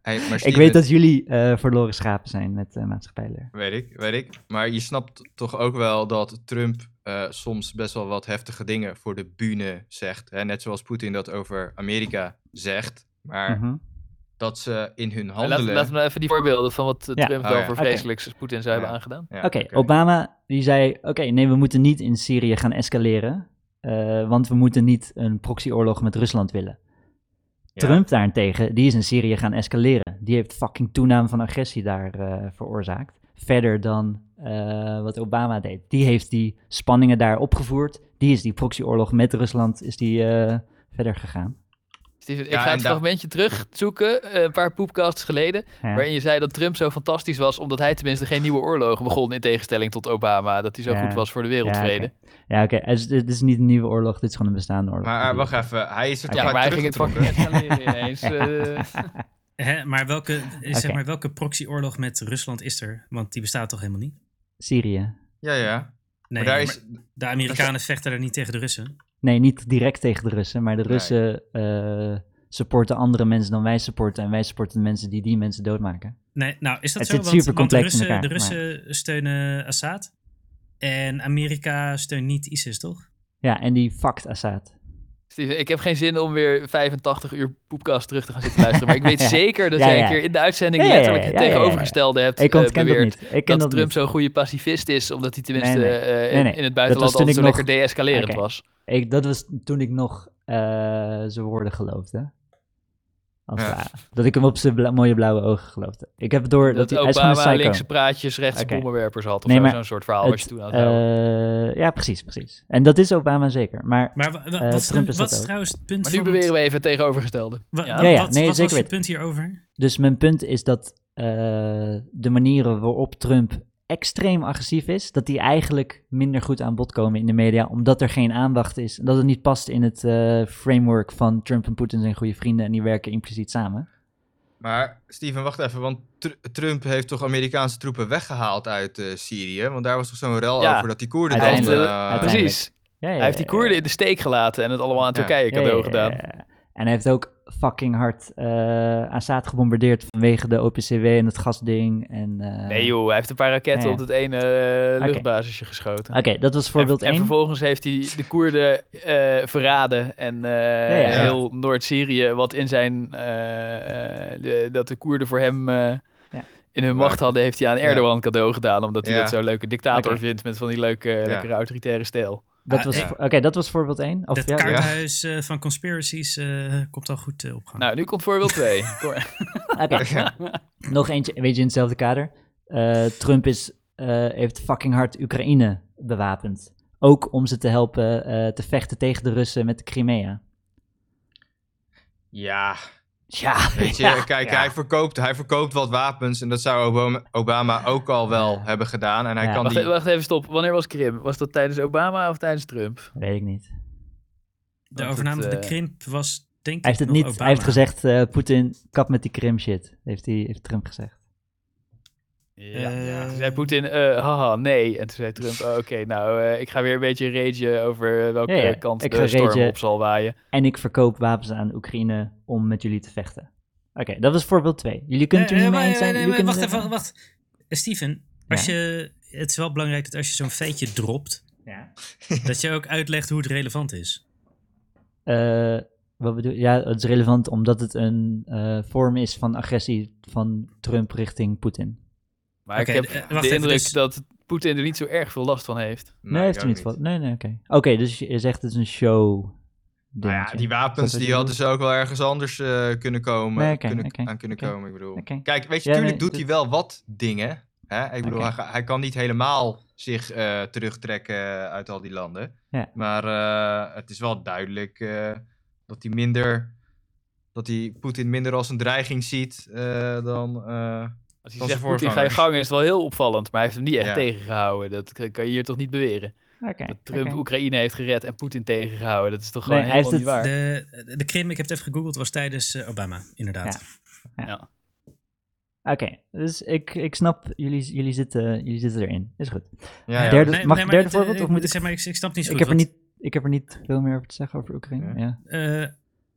S3: Hey, maar
S4: Oh. Ik
S3: Steven-
S4: weet dat jullie eh, verloren schapen zijn met eh maatschappijleer.
S3: Weet ik, weet ik. Maar je snapt toch ook wel dat Trump eh, soms best wel wat heftige dingen voor de bühne zegt. Hè? Net zoals Poetin dat over Amerika zegt. Maar
S4: Mhm.
S3: dat ze in hun
S5: Maar Laten
S3: handelen...
S5: laten we nou even die voorbeelden van wat eh,
S4: Ja.
S5: Trump
S3: Oh,
S5: wel
S3: ja.
S5: voor
S4: Oké.
S5: vreselijks Poetin zou hebben
S3: Ja.
S5: aangedaan.
S3: Ja,
S4: Oké, Obama die zei, oké, nee, we moeten niet in Syrië gaan escaleren. eh, want we moeten niet een proxyoorlog met Rusland willen.
S3: Ja.
S4: Trump daarentegen, die is in Syrië gaan escaleren. Die heeft fucking toename van agressie daar eh, veroorzaakt. Verder dan eh, wat Obama deed. Die heeft die spanningen daar opgevoerd. Die is die proxyoorlog met Rusland is die, eh, verder gegaan.
S5: Steven, ik
S3: Ja,
S5: ga
S3: en
S5: het
S3: daar-
S5: fragmentje terugzoeken, eh, een paar poepcasts geleden,
S4: Ja.
S5: waarin je zei dat Trump zo fantastisch was, omdat hij tenminste geen nieuwe oorlogen begon, in tegenstelling tot Obama, dat hij zo
S4: Ja.
S5: goed was voor de wereldvrede.
S4: Ja, oké. Ja, oké. Dus dit is niet een nieuwe oorlog, dit is gewoon een bestaande oorlog.
S3: Maar eh, wacht even, hij is er
S5: Ja,
S3: toch
S5: maar hij
S3: uit
S5: ging het
S3: teruggetrokken?
S5: fucking escaleren ineens. eh.
S1: Hè, maar welke, eh, zeg
S4: Oké.
S1: maar, welke proxyoorlog met Rusland is er? Want die bestaat toch helemaal niet?
S4: Syrië.
S3: Ja, ja.
S1: Nee,
S3: maar daar
S1: maar
S3: is...
S1: de Amerikanen vechten daar niet tegen de Russen.
S4: Nee, niet direct tegen de Russen, maar de
S3: Nee.
S4: Russen eh, supporten andere mensen dan wij supporten. En wij supporten de mensen die die mensen doodmaken.
S1: Nee, nou is dat
S4: Het
S1: zo?
S4: zit
S1: Want- want de
S4: supercomplex in
S1: Russen, de
S4: elkaar, maar-
S1: Russen steunen Assad. En Amerika steunt niet ISIS, toch?
S4: Ja, en die fucked Assad.
S5: Steven, ik heb geen zin om weer 85 uur poepcast terug te gaan zitten luisteren. Maar ik weet zeker dat
S4: Ja,
S5: jij
S4: ja.
S5: een keer in de uitzending
S4: Ja, ja, ja,
S5: letterlijk het
S4: ja, ja, ja.
S5: tegenovergestelde hebt
S4: Ik
S5: eh,
S4: ontken dat
S5: beweerd.
S4: niet. Ik ken
S5: Dat,
S4: dat,
S5: Trump
S4: niet.
S5: zo'n goede pacifist is, omdat hij tenminste
S4: Nee, nee.
S5: eh, in-
S4: Nee, nee.
S5: in het
S4: Dat was
S5: buitenland
S4: toen
S5: altijd
S4: ik
S5: zo
S4: nog-
S5: lekker deescalerend
S4: Oké.
S5: was.
S4: Ik, dat was toen ik nog eh, zijn woorden geloofde. Als
S3: Ja.
S4: wa- Dat ik hem op zijn bla- mooie blauwe ogen geloofde. Ik heb door dat,
S5: Dat,
S4: hij, hij is gewoon een
S5: Obama
S4: psycho.
S5: linkse praatjes, rechtse
S4: Oké.
S5: bommenwerpers had of
S4: Nee,
S5: zo,
S4: maar
S5: zo'n soort verhaal
S4: Het,
S5: wat je toen aan het houden.
S4: eh, ja, precies, precies. En dat is Obama zeker. Maar
S1: Maar wa- wa-
S4: Eh,
S1: wat, is,
S4: Trump
S1: de-
S4: is
S1: wat
S4: dat
S1: is
S4: ook.
S1: trouwens het punt
S5: Maar
S1: van...
S5: nu beweren we even het tegenovergestelde.
S1: wa-
S5: Ja.
S1: wa-
S4: Ja, ja,
S1: wat,
S4: nee,
S1: wat was
S4: zeker
S1: je
S4: weten.
S1: punt hierover?
S4: Dus mijn punt is dat eh, de manieren waarop Trump extreem agressief is, dat die eigenlijk minder goed aan bod komen in de media, omdat er geen aandacht is. en Dat het niet past in het eh, framework van Trump en Poetin zijn goede vrienden en die werken impliciet samen.
S3: Maar Steven, wacht even, want Tr- Trump heeft toch Amerikaanse troepen weggehaald uit eh, Syrië? Want daar was toch zo'n rel
S5: Ja.
S3: over dat die Koerden
S5: Hij
S3: dan...
S5: heeft,
S4: Uiteindelijk.
S3: eh,
S5: eh, precies.
S4: Ja, ja,
S5: Hij heeft die
S4: ja,
S5: Koerden in de steek gelaten en het allemaal aan
S3: Ja.
S5: Turkije
S4: ja,
S5: cadeau
S4: ja, ja,
S5: gedaan.
S4: ja, ja. Eh, En hij heeft ook fucking hard eh Assad gebombardeerd vanwege de OPCW en het gasding. En, eh,
S5: Nee joh, hij heeft een paar raketten
S4: Ja, ja.
S5: op het ene eh, luchtbasisje geschoten.
S4: Oké, dat was voorbeeld
S5: en, en
S4: 1.
S5: vervolgens heeft hij de Koerden eh, verraden en eh,
S4: Ja, ja.
S5: heel Noord-Syrië, wat in zijn, eh, eh, de- dat de Koerden voor hem eh,
S4: Ja.
S5: in hun macht hadden, heeft hij aan Erdogan cadeau gedaan, omdat hij
S3: Ja.
S5: dat zo'n leuke dictator
S4: Oké.
S5: vindt met van die leuke, lekkere autoritaire stijl.
S4: dat,
S1: Ah,
S4: was
S3: ja.
S4: voor- Oké, dat was voorbeeld 1. Of
S1: Dat
S4: ja,
S1: kaarthuis eh, van conspiracies eh, komt al goed eh, op gang.
S5: Nou, nu komt voorbeeld 2.
S4: Oké. Nog eentje, weet je, in hetzelfde kader. Eh, Trump is, eh, heeft fucking hard Oekraïne bewapend. Ook om ze te helpen eh, te vechten tegen de Russen met de Crimea.
S3: Ja,
S4: Ja,
S3: Weet je,
S4: ja,
S3: kijk,
S4: ja.
S3: Hij, verkoopt, hij verkoopt wat wapens en dat zou Obama, Obama ook al wel hebben gedaan. En hij
S4: Ja.
S3: kan
S5: wacht,
S3: die...
S5: e- wacht even, stop. Wanneer was Krim? Was dat tijdens Obama of tijdens Trump?
S4: Weet ik niet.
S1: de
S5: want
S1: overname
S5: het,
S1: van de
S5: eh,
S1: krimp was denk ik
S4: Hij heeft het
S1: nog
S4: niet,
S1: Obama.
S4: hij heeft gezegd, eh, Poetin, kap met die Krim shit. Heeft, hij, heeft Trump gezegd.
S5: Ja,
S1: Eh.
S5: Toen zei Poetin, eh, haha, nee. En toen zei Trump, oh, oké, nou, eh, ik ga weer een beetje ragen over eh, welke
S4: Ja, ja,
S5: eh, kant
S4: ik
S5: de
S4: ga
S5: storm
S4: ragen.
S5: op zal waaien.
S4: En ik verkoop wapens aan Oekraïne om met jullie te vechten. Oké, dat was voorbeeld 2. Jullie kunnen het
S1: Eh,
S4: er
S1: eh,
S4: niet
S1: wa-
S4: mee eens zijn.
S1: wa- wa-
S4: jullie kunnen
S1: Wacht
S4: zeggen-
S1: even, wacht. Eh, Steven, als je, het is wel belangrijk dat als je zo'n feitje dropt,
S4: Ja.
S1: dat je ook uitlegt hoe het relevant is.
S4: Eh, wat bedoel, ja, het is relevant omdat het een eh, vorm is van agressie van Trump richting Poetin.
S5: Maar
S1: Oké,
S5: ik
S1: eh,
S5: heb
S1: wacht
S5: de
S1: even,
S5: indruk
S1: dus-
S5: dat Poetin er niet zo erg veel last van heeft.
S4: Nee, heeft er niet van. Nee, nee, oké. Oké, dus je zegt het is een show.
S3: Nou ja,
S4: dingetje.
S3: die
S4: Dat
S3: wapens
S4: we
S3: die
S4: die
S3: hadden ze ook wel ergens anders eh, kunnen komen.
S4: Nee, oké,
S3: kunnen,
S4: oké,
S3: aan kunnen
S4: oké,
S3: komen, ik bedoel.
S4: oké.
S3: Kijk, weet je,
S4: Ja,
S3: natuurlijk
S4: nee,
S3: doet hij
S4: dit-
S3: wel wat dingen. Hè? Ik bedoel,
S4: Oké.
S3: hij, ga- hij kan niet helemaal zich eh, terugtrekken eh, uit al die landen.
S4: Ja.
S3: Maar eh, het is wel duidelijk eh, dat hij minder... Dat hij Poetin minder als een dreiging ziet eh, dan... eh,
S5: Als hij
S3: Van
S5: zegt,
S3: zijn
S5: Poetin, ga je
S3: voorgangers.
S5: gang, is het wel heel opvallend. Maar hij heeft hem niet echt
S3: Ja.
S5: tegengehouden. Dat k- kan je hier toch niet beweren.
S4: Oké,
S5: Dat Trump
S4: oké.
S5: Oekraïne heeft gered en Poetin tegengehouden. Dat is toch
S4: Nee,
S5: gewoon
S4: hij heeft
S5: helemaal niet waar.
S4: het-
S1: De, de krim, ik heb het even gegoogeld, was tijdens eh, Obama, inderdaad.
S4: Ja. Oké, dus ik, ik snap, jullie, jullie, zitten, jullie zitten erin. Is goed.
S3: Ja, ja.
S4: Derde- dus mag
S1: maar
S4: ik derde
S1: het,
S4: voorbeeld,
S1: eh,
S4: of moet ik-
S1: zeg maar, ik, ik snap niet zo
S4: Ik
S1: goed.
S4: heb, er
S1: wat-
S4: niet, ik heb er niet veel meer over te zeggen over Oekraïne.
S3: Ja.
S4: Ja.
S1: Eh,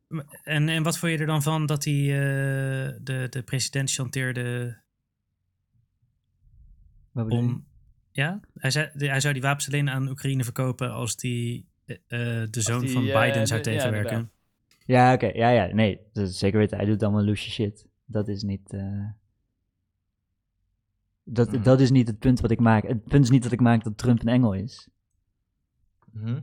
S1: m- en, en wat vond je er dan van dat hij eh, de, de president chanteerde
S4: Wat bedoel je?
S1: om... Ja, hij, zei, de- hij zou die wapens alleen aan Oekraïne verkopen als die eh, eh, de zoon
S5: die,
S1: van
S5: eh,
S1: Biden zou
S5: de- ja,
S1: tegenwerken.
S5: inderdaad.
S4: Ja, oké. Ja, ja. Nee, dat is zeker weten. Hij doet allemaal loesje shit. Dat is niet... eh, Dat,
S3: Mhm.
S4: dat is niet het punt wat ik maak. Het punt is niet dat ik maak dat Trump een engel is.
S3: Mhm.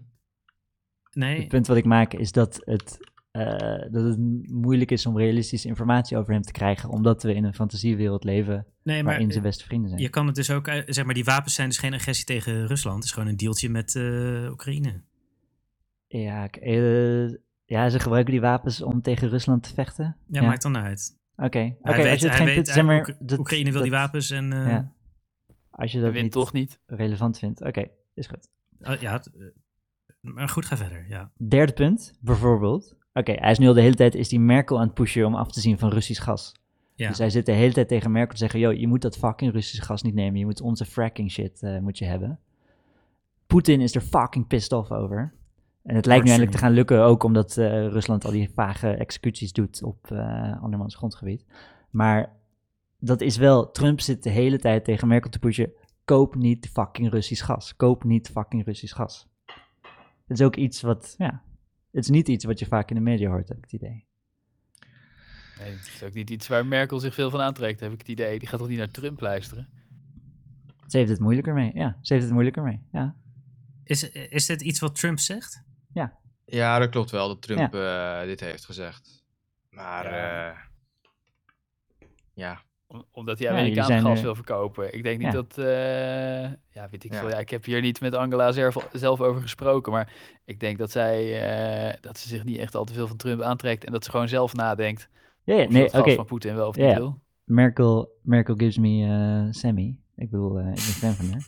S1: nee,
S4: Het punt wat ik maak is dat het, eh, dat het moeilijk is om realistische informatie over hem te krijgen. Omdat we in een fantasiewereld leven
S1: nee, maar
S4: waarin zijn
S1: eh,
S4: beste vrienden zijn.
S1: je kan het dus ook... uit- Zeg maar, die wapens zijn dus geen agressie tegen Rusland. Het is gewoon een dealtje met eh, Oekraïne.
S4: Ja, ik- eh, ja, ze gebruiken die wapens om tegen Rusland te vechten.
S1: Ja, maakt dan uit.
S4: Oké, oké.
S1: Hij
S4: als
S1: weet-
S4: je het
S1: hij
S4: geen
S1: weet-
S4: punt,
S1: hij-
S4: zeg maar,
S1: Oek-
S4: dat-
S1: Oekraïne wil die
S4: dat-
S1: wapens en... eh,
S4: Ja. Als je dat
S5: Wint
S4: niet
S5: toch niet?
S4: relevant vindt. Oké, is goed.
S1: Oh, ja, het, eh, maar goed, ga verder. Ja.
S4: Derde punt, bijvoorbeeld. Oké, hij is nu al de hele tijd is die Merkel aan het pushen om af te zien van Russisch gas.
S1: Ja.
S4: Dus hij zit de hele tijd tegen Merkel te zeggen: Yo, je moet dat fucking Russisch gas niet nemen. Je moet onze fracking shit eh, moet je hebben. Poetin is er fucking pissed off over. En het lijkt nu eindelijk te gaan lukken, ook omdat eh, Rusland al die vage executies doet op eh, andermans grondgebied. Maar dat is wel, Trump zit de hele tijd tegen Merkel te pushen. Koop niet fucking Russisch gas. Koop niet fucking Russisch gas. Het is ook iets wat, ja, het is niet iets wat je vaak in de media hoort, heb ik het idee.
S5: Nee, het is ook niet iets waar Merkel zich veel van aantrekt, heb ik het idee. Die gaat toch niet naar Trump luisteren?
S4: Ze heeft het moeilijker mee, ja. Ze heeft het moeilijker mee, ja.
S1: Is, is dit iets wat Trump zegt?
S3: Ja, dat klopt wel dat Trump eh, dit heeft gezegd. Maar
S5: Ja.
S3: ja, ja.
S5: Om- omdat hij
S4: Ja,
S5: Amerikaans
S4: jullie zijn
S5: gas
S4: er-
S5: wil verkopen. Ik denk niet
S4: Ja.
S5: dat... eh, ja, weet ik
S3: Ja.
S5: veel. Ja, ik heb hier niet met Angela zelf, zelf over gesproken. Maar ik denk dat zij... eh, dat ze zich niet echt al te veel van Trump aantrekt. En dat ze gewoon zelf nadenkt.
S4: Ja, ja,
S5: Of
S4: nee,
S5: dat
S4: oké.
S5: gas van Poetin wel of niet
S4: Ja.
S5: wil.
S4: Merkel, Merkel gives me eh, Sammy. Ik bedoel, eh, ik ben fan van haar.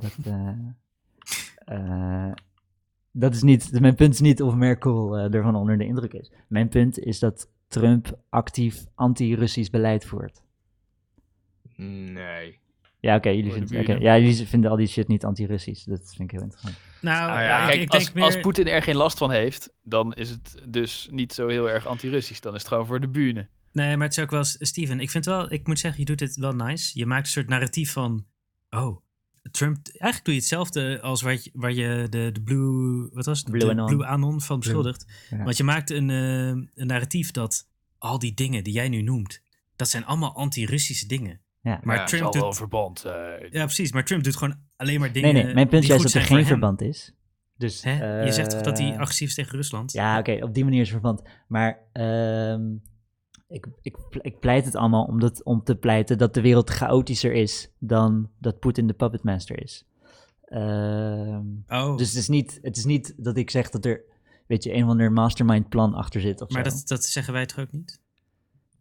S4: Dat, eh, eh, dat is niet, mijn punt is niet of Merkel eh, ervan onder de indruk is. Mijn punt is dat Trump actief anti-Russisch beleid voert.
S3: nee.
S4: Ja, oké, jullie,
S5: Voor de
S4: vinden- oké,
S5: buren.
S4: ja, jullie vinden al die shit niet anti-Russisch. Dat vind ik heel interessant.
S1: Nou,
S3: Ah, ja.
S1: ik-
S5: Kijk,
S1: ik denk
S5: als,
S1: meer...
S5: als Poetin er geen last van heeft, dan is het dus niet zo heel erg anti-Russisch. Dan is het gewoon voor de bühne.
S1: Nee, maar het is ook wel, Steven, ik vind wel, ik moet zeggen, je doet dit wel nice. Je maakt een soort narratief van, oh, Trump, eigenlijk doe je hetzelfde als waar je, waar je de, de Blue, wat was het?
S4: Blue
S1: de
S4: Anon.
S1: Blue Anon van beschuldigt.
S4: ja.
S1: Want je maakt een, eh, een narratief dat al die dingen die jij nu noemt, dat zijn allemaal anti-Russische dingen.
S4: Ja.
S1: Maar
S3: Ja,
S1: Trump doet,
S5: verband eh,
S1: ja precies, maar Trump doet gewoon alleen maar dingen
S4: Nee, nee, mijn punt is
S1: die
S4: juist
S1: goed
S4: dat er
S1: zijn voor
S4: geen
S1: hem.
S4: verband is. Dus,
S1: Hè? je zegt toch dat hij
S4: eh,
S1: agressief is tegen Rusland?
S4: Ja, oké, op die manier is het verband. Maar ehm, ik, ik, ik pleit het allemaal om, dat, om te pleiten dat de wereld chaotischer is dan dat Poetin de puppetmaster is. Ehm,
S1: Oh,
S4: Dus het is, niet, het is niet dat ik zeg dat er, weet je, een of ander mastermind plan achter zit of
S1: maar
S4: zo.
S1: dat, dat zeggen wij toch ook niet?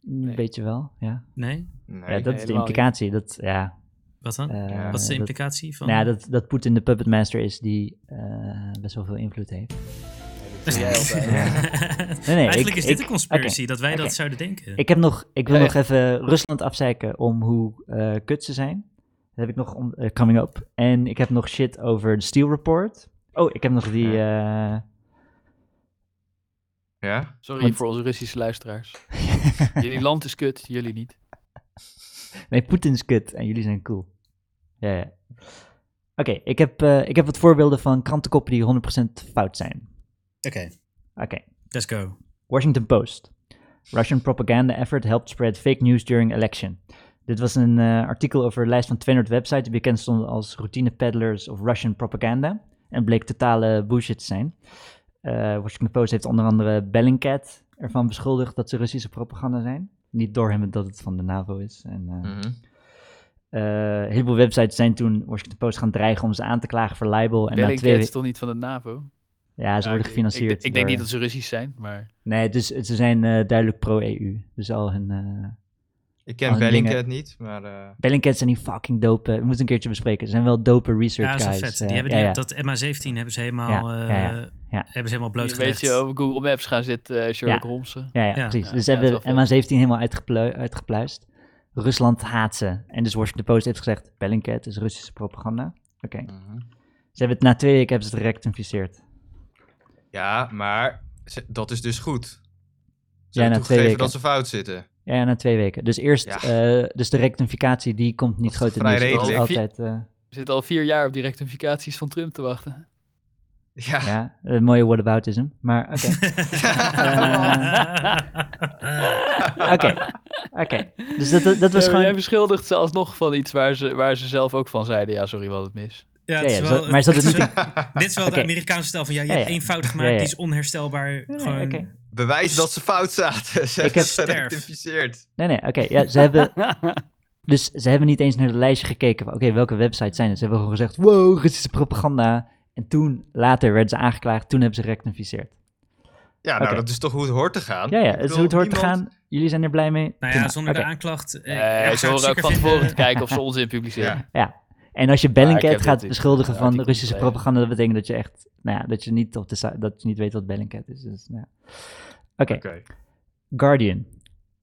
S4: Een beetje wel, ja.
S1: Nee?
S3: nee.
S4: ja dat is de
S5: helemaal
S4: implicatie. Dat, ja,
S1: Wat dan?
S4: eh,
S1: Wat is de
S4: dat-
S1: implicatie van...
S4: Nou ja, dat, dat Poetin de puppetmaster is die eh, best wel veel invloed heeft. Nee, nee,
S1: Eigenlijk
S4: ik-
S1: is dit
S4: ik-
S1: een conspiracy, dat wij dat
S4: oké.
S1: zouden denken.
S4: Ik, heb nog, ik wil
S3: Ja,
S4: nog even Rusland afzeiken om hoe eh, kut ze zijn. Dat heb ik nog om- eh, coming up. En ik heb nog shit over de Steel Report. Oh, ik heb nog die... eh,
S3: Ja?
S5: Sorry
S4: Want-
S5: voor onze Russische luisteraars. Jullie land is kut, jullie niet.
S4: eh, nee, Poetin is kut en jullie zijn cool. Ja, ja. Oké, ik, heb, eh ik heb wat voorbeelden van krantenkoppen die 100% fout zijn. Oké.
S1: Let's go.
S4: Washington Post. Russian propaganda effort helped spread fake news during election. Dit was een eh, artikel over een lijst van 200 websites die bekend stonden als routine peddlers of Russian propaganda. En bleek totale bullshit te zijn. Eh, Washington Post heeft onder andere Bellingcat ervan beschuldigd dat ze Russische propaganda zijn. Niet door hem dat het van de NAVO is. En, eh,
S3: Mhm.
S4: eh, een heleboel websites zijn toen Washington Post gaan dreigen om ze aan te klagen voor libel. En na twee
S5: Bellingcat is
S4: we-
S5: toch niet van de NAVO?
S4: Ja, ze
S5: Ja, ik-
S4: worden gefinancierd.
S5: Ik, ik, denk
S4: door-
S5: niet dat ze Russisch zijn, maar...
S4: Nee, dus ze zijn eh, duidelijk pro-EU. Dus al hun... eh,
S3: Ik
S4: Al
S3: ken
S4: die dingen-
S3: Bellingcat niet, maar... eh,
S4: Bellingcat zijn die fucking dope. We moeten een keertje bespreken. Ze zijn wel dope research
S1: Ja, dat is wel
S4: guys.
S1: Ah, vet.
S4: Eh,
S1: Die hebben
S4: ja,
S1: die- dat
S4: ja.
S1: MA17 hebben ze helemaal,
S4: Ja,
S1: eh
S4: ja, ja, ja.
S1: Hebben ze helemaal
S5: Je weet
S1: blootgelegd.
S5: je over Google Maps gaan zitten, eh, Sherlock Holmes.
S4: Ja, ja,
S1: ja.
S4: precies.
S5: Ja,
S4: dus ze
S5: ja, dat is
S4: hebben
S5: wel
S4: MA17 helemaal uitgeplui- uitgepluist. Rusland haat ze. En dus Washington Post heeft gezegd, Bellingcat is Russische propaganda. Oké.
S3: Mhm.
S4: Ze hebben het na twee weken hebben ze het rectificeerd.
S3: Ja, maar ze- dat is dus goed. Ze
S4: na nou, twee
S3: hebben toegegeven
S4: weken.
S3: dat ze fout zitten.
S4: Ja, ja, na twee weken. Dus eerst,
S3: Ja.
S4: eh, dus de rectificatie die komt niet
S3: is
S4: groot in
S3: vrij
S4: het nieuws. Dat is
S5: redelijk.
S4: altijd, eh,
S5: We zitten al vier jaar op die rectificaties van Trump te wachten.
S3: Ja,
S4: ja, een mooie whataboutism. Maar oké. Eh, Oké, oké. Dus dat, dat, dat was
S5: Ja, maar
S4: gewoon...
S5: Eh, Jij beschuldigt ze alsnog van iets waar ze, waar ze zelf ook van zeiden. Ja, sorry, wat het mis.
S1: Ja,
S4: Ja,
S1: het is
S4: ja,
S1: wel-
S4: zo- maar is dat het niet...
S1: dit is wel
S4: Oké.
S1: de Amerikaanse stijl van ja, je
S4: Ja,
S1: hebt
S4: ja.
S1: één fout gemaakt,
S4: Ja, ja.
S1: die is onherstelbaar.
S4: Nee,
S1: gewoon, nou
S4: nee, oké.
S3: bewijs dat ze fout zaten. Ze
S4: heb
S3: hebben ze
S1: sterf.
S3: gerectificeerd.
S4: Nee, nee, oké. Ja, ze hebben... Dus ze hebben niet eens naar het lijstje gekeken van, oké, welke websites zijn het? Ze hebben gewoon gezegd, wow, Russische propaganda. En toen, later werden ze aangeklaagd, toen hebben ze rectificeerd.
S3: Ja, nou,
S4: Oké.
S3: dat is toch hoe het hoort te gaan?
S4: Ja, ja,
S3: Ik
S4: het is
S3: bedoel,
S4: hoe het hoort te
S3: niemand-
S4: gaan. Jullie zijn er blij mee.
S1: Nou ja,
S4: Prima,
S1: zonder de
S4: oké.
S1: aanklacht. eh,
S5: Eh,
S1: ja, zou
S5: ze
S1: ik
S5: horen ook
S1: zeker
S5: van
S1: vinden.
S5: tevoren te kijken of ze onzin publiceren.
S3: Ja.
S4: En als je
S5: Ah, ik heb
S4: Bellingcat
S5: dit
S4: gaat
S5: in-
S4: beschuldigen
S5: eh,
S4: van
S5: artikel
S4: Russische
S5: gelezen.
S4: propaganda, dat betekent dat je echt, nou ja, dat je niet op de site- dat je niet weet wat Bellingcat is. Dus, nou. ja. Oké,
S3: Oké.
S4: Guardian.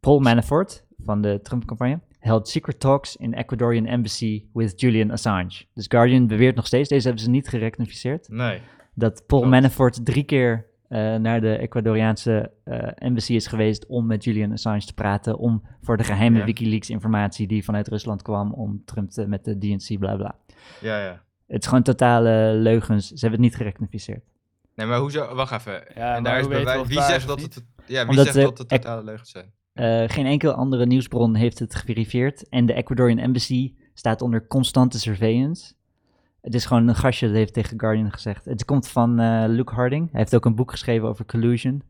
S4: Paul Manafort van de Trump-campagne held secret talks in Ecuadorian embassy with Julian Assange. Dus Guardian beweert nog steeds, deze hebben ze niet gerectificeerd,
S3: Nee.
S4: dat Paul
S3: Klopt.
S4: Manafort drie keer eh, naar de Ecuadoriaanse eh, embassy is geweest om met Julian Assange te praten, om voor de geheime
S3: Ja.
S4: WikiLeaks-informatie die vanuit Rusland kwam, om Trump te, met de DNC, bla bla.
S3: Ja, ja.
S4: Het is gewoon totale leugens. Ze hebben het niet gerectificeerd.
S3: Nee, maar hoezo? Wacht even.
S5: Ja,
S3: en
S5: maar
S3: daar is
S5: hoe weet je
S3: bewijs.
S5: of
S3: Wie
S5: het waar
S3: zegt
S5: is of
S3: dat
S5: niet?
S3: het. Ja, wie
S4: Omdat
S3: zegt
S4: de-
S3: dat het
S4: ik-
S3: totale leugens zijn?
S4: Eh, geen enkel andere nieuwsbron heeft het geverifieerd. En de Ecuadorian Embassy staat onder constante surveillance. Het is gewoon een gastje dat heeft tegen Guardian gezegd. Het komt van eh, Luke Harding. Hij heeft ook een boek geschreven over collusion.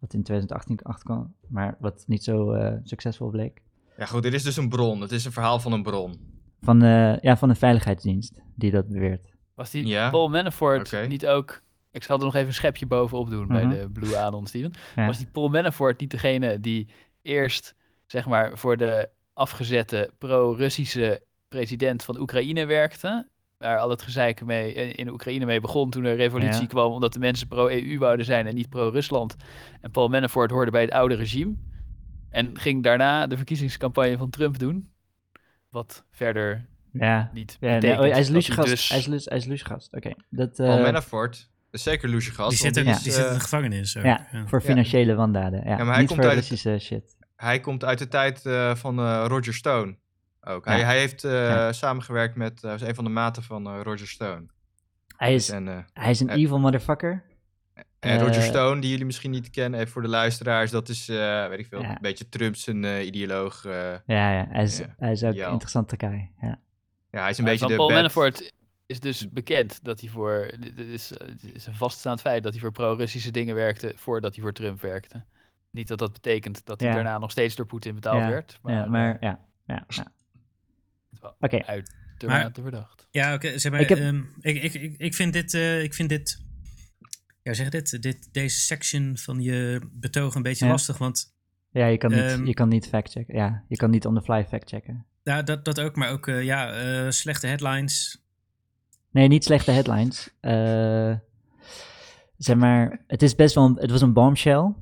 S4: Wat in 2018 kwam, maar wat niet zo eh, succesvol bleek.
S3: Ja, goed, dit is dus een bron. Het is een verhaal van een bron.
S4: Van, eh, ja, van een veiligheidsdienst die dat beweert.
S5: Was die
S3: Ja.
S5: Paul Manafort
S3: Oké.
S5: niet ook... Ik zal er nog even een schepje bovenop doen
S4: Mhm.
S5: bij de Blue Anon, Steven.
S4: Ja.
S5: Was die Paul Manafort niet degene die eerst, zeg maar, voor de afgezette pro-Russische president van Oekraïne werkte? Waar al het gezeik mee, eh, in Oekraïne mee begon toen de revolutie
S4: Ja.
S5: kwam, omdat de mensen pro-EU wouden zijn en niet pro-Rusland. En Paul Manafort hoorde bij het oude regime. En ging daarna de verkiezingscampagne van Trump doen. Wat verder
S4: Ja.
S5: niet
S4: ja nee,
S5: betekent
S4: oh, hij is
S5: dat
S4: luchegast.
S5: dus-
S4: Hij is, lu- hij is luchegast. Oké. Dat.
S3: Paul
S4: eh,
S3: Manafort is zeker Lucia Gas.
S1: Die zit, ook-
S4: Ja.
S1: die
S3: eh,
S1: zit in de gevangenis. ook,
S4: ja,
S1: ja.
S4: voor financiële wandaden. Ja,
S3: maar hij
S4: niet
S3: komt
S4: voor
S3: uit het-
S4: Russische shit.
S3: Hij komt uit de tijd eh, van eh, Roger Stone. Ook. Hij,
S4: Ja.
S3: hij heeft eh,
S4: Ja.
S3: samengewerkt met eh, een van de maten van eh, Roger Stone.
S4: Hij is,
S3: En, eh,
S4: hij is een
S3: eh,
S4: evil motherfucker.
S3: en Roger
S4: Eh,
S3: Stone, die jullie misschien niet kennen, even voor de luisteraars, dat is, eh, weet ik veel,
S4: Ja.
S3: een beetje Trump's een eh, ideoloog. eh.
S4: Ja, ja hij, is,
S3: Ja.
S4: hij is ook
S3: Ja.
S4: interessant te kijken. Ja.
S3: ja, hij is een
S5: Maar
S3: beetje
S5: van
S3: de
S5: Paul
S3: bad-
S5: Manafort is dus bekend dat hij voor. Dit dit is, eh, dit is een vaststaand feit dat hij voor pro-Russische dingen werkte voordat hij voor Trump werkte. Niet dat dat betekent dat hij
S4: Ja.
S5: daarna nog steeds door Poetin betaald werd. Maar, eh,
S4: ja, maar
S3: eh,
S4: ja. ja, ja.
S5: Wel.
S4: Oké,
S5: Terwijl te verdacht.
S1: Ja, oké. zeg maar,
S4: Ik
S1: ik,
S4: heb-
S1: ik, ik, ik, ik vind dit, eh, ik vind dit, ja, zeg dit, dit, deze section van je betoog een beetje
S4: Ja.
S1: lastig, want
S4: ja, je kan niet,
S1: Ehm.
S4: je kan niet factchecken. Ja, je kan niet on the fly factchecken.
S1: ja, dat, dat ook, maar ook, eh, ja, eh, slechte headlines.
S4: Nee, niet slechte headlines. Eh, zeg maar, het is best wel, een, het was een bombshell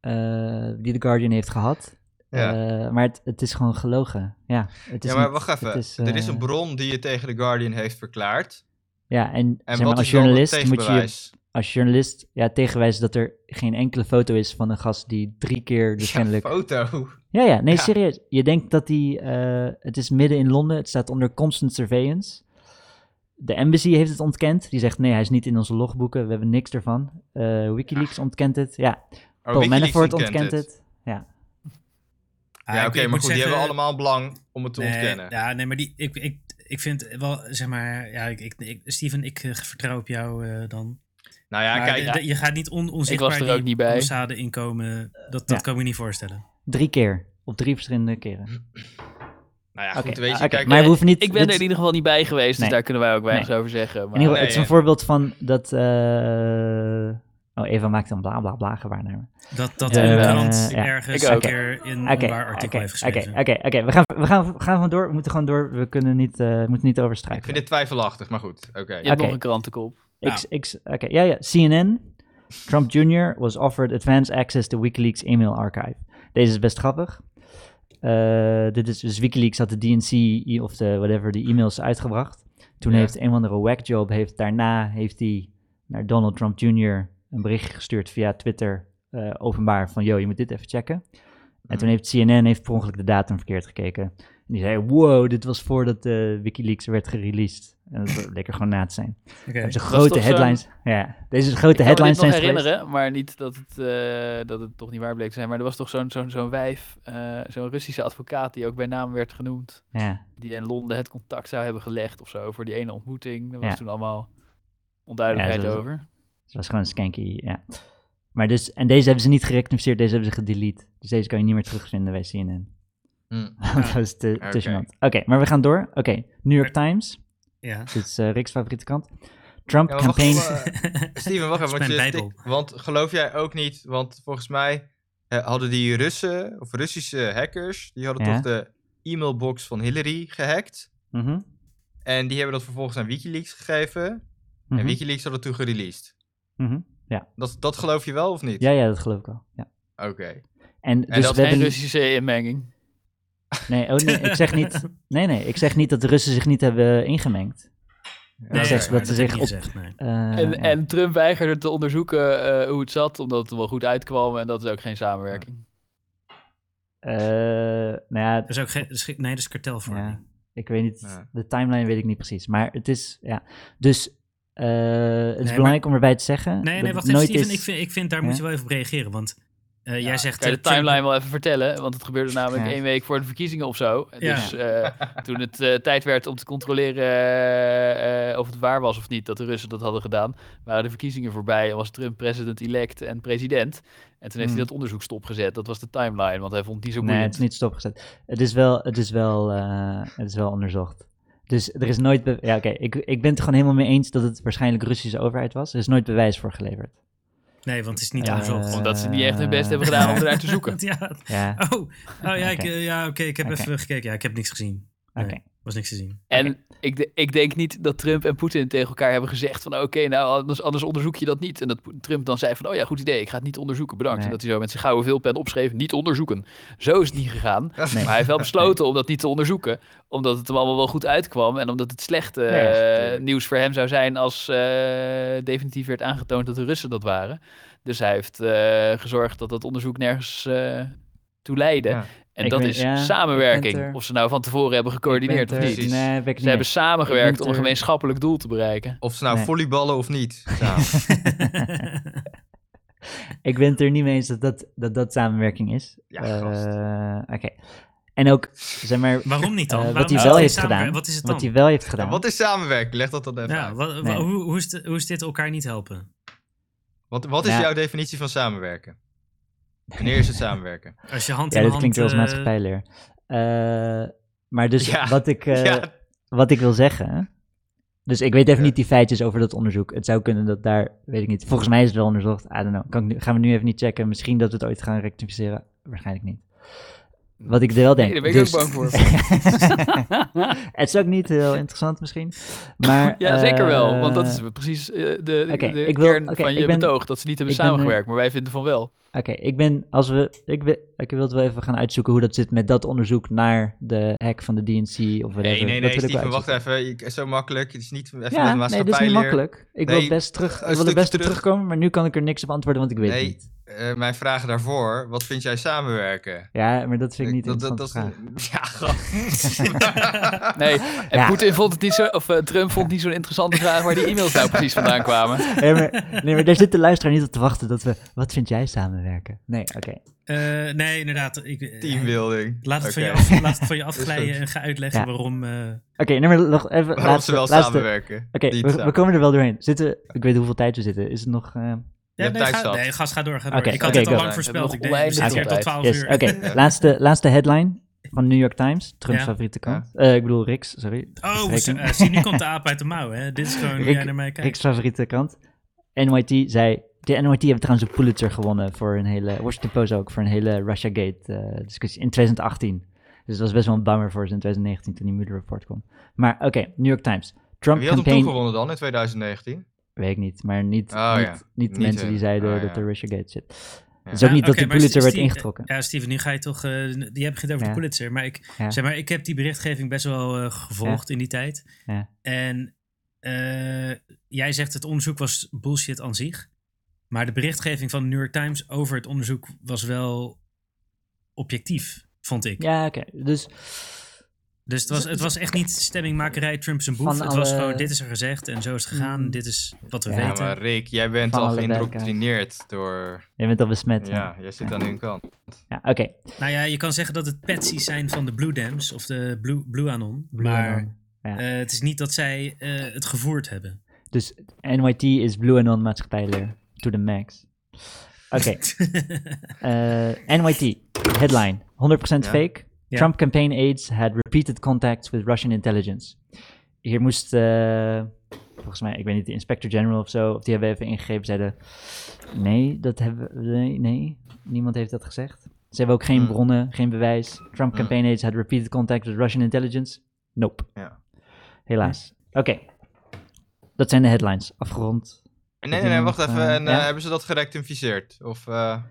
S4: eh, die The Guardian heeft gehad.
S3: Ja.
S4: Eh, maar het, het is gewoon gelogen. Ja, het is
S3: ja, maar
S4: niet-
S3: wacht
S4: het
S3: even.
S4: is,
S3: Er is
S4: eh,
S3: een bron die het tegen The Guardian heeft verklaard.
S4: Ja, en,
S3: En
S4: zeg maar,
S3: wat
S4: als
S3: is dan het
S4: journalist moet je je
S3: tegenbewijs?
S4: als journalist ja, tegenwijzen dat er geen enkele foto is van een gast die drie keer dus
S3: Ja,
S4: kennelijk...
S3: foto.
S4: Ja, ja, nee,
S3: Ja.
S4: serieus. Je denkt dat die... eh, het is midden in Londen, het staat onder constant surveillance. De embassy heeft het ontkend. Die zegt, nee, hij is niet in onze logboeken, we hebben niks ervan. Eh, Wikileaks ontkent het, ja.
S3: Oh,
S4: Paul
S3: Wikileaks
S4: Manafort ontkent het.
S1: Ah,
S3: Ja,
S1: ik-
S3: oké,
S1: ik
S3: maar
S1: moet
S3: goed, die hebben
S1: zeggen-
S3: allemaal belang om het te
S1: nee,
S3: ontkennen.
S1: Ja, nee, maar die, ik, ik, ik vind wel, zeg maar, ja, ik, ik, ik- Steven, ik eh, vertrouw op jou eh, dan.
S3: Nou ja,
S1: Maar
S3: kijk,
S1: de- de- je gaat niet on, onzichtbaar
S5: was er
S1: die
S5: ook niet bij.
S1: ambassade inkomen, dat, dat
S4: Ja.
S1: kan ik me niet voorstellen.
S4: Drie keer, op drie verschillende keren.
S3: nou ja,
S4: Oké,
S3: goed, weet je,
S4: oké,
S3: kijk,
S4: maar we
S5: eh,
S4: hoeven niet...
S5: Ik ben
S4: dit-
S5: er in ieder geval niet bij geweest,
S4: Nee.
S5: dus daar kunnen wij ook weinig over zeggen.
S4: in
S5: Maar...
S4: ieder geval,
S3: Nee,
S4: het is een
S3: ja.
S4: voorbeeld van dat... eh, Oh, Eva maakt een bla bla bla gewaarname.
S1: Dat, dat
S5: Ja,
S1: een
S5: ja.
S1: krant
S4: Ja,
S1: ergens
S5: ik
S1: een
S5: ook.
S1: keer in een
S4: Oké,
S1: waar artikel
S4: oké,
S1: heeft
S4: oké,
S1: geschreven.
S4: Oké, oké, we gaan, we, gaan, we gaan gewoon door. We moeten gewoon door. We kunnen niet, eh, we moeten niet
S3: ik vind
S4: overstrijken.
S3: dit twijfelachtig, maar goed, oké.
S5: Je hebt
S4: Oké.
S5: nog een krantenkop.
S1: Ja.
S4: X, X, oké, ja, ja. CNN. Trump Jr. was offered advanced access to WikiLeaks email archive. Deze is best grappig. eh, dit is dus Wikileaks had de DNC i- of de whatever de e-mails uitgebracht. Toen
S3: Ja.
S4: heeft een of andere whackjob heeft daarna heeft hij naar Donald Trump Jr. een bericht gestuurd via Twitter eh, openbaar van yo je moet dit even checken. En toen heeft CNN heeft per ongeluk de datum verkeerd gekeken. En die zei wow dit was voordat eh, Wikileaks werd gereleased. En dat lekker gewoon na te zijn.
S1: Oké.
S4: Dat zijn
S5: was
S4: grote
S5: toch zo'n-
S4: headlines. Ja, deze grote headlines
S5: Ik kan
S4: zijn
S5: me dit nog
S4: geweest.
S5: herinneren, maar niet dat het, eh, dat het toch niet waar bleek te zijn. Maar er was toch zo'n zo'n zo'n wijf, eh, zo'n Russische advocaat die ook bij naam werd genoemd.
S4: Ja,
S5: Die in Londen het contact zou hebben gelegd of zo voor die ene ontmoeting. Daar was
S4: Ja.
S5: toen allemaal onduidelijkheid
S4: Ja, zo- dus
S5: over.
S4: het was gewoon skanky, ja. Maar dus, en deze hebben ze niet gerectificeerd, deze hebben ze gedelete. Dus deze kan je niet meer terugvinden bij CNN.
S3: Mm.
S5: Hm.
S4: Want dat is te, te
S3: Oké.
S4: gênant. Oké, maar we gaan door. Oké, New York Times,
S1: Ja.
S4: dit is eh Rick's favoriete kant. Trump
S3: Ja, maar wacht
S4: campaign...
S3: even, eh, Steven, wacht
S1: Dat
S3: even. Want,
S1: is
S3: je
S1: mijn
S3: stik-
S1: Bijbel.
S3: want geloof jij ook niet, want volgens mij eh, hadden die Russen of Russische hackers, die hadden
S4: Ja.
S3: toch de e-mailbox van Hillary gehackt.
S4: Mhm,
S3: En die hebben dat vervolgens aan Wikileaks gegeven.
S4: mhm,
S3: En Wikileaks had het toen gereleased.
S4: mhm.
S3: Dat, dat geloof je wel of niet?
S4: Ja, ja, dat geloof ik wel. Ja.
S3: Oké.
S4: En dus
S5: Dus dat dus-
S4: we
S5: is geen
S4: hebben...
S5: Russische inmenging.
S4: Nee, oh, nee, ik zeg niet... Nee, nee, ik zeg niet dat de Russen zich niet hebben ingemengd.
S1: Nee,
S4: is echt
S1: maar
S4: dat ze
S1: heb
S4: zich
S1: ik niet gezegd, nee.
S4: Eh,
S5: en,
S4: ja.
S5: en Trump weigerde te onderzoeken eh, hoe het zat, omdat het er wel goed uitkwam. En dat is ook geen samenwerking.
S4: Eh, nou ja,
S1: Er is ook geen, er is geen- nee, dat is kartelvorming.
S4: Ja, ik weet niet,
S3: Ja.
S4: de timeline weet ik niet precies. Maar het is, ja. Dus eh, het is
S1: maar-
S4: belangrijk om erbij te zeggen.
S1: Nee,
S4: dat
S1: nee,
S4: het
S1: wacht even,
S4: nooit
S1: Steven.
S4: is-
S1: Ik, vind, ik vind, daar
S4: Ja?
S1: moet je wel even op reageren. Want eh, jij zegt...
S5: Kan je
S1: eh,
S5: de
S1: Trump-
S5: timeline wel even vertellen? Want het gebeurde namelijk
S4: Ja.
S5: één week voor de verkiezingen of zo.
S1: Ja.
S5: Dus eh, toen het eh, tijd werd om te controleren eh, eh, of het waar was of niet dat de Russen dat hadden gedaan, waren de verkiezingen voorbij en was Trump president-elect en president. En toen heeft
S4: Hmm.
S5: hij dat onderzoek stopgezet. Dat was de timeline, want hij vond die zo
S4: nee,
S5: boeiend.
S4: het is niet stopgezet. Het is wel, het is wel, eh, het is wel onderzocht. Dus er is nooit. be- Ja, oké. Ik, ik ben het er gewoon helemaal mee eens dat het waarschijnlijk Russische overheid was. Er is nooit bewijs voor geleverd.
S1: Nee, want het is niet
S4: Ja, eh,
S1: onderzocht.
S5: Omdat ze niet echt hun best hebben gedaan om ernaar te zoeken.
S1: Ja,
S4: Ja,
S1: oh, oh ja, ik,
S4: Oké.
S1: eh, ja oké, ik heb
S4: Oké.
S1: even gekeken. Ja, ik heb niks gezien.
S4: oké.
S1: Nee. was niks te zien.
S5: En ik, de- ik denk niet dat Trump en Poetin tegen elkaar hebben gezegd van oké, nou anders, anders onderzoek je dat niet. En dat Po- Trump dan zei van oh ja, goed idee, ik ga het niet onderzoeken, bedankt.
S4: Nee.
S5: En dat hij zo met zijn gouden vulpen opschreef, niet onderzoeken. Zo is het niet gegaan.
S4: Nee.
S5: Maar hij heeft wel besloten om dat niet te onderzoeken, omdat het hem allemaal wel goed uitkwam. En omdat het slecht eh,
S3: Ja, natuurlijk.
S5: nieuws voor hem zou zijn als eh, definitief werd aangetoond dat de Russen dat waren. Dus hij heeft eh, gezorgd dat dat onderzoek nergens eh, toe leidde.
S3: Ja.
S5: En
S4: Ik
S5: dat
S4: ben-
S5: is
S4: ja,
S5: samenwerking.
S4: ik ben het er-
S5: Of ze nou van tevoren hebben
S4: Ik
S5: gecoördineerd
S4: ben
S5: of
S4: het er-
S5: niet.
S3: Precies.
S4: Nee, ben ik
S5: Ze hebben
S4: niet. Ik eh,
S5: samengewerkt om
S4: ben
S5: een
S4: het er-
S5: gemeenschappelijk doel te bereiken.
S3: Of ze nou
S4: Nee.
S3: volleyballen of niet. Nou,
S4: Ik ben het er niet mee eens dat dat, dat, dat samenwerking is.
S3: Ja,
S4: Eh,
S3: gast.
S4: Oké. En ook, zeg maar,
S1: Waarom niet dan?
S4: eh,
S1: Waarom
S4: wat
S1: is
S4: hij
S1: het
S4: wel
S1: geen
S4: heeft
S1: samenwer-
S4: gedaan.
S1: Wat is het dan?
S4: Wat hij wel heeft gedaan.
S3: wat is samenwerking? Leg dat dan even
S1: ja,
S3: uit.
S1: wa- wa-
S4: Nee.
S1: hoe, hoe, is de- hoe is dit elkaar niet helpen?
S3: Wat, wat is
S4: Ja.
S3: jouw definitie van samenwerken? Wanneer is het samenwerken?
S1: Als je hand
S4: Ja,
S1: in
S4: dit
S1: hand...
S4: klinkt wel als
S1: eh,
S4: maatschappijleer. Eh, maar dus
S3: Ja,
S4: wat, ik, eh,
S3: ja,
S4: wat ik wil zeggen. Dus ik weet even
S3: Ja.
S4: niet die feitjes over dat onderzoek. Het zou kunnen dat daar, weet ik niet. Volgens mij is het wel onderzocht. I don't know. Kan ik nu, gaan we nu even niet checken. Misschien dat we het ooit gaan rectificeren. Waarschijnlijk niet. Wat ik er wel denk.
S5: Nee, daar ben ik
S4: dus-
S5: ook bang voor.
S4: het is ook niet heel interessant misschien. Maar,
S5: Ja, zeker wel.
S4: eh,
S5: Want dat is precies eh, de, de,
S4: oké,
S5: de
S4: ik wil-
S5: kern
S4: oké,
S5: van je
S4: ik ben-
S5: betoog. Dat ze niet hebben
S4: ik ben, eh,
S5: samengewerkt, maar wij vinden van wel.
S4: Oké, ik ben, als we, ik, wil, ik wil het wel even gaan uitzoeken hoe dat zit met dat onderzoek naar de hack van de DNC of
S3: Nee, nee,
S4: whatever. Dat wil
S3: nee,
S4: ik wel
S3: Steven, wacht
S4: uitzoeken.
S3: even. Ik- zo makkelijk. Het is niet even
S4: Ja,
S3: met
S4: nee, dat is niet
S3: maatschappijleer.
S4: makkelijk. Ik wil
S3: Nee,
S4: het best terug,
S3: een
S4: ik wil het
S3: stukje
S4: best op
S3: terug.
S4: terugkomen, maar nu kan ik er niks op antwoorden, want ik weet
S3: Nee.
S4: het niet.
S3: Eh, mijn vraag daarvoor, wat vind jij samenwerken?
S4: Ja, maar dat vind ik niet een
S3: dat, dat,
S4: interessante
S3: dat, is-
S4: vraag.
S3: Ja, gast.
S5: Nee, en
S4: Ja.
S5: Poetin vond het niet zo, of eh, Trump vond het niet zo'n interessante vraag waar die e-mails nou precies vandaan kwamen.
S4: Nee, maar, nee, maar daar zit de luisteraar niet op te wachten dat we, wat vind jij samenwerken? Nee, oké.
S1: eh, nee, inderdaad. Ik, eh,
S3: Teambuilding.
S1: Laat het, van je
S3: Oké.
S1: af, laat het van je afglijden
S3: goed.
S1: en ga uitleggen
S4: Ja.
S1: waarom... eh,
S4: Oké, nee, maar nog even
S3: Waarom ze
S4: laatste,
S3: wel
S4: laatste.
S3: samenwerken.
S4: Oké,
S3: Niet
S4: we, we
S3: samen-
S4: komen er wel doorheen. Zitten, we- ik weet hoeveel tijd we zitten. Is het nog...
S3: Je
S4: eh,
S3: hebt
S1: nee,
S3: tijd
S1: ga-
S3: zat.
S1: nee, gast, ga door. Ga door.
S4: Oké,
S1: ik had
S4: oké,
S1: het al
S4: go.
S1: lang voorspeld.
S5: We
S1: Ik
S5: hebben
S1: denk, we
S5: nog
S1: zitten hier
S5: onwijs
S1: tot
S5: veel
S1: 12
S4: Yes,
S1: uur.
S4: oké. Laatste, laatste headline van New York Times. Trumps
S1: Ja.
S4: favoriete
S3: Ja.
S4: kant. Eh, ik bedoel Riks, sorry.
S1: Oh,
S4: Verstreking.
S1: eh, zie, nu komt de aap uit de mouw. Hè. Dit is gewoon hoe
S4: Rick-
S1: jij naar mij kijkt.
S4: Riks favoriete kant. NYT zei... De NYT hebben trouwens een Pulitzer gewonnen voor een hele... Washington Post ook, voor een hele Russiagate eh discussie in 2018. Dus dat was best wel een bummer voor ze in 2019 toen die Mueller rapport kwam. Maar oké, New York Times. Trump
S3: Wie had hem toen
S4: campaign...
S3: gewonnen dan in 2019?
S4: Weet ik niet, maar niet,
S3: Oh,
S4: niet,
S3: ja.
S4: niet de
S3: Niet
S4: mensen
S3: hun.
S4: die zeiden
S3: Ah,
S4: dat
S3: ja.
S4: er Russiagate zit. Het is ook
S1: Ja,
S4: niet
S1: Ah, oké,
S4: dat de
S1: maar
S4: Pulitzer werd
S1: Steven-
S4: ingetrokken.
S1: Ja, Steven, nu ga je toch. eh jij begint over
S4: Ja.
S1: de Pulitzer. Maar ik,
S4: Ja.
S1: zeg maar ik heb die berichtgeving best wel eh, gevolgd in die tijd.
S4: Ja.
S1: En eh, jij zegt het onderzoek was bullshit aan zich. Maar de berichtgeving van de New York Times over het onderzoek was wel objectief, vond ik.
S4: Ja, oké. Dus
S1: Dus het was, het was echt niet stemmingmakerij, Trump is een boef.
S4: Van
S1: het was
S4: alle-
S1: gewoon, dit is er gezegd en zo is het gegaan.
S4: Mm.
S1: Dit is wat we
S4: Ja,
S3: Ja,
S1: weten.
S3: maar Rick, jij bent
S4: Van
S3: al
S4: alle
S3: geïndoctrineerd door...
S4: jij bent al besmet. hè?
S3: Ja, jij zit aan hun kant.
S4: Ja, oké.
S1: Nou ja, je kan zeggen dat het patsies zijn van de Blue Dams of de Blue, Blue Anon.
S4: Blue
S1: maar
S4: Anon, ja.
S1: eh, het is niet dat zij eh, het gevoerd hebben.
S4: Dus NYT is Blue Anon maatschappijleer. To the max. Oké. Uh, NYT, headline, 100%
S3: Ja.
S4: fake.
S1: Ja.
S4: Trump campaign aides had repeated contacts with Russian intelligence. Hier moest, eh, volgens mij, ik weet niet, de inspector-general of zo, of die hebben even ingegeven, zeiden, nee, dat hebben we, nee, nee, niemand heeft dat gezegd. Ze hebben ook geen
S3: Mm.
S4: bronnen, geen bewijs. Trump
S3: Mm.
S4: campaign aides had repeated contacts with Russian intelligence. Nope,
S3: Ja.
S4: helaas. Oké, dat zijn de headlines, afgerond.
S3: Nee, nee, nee, wacht
S4: iemand,
S3: even.
S4: eh,
S3: En, eh,
S4: ja?
S3: Hebben ze dat gerectificeerd? Of, eh,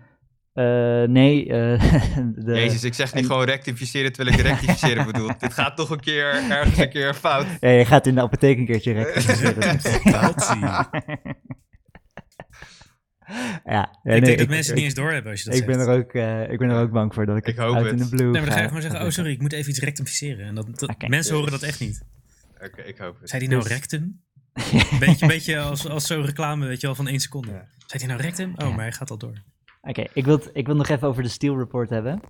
S4: Eh, nee, eh, de,
S3: Jezus, ik zeg niet
S4: en-
S3: gewoon rectificeren terwijl ik rectificeren bedoel. Dit gaat toch een keer, ergens een keer fout.
S4: Ja, je gaat in de apotheek een keertje rectificeren. ja, ja, nee,
S1: ik denk dat mensen het niet eens doorhebben als je dat
S4: ik
S1: zegt.
S4: ben, er ook, eh, ik ben er ook bang voor dat ik,
S3: Ik
S4: het
S3: hoop
S4: uit
S3: het.
S4: in de blue
S1: Nee, maar dan ga je
S4: ga.
S1: gewoon zeggen, oh sorry, ik moet even iets rectificeren. En dat, dat-
S4: Oké.
S1: Mensen horen dat echt niet.
S3: Oké, ik hoop het.
S1: Zei die nou
S4: Dus-
S1: rectum? Beetje, beetje als, als zo'n reclame, weet je wel, van één seconde.
S3: Ja.
S1: Zei die nou rectum? Oh, maar hij gaat al door.
S4: Oké, ik, wil, het- ik wil nog even over de Steel Report hebben.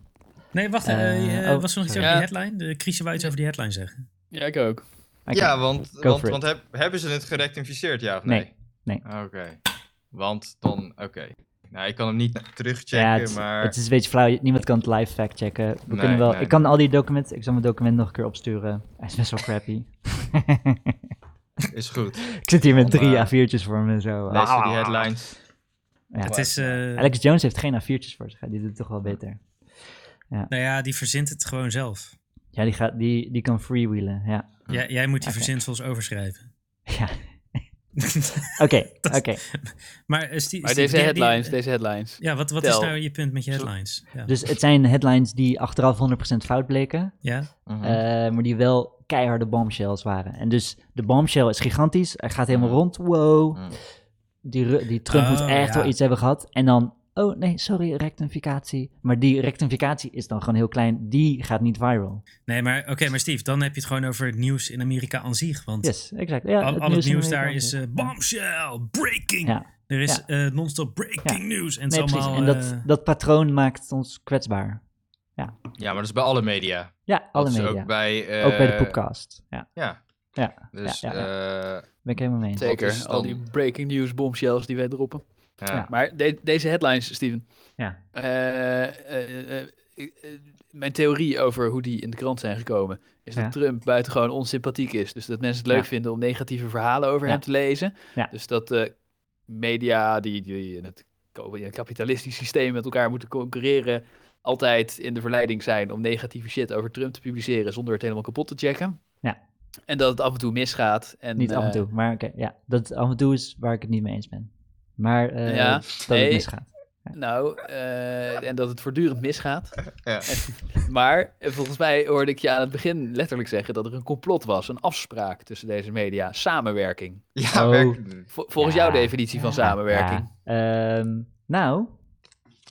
S1: Nee, wacht, eh,
S4: Eh,
S1: je-
S4: oh,
S1: was er nog iets
S4: sorry.
S1: over die
S5: Ja.
S1: headline? De Chrisje wou iets over die headline zeggen.
S5: Ja, ik ook.
S4: Oké.
S3: Ja, want,
S4: go
S3: want,
S4: for
S3: want heb- hebben ze het gerectificeerd, ja of
S4: Nee,
S3: nee?
S4: nee.
S3: Oké. Want dan, oké. Nou, ik kan hem niet terugchecken,
S4: ja, het, is-
S3: maar...
S4: het is een beetje flauw. Niemand kan het live fact checken. We
S3: Nee,
S4: kunnen wel,
S3: nee,
S4: ik kan al die documenten, ik zal mijn document nog een keer opsturen. Hij is best wel crappy.
S3: Is goed.
S4: ik zit hier met
S3: Om,
S4: drie
S3: eh,
S4: A4'tjes voor me en zo.
S3: Lees je die headlines.
S4: Ja.
S1: Het is, eh,
S4: Alex Jones heeft geen A4'tjes voor zich. hè. Die doet het toch wel beter.
S1: nou ja, die verzint het gewoon zelf.
S4: Ja, die, gaat, die, die kan freewheelen, ja.
S1: Jij, jij moet die
S4: Hm. Oké.
S1: verzinsels overschrijven.
S4: Ja. Oké, oké.
S1: maar eh, Steve-
S5: Maar
S1: Steve,
S5: deze
S1: die- die-
S5: headlines, deze headlines.
S1: Ja, wat, wat is
S5: Tel.
S1: nou je punt met je
S5: Zo-
S1: headlines? Ja.
S4: Dus het zijn headlines die achteraf 100% fout bleken,
S1: ja?
S3: Mhm.
S4: eh, maar die wel keiharde bombshells waren. En dus de bombshell is gigantisch, hij gaat helemaal rond, wow.
S3: Mm.
S4: Die, Ru- die Trump moet
S1: Mhm. Oh,
S4: echt
S1: ja.
S4: wel iets hebben gehad. En dan, oh nee, sorry, rectificatie. Maar die rectificatie is dan gewoon heel klein, die gaat niet viral.
S1: Nee, maar oké, maar Steve, dan heb je het gewoon over het nieuws in Amerika aan zich. Want
S4: Yes, exact. Ja,
S1: al, al het
S4: in
S1: nieuws daar
S4: Amerika
S1: is
S4: ook,
S1: eh,
S4: ja.
S1: bombshell, breaking.
S4: Ja.
S1: Er is
S4: Ja.
S1: eh, non-stop breaking
S4: Ja.
S1: news. En het
S4: Nee,
S1: is
S4: precies.
S1: allemaal...
S4: En dat,
S1: eh,
S4: dat patroon maakt ons kwetsbaar.
S3: Ja, maar dat is bij alle media.
S4: Ja, alle
S3: dat is
S4: media.
S3: ook bij... eh,
S4: ook bij de podcast. Ja,
S3: Ja.
S4: Ja,
S3: Dus,
S4: ja,
S3: ja,
S4: ja, ben ik helemaal mee eens.
S3: Wat is
S5: Zeker, al
S3: dan-
S5: die breaking news bombshells die wij droppen.
S4: Ja.
S5: Maar de- deze headlines, Steven.
S4: Ja.
S5: Eh, eh, eh, ik- eh, mijn theorie over hoe die in de krant zijn gekomen is
S4: Ja.
S5: dat Trump buitengewoon onsympathiek is. Dus dat mensen het leuk
S4: Ja.
S5: vinden om negatieve verhalen over
S4: Ja.
S5: hem te lezen.
S4: Ja.
S5: Dus dat eh, media die, die in het ko- in het kapitalistisch systeem met elkaar moeten concurreren, altijd in de verleiding zijn om negatieve shit over Trump te publiceren zonder het helemaal kapot te checken.
S4: Ja.
S5: En dat het af en toe misgaat. En,
S4: Niet af en
S5: eh,
S4: toe, maar oké, ja. Dat af en toe is waar ik het niet mee eens ben. Maar eh,
S5: Ja,
S4: dat het
S5: nee.
S4: misgaat.
S5: Nou, eh, en dat het voortdurend misgaat.
S3: Ja.
S5: Maar eh, volgens mij hoorde ik je aan het begin letterlijk zeggen dat er een complot was, een afspraak tussen deze media, samenwerking.
S3: Ja,
S4: Oh.
S3: werk-
S5: Vo- volgens
S4: Ja,
S5: jouw definitie van samenwerking.
S4: Ja, ehm, nou,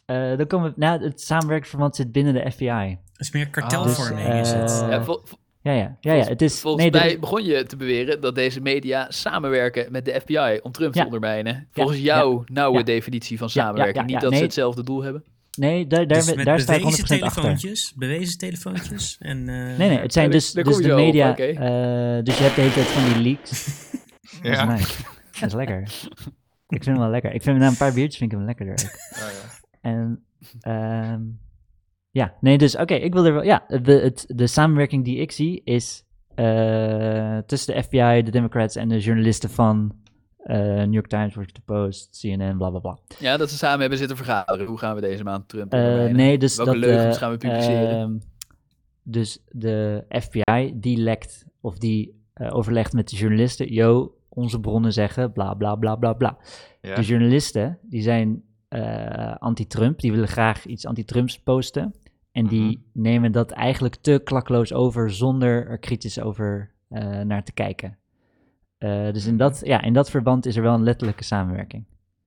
S4: eh, dan komen we, nou, het samenwerkingsverband zit binnen de FBI.
S1: het is meer kartelvorming
S4: Dus,
S1: is het.
S4: eh,
S5: Ah. Ja, vol- vol-
S4: Ja, ja, ja, ja het is...
S5: volgens
S4: nee, er-
S5: mij begon je te beweren dat deze media samenwerken met de FBI om Trump
S4: Ja.
S5: te ondermijnen. Volgens
S4: ja,
S5: jouw nauwe
S4: ja.
S5: definitie van
S4: ja,
S5: samenwerking.
S4: ja, ja,
S5: Niet dat
S4: nee.
S5: ze hetzelfde doel hebben.
S4: nee, daar, daar,
S1: Dus met
S4: daar sta ik 100%
S1: bewezen
S4: achter.
S1: telefoontjes, bewezen telefoontjes en... eh,
S4: Nee, nee, het zijn
S5: Ja, daar-
S4: dus,
S5: daar
S4: dus
S5: kom je
S4: de
S5: zo op,
S4: media...
S5: oké.
S4: eh, dus je hebt de hele tijd van die leaks. Dat is
S3: Ja.
S4: nice. Dat is lekker. Ik vind hem wel lekker. Ik vind hem na een paar biertjes vind ik hem lekkerder ook.
S3: Oh, ja.
S4: En ehm, ja, nee, dus oké, ik wil er wel. Ja, de, het, de samenwerking die ik zie is eh, tussen de FBI, de Democrats en de journalisten van eh, New York Times, Washington Post, CNN, bla bla bla.
S5: Ja, dat ze samen hebben zitten vergaderen. Hoe gaan we deze maand Trump
S4: Eh,
S5: ondermijnen?
S4: nee, dus
S5: Welke
S4: dat,
S5: leugens
S4: eh,
S5: gaan we publiceren?
S4: ehm, dus de FBI die lekt of die eh, overlegt met de journalisten. Yo, onze bronnen zeggen bla bla bla bla bla.
S3: Ja.
S4: De journalisten die zijn eh, anti-Trump. Die willen graag iets anti-Trumps posten. En die
S5: Mhm.
S4: nemen dat eigenlijk te klakloos over zonder er kritisch over eh, naar te kijken. Eh,
S5: Mhm.
S4: dus in dat, ja, in dat verband is er wel een letterlijke samenwerking.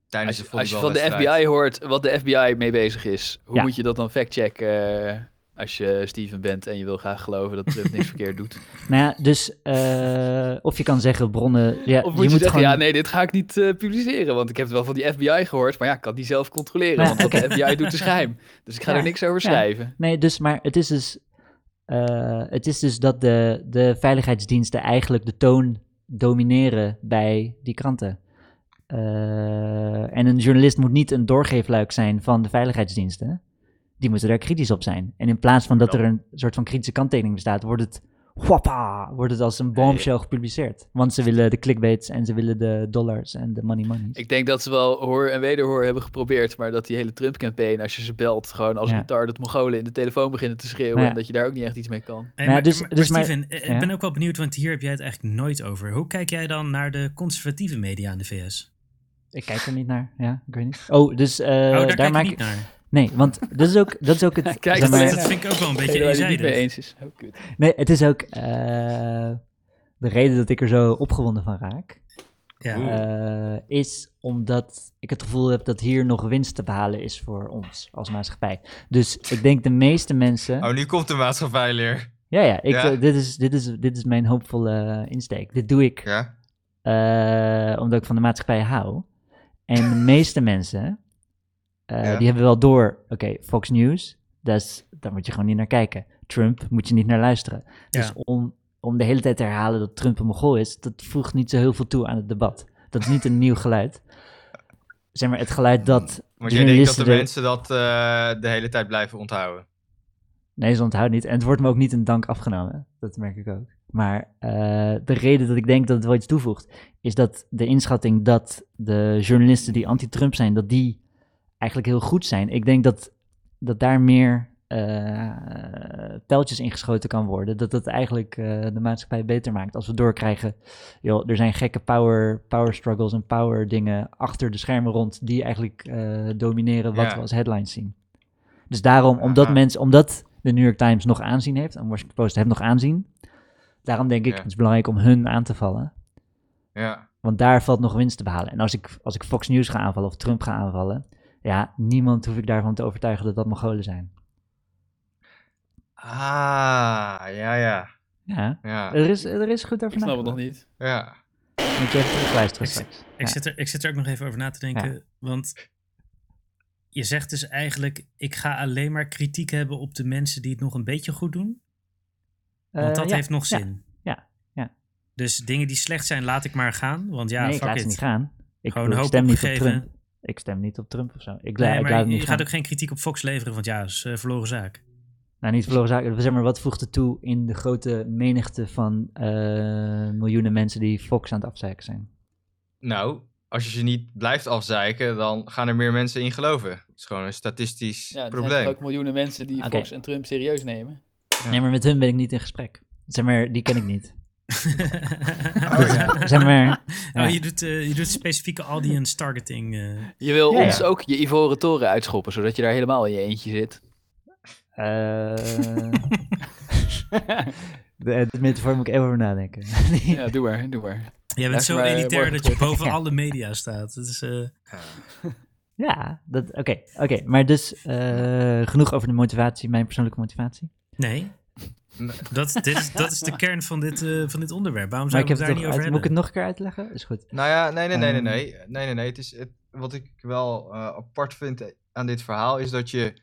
S3: Tijdens
S5: Als je,
S3: de
S5: als je van de
S3: volleybalwedstrijd.
S5: FBI hoort wat de FBI mee bezig is, hoe
S4: Ja.
S5: moet je dat dan factchecken eh, als je Steven bent en je wil graag geloven dat Trump niks verkeerd doet?
S4: Nou ja, dus eh, of je kan zeggen bronnen... Ja,
S5: Of moet je,
S4: je moet
S5: zeggen,
S4: gewoon...
S5: ja nee, dit ga ik niet eh, publiceren, want ik heb het wel van die FBI gehoord, maar ja, ik kan die zelf controleren,
S4: Ja,
S5: want wat de FBI doet is geheim. Dus ik ga
S4: Ja,
S5: er niks over
S4: ja.
S5: schrijven.
S4: Nee, dus, maar het is dus, eh, het is dus dat de, de veiligheidsdiensten eigenlijk de toon domineren bij die kranten. Eh, en een journalist moet niet een doorgeefluik zijn van de veiligheidsdiensten. Die moeten daar kritisch op zijn. En in plaats van dat er een soort van kritische kanttekening bestaat, wordt het, wappa, wordt het als een bombshell gepubliceerd. Want ze willen de clickbaits en ze willen de dollars en de money money.
S5: Ik denk dat ze wel hoor en wederhoor hebben geprobeerd, maar dat die hele Trump-campaign, als je ze belt, gewoon als
S4: Ja.
S5: retarded Mongolen in de telefoon beginnen te schreeuwen
S4: Nou ja.
S5: en dat je daar ook niet echt iets mee kan.
S4: Nou,
S1: maar,
S4: dus-
S1: maar-
S4: dus
S1: maar
S4: maar-
S1: Steven, eh,
S4: ja.
S1: ik ben ook wel benieuwd, want hier heb jij het eigenlijk nooit over. Hoe kijk jij dan naar de conservatieve media in de VS?
S4: Ik kijk er niet naar, ja, ik weet niet. Oh, dus eh,
S1: oh, daar,
S4: daar,
S1: kijk
S4: maak
S1: ik
S4: ik...
S1: niet naar.
S4: Nee, want dat is ook, dat is ook het...
S5: Kijk,
S4: zeg
S5: dat
S4: maar-
S5: is
S1: Dat vind ik ook wel een beetje
S5: Iedereen die het niet mee
S1: eenzijdig.
S5: eens is. Oh, kut.
S4: Nee, het is ook eh, de reden dat ik er zo opgewonden van raak.
S1: Ja.
S3: Oeh.
S4: eh, is omdat ik het gevoel heb dat hier nog winst te behalen is voor ons als maatschappij. Dus ik denk de meeste mensen.
S3: Oh, nu komt de maatschappijleer.
S4: ja, ja, ik,
S3: ja.
S4: eh, Dit, is, dit, is, dit is mijn hoopvolle eh, insteek. Dit doe ik
S3: Ja?
S4: eh, omdat ik van de maatschappij hou. En de meeste mensen, eh,
S3: Ja.
S4: die hebben wel door, oké, Fox News, dat is- daar moet je gewoon niet naar kijken. Trump moet je niet naar luisteren. Dus om, om de hele tijd te herhalen dat Trump een mogol is, dat voegt niet zo heel veel toe aan het debat. Dat is niet een nieuw geluid. Zeg maar, het geluid dat
S3: Want jij denkt dat de
S4: journalisten er-
S3: mensen dat eh, de hele tijd blijven onthouden.
S4: Nee, ze onthoudt niet. En het wordt me ook niet in dank afgenomen. Dat merk ik ook. Maar eh, de reden dat ik denk dat het wel iets toevoegt, is dat de inschatting dat de journalisten die anti-Trump zijn, dat die eigenlijk heel goed zijn. Ik denk dat, dat daar meer eh pijltjes ingeschoten kan worden. Dat dat eigenlijk eh, de maatschappij beter maakt. Als we doorkrijgen, joh, er zijn gekke power, power struggles en power dingen achter de schermen rond, die eigenlijk eh, domineren wat
S3: Ja.
S4: we als headlines zien. Dus daarom, omdat
S3: Aha.
S4: mensen, omdat de New York Times nog aanzien heeft, en Washington Post heeft nog aanzien, daarom denk ik,
S3: Ja.
S4: het is belangrijk om hun aan te vallen.
S3: Ja.
S4: Want daar valt nog winst te behalen. En als ik, als ik Fox News ga aanvallen of Trump ga aanvallen, ja, niemand hoef ik daarvan te overtuigen dat dat Mongolen zijn.
S3: Ah, ja, ja.
S4: Ja,
S3: Ja,
S4: er is, er is goed over
S5: Ik snap het nog
S4: nagedacht.
S5: niet.
S3: ja.
S4: Moet je even terugluisteren
S1: Ik zit-
S4: straks.
S1: Ik,
S4: Ja.
S1: zit er, ik zit er ook nog even over na te denken. Want je zegt dus eigenlijk: ik ga alleen maar kritiek hebben op de mensen die het nog een beetje goed doen. Want
S4: Eh,
S1: dat
S4: ja.
S1: heeft nog
S4: ja,
S1: zin.
S4: ja, ja.
S1: Dus dingen die slecht zijn, laat ik maar gaan. Want ja,
S4: nee, ik
S1: fuck
S4: laat
S1: it.
S4: ze niet gaan. Ik,
S1: Gewoon
S4: bedoel, ik
S1: hoop
S4: stem niet op
S1: opgegeven.
S4: Trump. Ik stem niet op Trump of zo. Ik, la-
S1: Nee,
S4: ik
S1: maar
S4: laat hem
S1: je
S4: niet
S1: gaat
S4: gaan.
S1: ook geen kritiek op Fox leveren, want ja, dat is eh, verloren zaak.
S4: Nou, niet verloren zaken. Zeg maar, wat voegt het toe in de grote menigte van eh, miljoenen mensen die Fox aan het afzeiken zijn?
S3: Nou, als je ze niet blijft afzeiken, dan gaan er meer mensen in geloven. Het is gewoon een statistisch
S5: Ja, er zijn
S3: probleem.
S5: ook miljoenen mensen die
S4: Oké.
S5: Fox en Trump serieus nemen.
S4: Nee, maar met hun ben ik niet in gesprek. Zeg maar, die ken ik niet.
S1: oh,
S4: Zeg maar, ja.
S1: je, doet, eh, je doet specifieke audience targeting. eh.
S5: Je wil
S4: Ja,
S5: ons
S3: ja.
S5: ook je ivoren toren uitschoppen, zodat je daar helemaal in je eentje zit.
S4: eh, de- Dit metafoor moet ik even over nadenken.
S5: Ja, doe maar, doe maar.
S1: Jij bent
S5: Leg
S1: zo
S5: maar, eh,
S1: elitair
S5: morgen
S1: dat je
S5: terug.
S1: boven
S4: Ja.
S1: alle media staat. Dat is, eh,
S4: ja, dat- oké. oké. Maar dus, eh, genoeg over de motivatie, mijn persoonlijke motivatie.
S1: nee.
S3: Nee.
S1: Dat, dit is, dat is de kern van dit, eh, van dit onderwerp. Waarom
S4: Maar
S1: zou ik het
S4: ik heb het
S1: daar
S4: toch
S1: niet
S4: uit-
S1: over
S4: Moet
S1: hebben?
S4: ik het nog een keer uitleggen? Is goed.
S3: Nou ja, nee, nee, nee, nee,
S4: Ehm.
S3: nee. Nee, nee, nee. Het is, het, wat ik wel eh, apart vind aan dit verhaal is dat je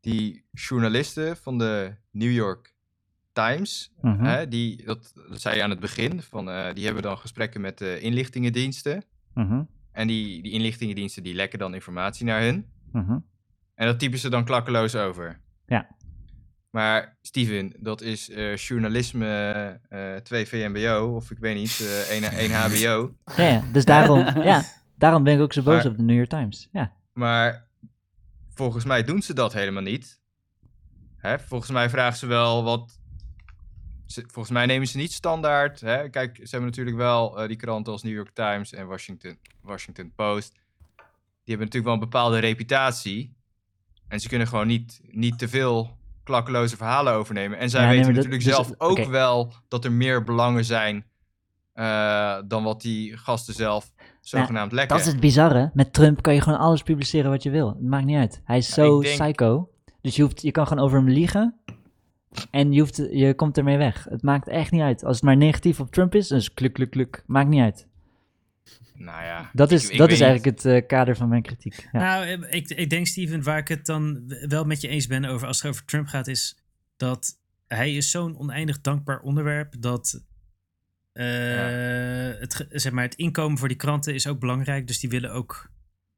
S3: die journalisten van de New York Times,
S4: Mhm.
S3: hè, die, dat, dat zei je aan het begin, van, eh, die hebben dan gesprekken met de inlichtingendiensten.
S4: Mhm.
S3: En die, die inlichtingendiensten die lekken dan informatie naar hun.
S4: Mhm.
S3: En dat typen ze dan klakkeloos over.
S4: Ja.
S3: Maar Steven, dat is eh, journalisme eh 2 VMBO, of ik weet niet, eh 1, 1 HBO.
S4: Ja, ja, dus daarom, ja, daarom ben ik ook zo boos
S3: Maar-
S4: op de New York Times. Ja.
S3: Maar volgens mij doen ze dat helemaal niet. Hè? Volgens mij vragen ze wel wat. ze- volgens mij nemen ze niet standaard. Hè? Kijk, ze hebben natuurlijk wel eh, die kranten als New York Times en Washington, Washington Post. hebben natuurlijk wel een bepaalde reputatie. En ze kunnen gewoon niet, niet te veel klakkeloze verhalen overnemen. En zij
S4: Ja, nee,
S3: weten
S4: maar dat-
S3: natuurlijk
S4: dus-
S3: zelf ook
S4: oké.
S3: wel dat er meer belangen zijn eh, dan wat die gasten zelf zogenaamd lekken.
S4: Nou, Dat is het bizarre. Met Trump kan je gewoon alles publiceren wat je wil. Het maakt niet uit. Hij is
S3: Ja,
S4: zo
S3: ik denk-
S4: psycho. Dus je, hoeft, je kan gewoon over hem liegen. En je, hoeft, je komt ermee weg. Het maakt echt niet uit. Als het maar negatief op Trump is, dan is het kluk, kluk, kluk. Maakt niet uit.
S3: Nou ja,
S4: Dat is,
S3: ik- ik
S4: dat
S3: weet
S4: is
S3: niet.
S4: eigenlijk het eh, kader van mijn kritiek. Ja.
S1: Nou, eh, ik, ik denk, Steven, waar ik het dan w- wel met je eens ben over als het over Trump gaat, is dat hij is zo'n oneindig dankbaar onderwerp dat eh, het, ge- zeg maar, het inkomen voor die kranten is ook belangrijk. Dus die willen ook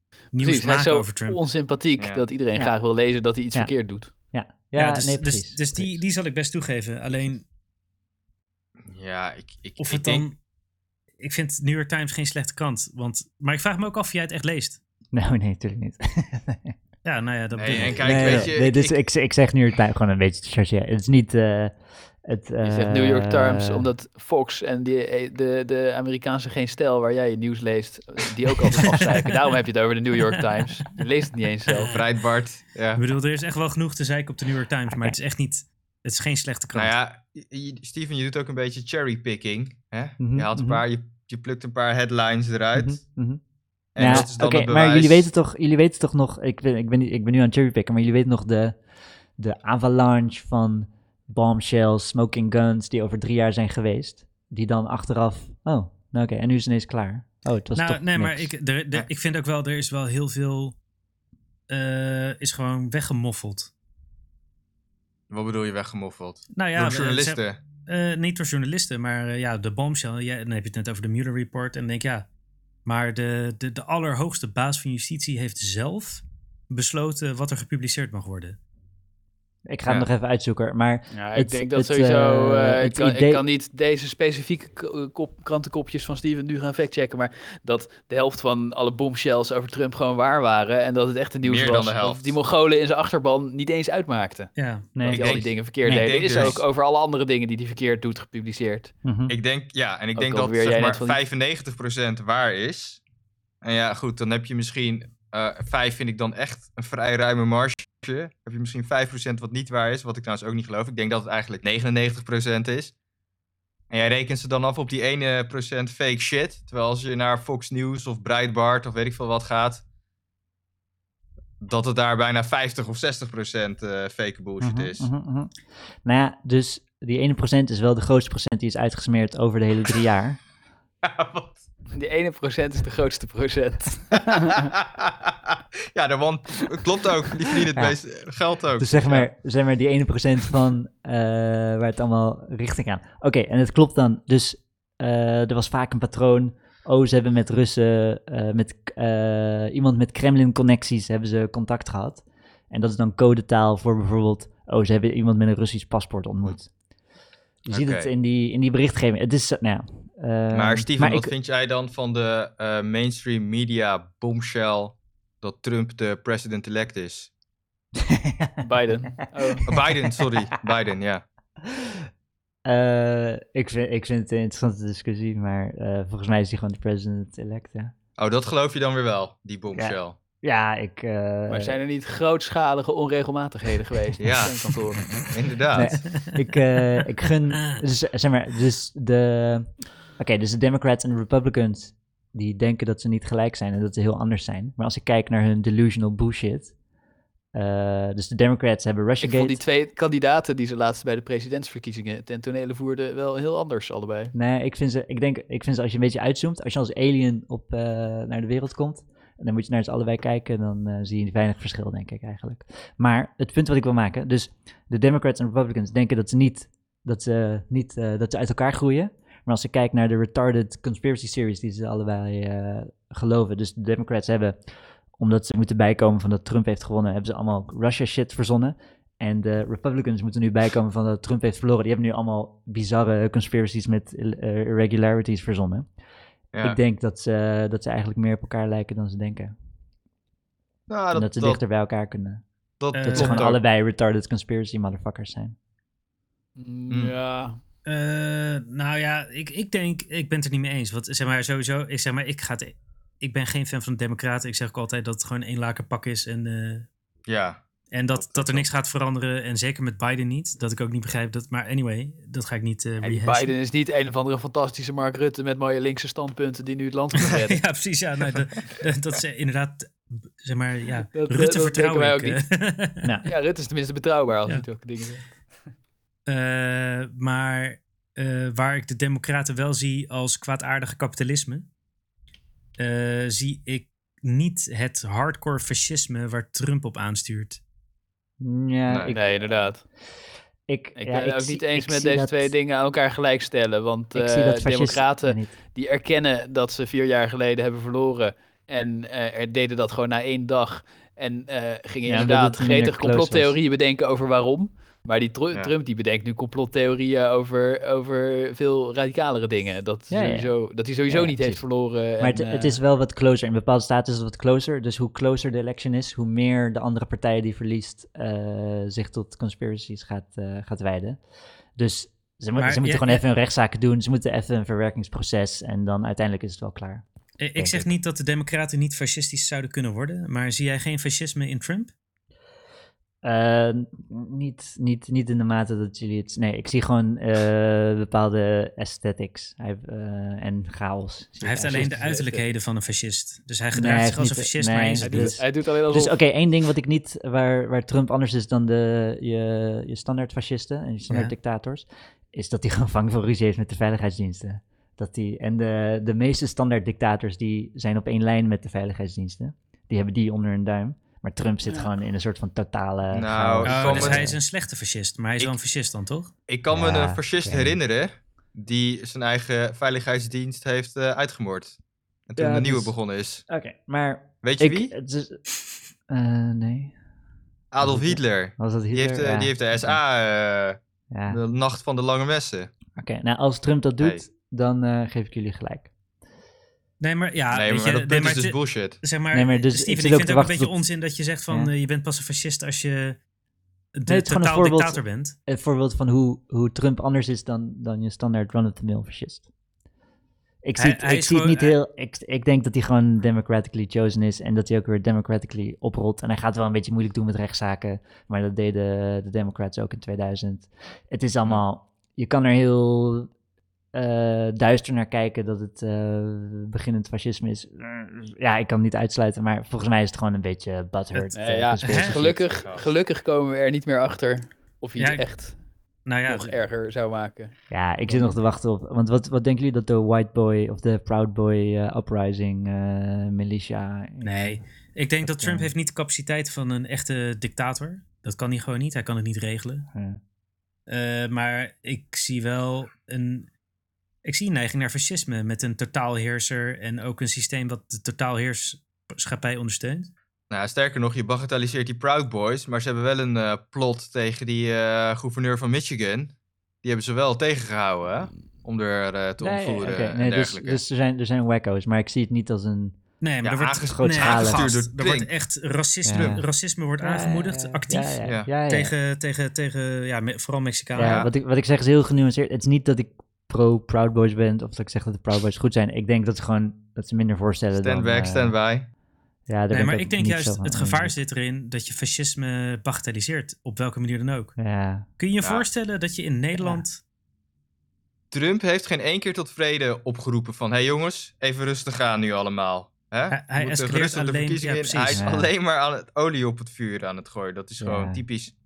S1: nieuws
S5: Precies, hij is
S1: maken
S5: zo
S1: over Trump.
S5: onsympathiek
S3: Ja.
S5: dat iedereen
S4: Ja.
S5: graag wil lezen dat hij iets
S4: Ja.
S5: verkeerd doet.
S4: Ja. Ja,
S1: Ja, dus,
S4: nee,
S1: dus-
S4: precies.
S1: Dus, die, die zal ik best toegeven. Alleen,
S3: Ja, ik, ik,
S1: of
S3: ik
S1: het
S3: denk-
S1: dan... Ik vind New York Times geen slechte krant. Want, maar ik vraag me ook af of jij het echt leest.
S4: Nou, nee, natuurlijk niet.
S1: Ja, nou ja, dat
S3: Nee,
S1: bedoel
S3: en
S1: ik.
S3: kijk,
S4: nee,
S3: weet
S4: nee,
S3: je,
S4: nee,
S3: ik-
S4: dus
S3: ik-
S4: ik, ik, zeg nu het tuin gewoon een beetje te chargeren. Het is niet eh, het...
S5: Je zegt New York Times,
S4: eh,
S5: omdat Fox en die, eh, de, de Amerikaanse geen stijl waar jij je nieuws leest, die ook altijd afzeiken. Daarom heb je het over de New York Times. Je leest het niet eens zelf.
S3: Breitbart. Ja.
S1: Ik bedoel, er is echt wel genoeg te zeiken op de New York Times, maar het is echt niet... Het is geen slechte krant.
S3: Nou ja, je- je- Steven, je doet ook een beetje cherrypicking. Hè?
S4: Mhm,
S3: je, haalt een
S4: mhm.
S3: paar, je, je plukt een paar headlines eruit.
S4: mhm, mhm.
S3: En
S4: ja,
S3: dat is dan
S4: oké,
S3: het bewijs.
S4: maar jullie weten toch, jullie weten toch nog, ik ben, ik ben, niet- ik ben nu aan het cherrypicken, maar jullie weten nog de, de avalanche van bombshells, smoking guns die over drie jaar zijn geweest. Die dan achteraf, oh, nou oké, en nu is het ineens klaar. Oh, het was
S1: nou,
S4: toch
S1: nee, maar
S4: niks.
S1: ik, er, er-
S3: Ja.
S1: ik vind ook wel, er is wel heel veel. eh, is gewoon weggemoffeld.
S3: Wat bedoel je weggemoffeld?
S1: Nou ja,
S3: Door
S1: we-
S3: journalisten.
S1: zeg- eh, niet door journalisten, maar eh, ja, de bombshell. Ja, dan heb je het net over de Mueller Report. En dan denk ik, ja. Maar de, de, de allerhoogste baas van justitie heeft zelf besloten wat er gepubliceerd mag worden.
S4: Ik ga hem
S3: Ja.
S4: nog even uitzoeken, maar
S5: Ja,
S4: Het-
S5: ik denk dat
S4: het,
S5: sowieso.
S4: eh,
S5: eh, ik,
S4: het
S5: kan,
S4: idee-
S5: ik kan niet deze specifieke k- eh, kop, krantenkopjes van Steven nu gaan factchecken. Maar dat de helft van alle bombshells over Trump gewoon waar waren. En dat het echt een nieuws
S3: Meer
S5: was.
S3: dan de helft.
S5: Dat die Mongolen in zijn achterban niet eens uitmaakten.
S1: Ja.
S4: nee.
S5: dat hij al
S3: denk-
S5: die dingen verkeerd
S4: ik
S5: deed.
S3: denk
S5: Er is
S3: dus-
S5: ook over alle andere dingen die hij verkeerd doet gepubliceerd.
S4: mhm.
S3: Ik denk, ja, en ik
S5: Ook
S3: denk
S5: al
S3: dat
S5: weer jij
S3: zeg
S5: net van die-
S3: maar 95% waar is. En ja, goed, dan heb je misschien... eh vijf vind ik dan echt een vrij ruime marge. Heb je misschien 5% wat niet waar is, wat ik trouwens ook niet geloof. Ik denk dat het eigenlijk 99% is. En jij rekent ze dan af op die 1% fake shit. Terwijl als je naar Fox News of Breitbart of weet ik veel wat gaat... dat het daar bijna 50 of 60% eh, fake bullshit
S4: Mhm,
S3: is.
S4: mhm, mhm. Nou ja, dus die 1% is wel de grootste procent die is uitgesmeerd over de hele drie jaar.
S3: Wat?
S5: Die ene procent is de grootste procent.
S3: ja, de one, klopt ook. Die verdienen het
S4: Ja.
S3: meeste geld ook.
S4: Dus zeg
S3: Ja.
S4: maar, zeg maar die 1% van eh, waar het allemaal richting aan. Oké, en het klopt dan. Dus eh, er was vaak een patroon. Oh, ze hebben met Russen, eh, met eh, iemand met Kremlin-connecties hebben ze contact gehad. En dat is dan codetaal voor bijvoorbeeld, oh, ze hebben iemand met een Russisch paspoort ontmoet. Je ziet het
S3: Oké.
S4: in die, in die berichtgeving. Het is, zo- nou ja, eh,
S3: maar Steven,
S4: maar
S3: wat
S4: ik-
S3: vind jij dan van de eh, mainstream media bombshell dat Trump de president-elect is?
S5: Biden. Oh.
S3: Oh, Biden, sorry. Biden, ja.
S4: Eh, ik, vind, ik vind het een interessante discussie, maar eh, volgens mij is hij gewoon de president-elect, ja.
S3: Oh, dat geloof je dan weer wel, die bombshell.
S4: Ja, ik... eh,
S5: Maar zijn er niet grootschalige onregelmatigheden geweest? in
S3: Ja.
S5: de stemkantoren?
S3: Inderdaad.
S4: ik, eh, ik gun. Dus, zeg maar, dus de. Oké, dus de Democrats en de Republicans. die denken dat ze niet gelijk zijn en dat ze heel anders zijn. Maar als ik kijk naar hun delusional bullshit. eh, dus de Democrats hebben
S5: Ik vond die
S4: Russiagate.
S5: twee kandidaten die ze laatst bij de presidentsverkiezingen ten tonele voerden wel heel anders allebei.
S4: Nee, ik vind ze. Ik denk, ik vind ze als je een beetje uitzoomt. als je als alien op, eh, naar de wereld komt. en dan moet je naar ze allebei kijken. dan eh, zie je weinig verschil, denk ik eigenlijk. Maar het punt wat ik wil maken. Dus de Democrats en Republicans denken dat ze niet. dat ze, niet, eh, dat ze uit elkaar groeien. Maar als ik kijk naar de retarded conspiracy series die ze allebei eh, geloven. Dus de Democrats hebben, omdat ze moeten bijkomen van dat Trump heeft gewonnen, hebben ze allemaal Russia shit verzonnen. En de Republicans moeten nu bijkomen van dat Trump heeft verloren. Die hebben nu allemaal bizarre conspiracies met eh, irregularities verzonnen.
S3: Ja.
S4: Ik denk dat ze, dat ze eigenlijk meer op elkaar lijken dan ze denken.
S3: Nou,
S4: en
S3: dat,
S4: dat ze
S3: dat-
S4: dichter bij elkaar kunnen.
S3: dat-
S1: Eh,
S4: Dat
S3: klopt
S4: ze gewoon
S3: ook.
S4: allebei retarded conspiracy motherfuckers zijn.
S3: Hmm.
S5: Ja.
S1: Eh, nou ja, ik, ik denk, ik ben het er niet mee eens. Want zeg maar, sowieso, ik, zeg maar, ik, ga het, ik ben geen fan van de Democraten. Ik zeg ook altijd dat het gewoon één laken pak is en, eh,
S3: Ja,
S1: en dat, dat er niks gaat veranderen. En zeker met Biden niet. Dat ik ook niet begrijp dat. Maar anyway, dat ga ik niet eh
S5: En die
S1: rehashen.
S5: Biden is niet een of andere fantastische Mark Rutte met mooie linkse standpunten die nu het land gaat redden.
S1: ja, precies. Ja, nou, dat, dat- dat is eh, inderdaad, zeg maar, ja,
S5: Dat, eh,
S1: Rutte
S5: dat
S1: vertrouwen
S5: denken wij
S1: ik, eh.
S4: Nou,
S5: ja, Rutte is tenminste betrouwbaar als
S1: Ja.
S5: hij het ook dingen zegt.
S1: Eh, maar eh, waar ik de democraten wel zie als kwaadaardige kapitalisme, eh, zie ik niet het hardcore fascisme waar Trump op aanstuurt.
S4: ja,
S3: Nee.
S4: ik,
S5: Nee, inderdaad.
S4: ik,
S5: Ik
S4: ja,
S5: ben het ook
S4: zie-
S5: niet eens
S4: ik
S5: met
S4: zie
S5: deze
S4: dat-
S5: twee dingen aan elkaar gelijkstellen. Want
S4: Ik zie
S5: eh,
S4: dat fascisme
S5: democraten
S4: niet.
S5: die erkennen dat ze vier jaar geleden hebben verloren. En eh, er deden dat gewoon na één dag. En eh, gingen
S4: Ja, omdat
S5: inderdaad
S4: het een minder
S5: gretig
S4: close was.
S5: complottheorieën bedenken over waarom. Maar die Tru-
S3: Ja.
S5: Trump die bedenkt nu complottheorieën over, over veel radicalere dingen. Dat,
S4: Ja, ja.
S5: sowieso, dat hij sowieso
S4: Ja,
S5: niet
S4: precies.
S5: heeft verloren. eh,
S4: Maar het, het
S1: eh,
S4: is wel wat closer. In bepaalde staten is het wat closer. Dus hoe closer de election is, hoe meer de andere partij die verliest eh, zich tot conspiracies gaat, eh, gaat wijden. Dus ze, mo-
S1: Maar
S4: ze moeten
S1: ja,
S4: gewoon
S1: eh,
S4: even hun rechtszaken doen. Ze moeten even een verwerkingsproces. En dan uiteindelijk is het wel klaar.
S1: Eh, ik
S4: Denk
S1: zeg
S4: ik.
S1: niet dat de democraten niet fascistisch zouden kunnen worden, maar zie jij geen fascisme in Trump?
S4: Eh, n- niet, niet, niet in de mate dat jullie het. Nee, ik zie gewoon eh, bepaalde aesthetics hij, eh, en chaos. zie ik
S1: Hij heeft alleen
S4: eigenlijk.
S1: de
S5: fascistisch,
S1: uiterlijkheden van een fascist. Dus hij
S4: Nee,
S1: gedraagt
S4: hij
S1: zich
S4: heeft
S1: als een
S4: niet-
S1: fascist,
S4: nee,
S1: maar hij is
S4: hij
S5: hij,
S1: het
S5: doet,
S1: niet.
S5: hij doet alleen alsof...
S4: Dus oké, één ding wat ik niet, waar, waar Trump anders is dan de, je, je standaard fascisten en je standaard
S1: Ja.
S4: dictators, is dat hij gewoon vang voor ruzie heeft met de veiligheidsdiensten. Dat die, en de, de meeste standaard dictators die zijn op één lijn met de veiligheidsdiensten. Die hebben die onder hun duim. Maar Trump zit gewoon in een soort van totale.
S3: Nou,
S4: chaos.
S3: ik
S1: Oh,
S3: kan
S1: dus
S3: me-
S1: hij is een slechte fascist, maar hij is
S3: Ik-
S1: wel een fascist dan, toch?
S3: ik kan me
S4: Ja,
S3: een fascist
S4: oké.
S3: herinneren die zijn eigen veiligheidsdienst heeft eh, uitgemoord. En toen
S4: Ja,
S3: de nieuwe
S4: dus-
S3: begonnen is.
S4: Oké, maar.
S3: Weet je
S4: Ik,
S3: wie?
S4: het is, eh, nee.
S3: Adolf Hitler.
S4: Was dat
S3: Die
S4: Hitler?
S3: heeft, eh,
S4: Ja,
S3: die heeft de
S4: oké.
S3: SA, eh,
S4: Ja.
S3: de nacht van de lange messen.
S4: Oké, nou als Trump dat doet,
S3: Nee.
S4: dan eh, geef ik jullie gelijk.
S1: Nee, maar ja,
S3: nee,
S1: Ah, weet
S3: maar
S1: je, nee,
S3: dat punt
S1: maar
S3: is dus
S1: het-
S3: bullshit.
S1: Zeg maar,
S4: Nee, maar dus ik
S1: Steven,
S4: zit
S1: ik
S4: ook
S1: vind
S4: te
S1: het ook een
S4: wachten
S1: beetje
S4: tot-
S1: onzin dat je zegt van
S4: Ja.
S1: eh, je bent pas een fascist als je de
S4: Nee, het is gewoon een
S1: totaal
S4: voorbeeld-
S1: dictator bent.
S4: een voorbeeld van hoe, hoe Trump anders is dan, dan je standaard run-of-the-mill fascist. Ik zie,
S1: Hij-
S4: het,
S1: hij
S4: ik
S1: is
S4: zie het niet
S1: gewoon-
S4: heel. Ik, ik denk dat hij gewoon democratically chosen is en dat hij ook weer democratically oprolt. En hij gaat wel een beetje moeilijk doen met rechtszaken, maar dat deden de Democrats ook in 2000. Het is allemaal. Je kan er heel eh, duister naar kijken dat het eh, beginnend fascisme is. Ja, ik kan het niet uitsluiten, maar volgens mij is het gewoon een beetje butthurt.
S5: Nee,
S4: eh,
S5: ja,
S4: conspiracy shit.
S5: gelukkig, gelukkig komen we er niet meer achter of hij
S1: Ja,
S5: het
S1: ik-
S5: echt
S1: Nou ja,
S5: nog erger zou maken.
S4: Ja, ik zit nog te wachten op. Want wat, wat denken jullie dat de White Boy of de Proud Boy eh, Uprising eh, militia.
S1: nee. Ik denk dat
S4: Oké.
S1: Trump heeft niet de capaciteit van een echte dictator. Dat kan hij gewoon niet. Hij kan het niet regelen.
S4: Ja.
S1: Eh, maar ik zie wel een... Ik zie een neiging naar fascisme met een totaalheerser en ook een systeem dat de totaalheerschappij ondersteunt.
S3: Nou, sterker nog, je bagatelliseert die Proud Boys, maar ze hebben wel een eh, plot tegen die eh, gouverneur van Michigan. Die hebben ze wel tegengehouden hè, om er eh, te
S4: Nee,
S3: ontvoeren
S4: oké,
S3: en
S4: nee, dus,
S3: dergelijke.
S4: dus er zijn, er zijn wacko's, maar ik zie het niet als een.
S1: Nee, maar
S3: Ja,
S1: er wordt
S3: aanges-
S1: nee,
S4: grootschalig.
S1: gast,
S3: Door
S1: Er
S3: Trump.
S1: wordt echt racisme,
S4: Ja.
S1: racisme wordt aangemoedigd, actief.
S4: Ja, ja,
S3: Ja.
S4: ja, ja.
S1: Tegen, tegen, tegen ja, me- vooral Mexicanen.
S4: Ja,
S3: Ja.
S4: Wat, ik, wat ik zeg is heel genuanceerd. Het is niet dat ik pro-Proud Boys ben of dat ik zeg dat de Proud Boys goed zijn. Ik denk dat ze gewoon. dat ze minder voorstellen.
S3: Stand
S4: dan,
S3: back,
S4: eh,
S3: stand by.
S4: Ja, daar ben
S1: Nee, maar
S4: ook
S1: ik denk
S4: niet
S1: juist,
S4: zo van
S1: het gevaar
S4: onder.
S1: zit erin dat je fascisme bagatelliseert, op welke manier dan ook.
S4: Ja,
S1: Kun je je
S3: Ja.
S1: voorstellen dat je in Nederland...
S3: Trump heeft geen één keer tot vrede opgeroepen van... hé hey jongens, even rustig aan nu allemaal. Hè?
S1: Hij-
S3: We
S1: hij
S3: moeten
S1: escaleert
S3: rustig de
S1: alleen-
S3: verkiezingen
S1: ja,
S3: in. Hij is
S4: precies. Ja.
S3: alleen maar aan het olie op het vuur aan het gooien. Dat is gewoon
S4: Ja.
S3: typisch.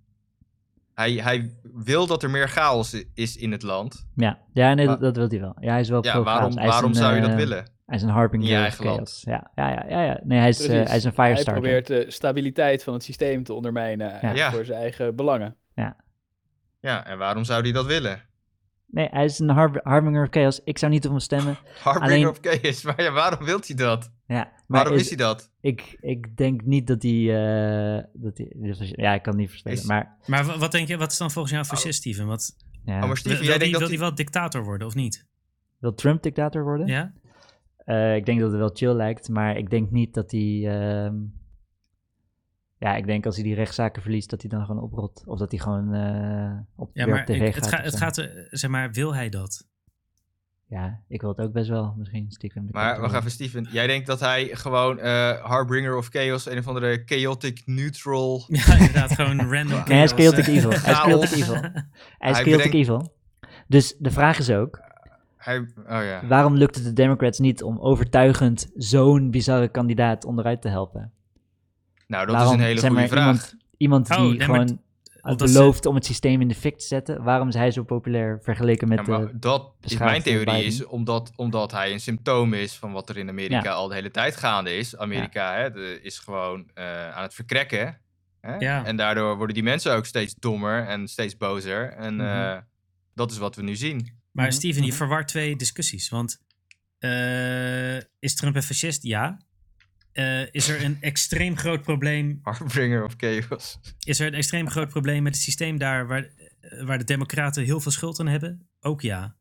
S3: Hij, hij wil dat er meer chaos i- is in het land.
S4: ja. ja nee,
S3: Maar-
S4: dat, dat wil hij wel. Ja, hij is wel
S3: Ja,
S4: pro-chaos.
S3: waarom,
S4: Hij is
S3: waarom
S4: een,
S3: zou je dat
S4: eh,
S3: willen?
S4: Hij is een harbinger
S3: In je
S4: of
S3: eigen
S4: chaos. Ja, ja, ja, ja, ja. Nee, hij is, eh,
S5: Precies.
S4: hij is een
S5: Hij
S4: firestarter.
S5: probeert de stabiliteit van het systeem te ondermijnen eh,
S3: Ja.
S5: voor zijn eigen belangen.
S3: Ja, en waarom zou hij dat willen?
S4: Nee, hij is een har- harbinger of chaos. Ik zou niet op hem stemmen.
S3: Harbinger
S4: Alleen-
S3: of chaos. Maar ja, waarom wil hij dat?
S4: Ja, maar
S3: waarom is,
S4: is-
S3: hij dat?
S4: ik, ik denk niet dat hij... eh, dat hij dus als je- ja, ik kan het niet voorstellen.
S3: Is-
S4: Maar
S1: Maar wa- wat denk je, wat is dan volgens jou een fascist, Steven? Wat,
S4: ja.
S3: Oh, maar Steven,
S1: wil wil
S3: jij
S1: die,
S3: denkt
S1: wil
S3: dat
S1: die
S3: hij...
S1: wel dictator worden, of niet?
S4: wil Trump dictator worden?
S1: Ja?
S4: Eh, ik denk dat het wel chill lijkt, maar ik denk niet dat hij... ehm, ja, ik denk als hij die rechtszaken verliest, dat hij dan gewoon oprot. Of dat hij gewoon eh, op,
S1: Ja,
S4: weer
S1: maar
S4: op tv
S1: ik-
S4: gaat.
S1: het, eh, ga-
S4: of
S1: het
S4: zo.
S1: gaat, er- zeg maar, wil hij dat?
S4: Ja, ik wil het ook best wel, misschien stiekem. Dat kan
S3: Maar wacht
S4: wel.
S3: even, Steven. Jij denkt dat hij gewoon eh, Harbinger of Chaos, een of andere chaotic neutral...
S1: Ja, inderdaad, gewoon random.
S4: Nee, hij
S1: chaos,
S4: is Chaotic
S1: eh.
S4: Evil. Hij is Chaotic
S3: Chaos.
S4: Evil. Hij is
S3: Hij
S4: Chaotic
S3: brengt-
S4: Evil. Dus de vraag is ook,
S3: Hij, oh ja.
S4: waarom lukt het de Democrats niet om overtuigend zo'n bizarre kandidaat onderuit te helpen?
S3: Nou, dat
S4: Waarom,
S3: is een hele
S4: zeg
S3: goede
S4: maar,
S3: vraag.
S4: iemand- Iemand
S1: Oh,
S4: die
S1: nee, maar
S4: gewoon
S1: omdat ze-
S4: belooft om het systeem in de fik te zetten, waarom is hij zo populair vergeleken met...
S3: Ja, maar
S4: eh,
S3: dat is
S4: beschaafde
S3: mijn theorie, is
S4: Biden.
S3: omdat, omdat hij een symptoom is van wat er in Amerika
S4: Ja.
S3: al de hele tijd gaande is. Amerika hè, de- is gewoon eh, aan het verkrekken. Hè?
S1: Ja.
S3: En daardoor worden die mensen ook steeds dommer en steeds bozer. En
S4: Mhm.
S3: eh, dat is wat we nu zien.
S1: Maar
S4: Mhm,
S1: Steven, je
S4: mhm.
S1: verwart twee discussies. Want eh, is Trump een fascist? Ja. Eh, is er een extreem groot probleem?
S3: Harbinger of Chaos.
S1: Is er een extreem groot probleem met het systeem daar waar, eh, waar de Democraten heel veel schuld aan hebben? Ook ja.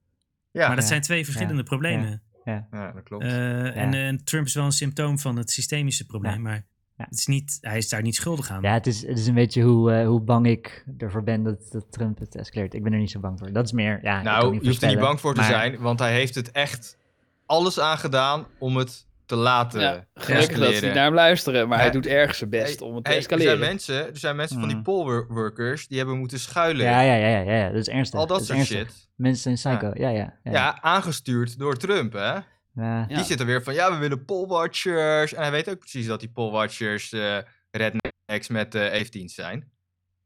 S3: Ja,
S1: maar dat
S4: ja,
S1: zijn twee verschillende problemen.
S3: ja, dat klopt.
S1: Eh, en, eh, Trump is wel een symptoom van het systemische probleem,
S4: Ja.
S1: maar
S4: Ja.
S1: het is niet, hij is daar niet schuldig aan.
S4: ja, het is, het is een beetje hoe, eh, hoe bang ik ervoor ben dat, dat Trump het escaleert. Ik ben er niet zo bang voor. Dat is meer, ja, ik kan
S3: nou,
S4: niet
S3: je hoeft er niet
S4: voorspellen,
S3: bang voor te
S4: maar-
S3: zijn, want hij heeft het echt alles aan gedaan om het te laten
S5: Ja, gelukkig dat ze niet
S3: eh, escaleren.
S5: naar hem luisteren, maar hij
S3: Hey,
S5: doet erg zijn best
S3: Hey,
S5: om het te
S3: hey, Er
S5: escaleren.
S3: zijn mensen, er zijn mensen van die
S4: Mm.
S3: pollworkers die hebben moeten schuilen.
S4: Ja, ja, ja, ja, ja, dat is ernstig.
S3: Al dat
S4: is
S3: soort
S4: ernstig.
S3: shit.
S4: Mensen zijn psycho, ja, ja.
S3: Ja.
S4: ja, ja.
S3: aangestuurd door Trump, hè?
S4: ja.
S3: Die zitten weer van, ja, we willen pollwatchers. En hij weet ook precies dat die pollwatchers eh rednecks met eh f zijn.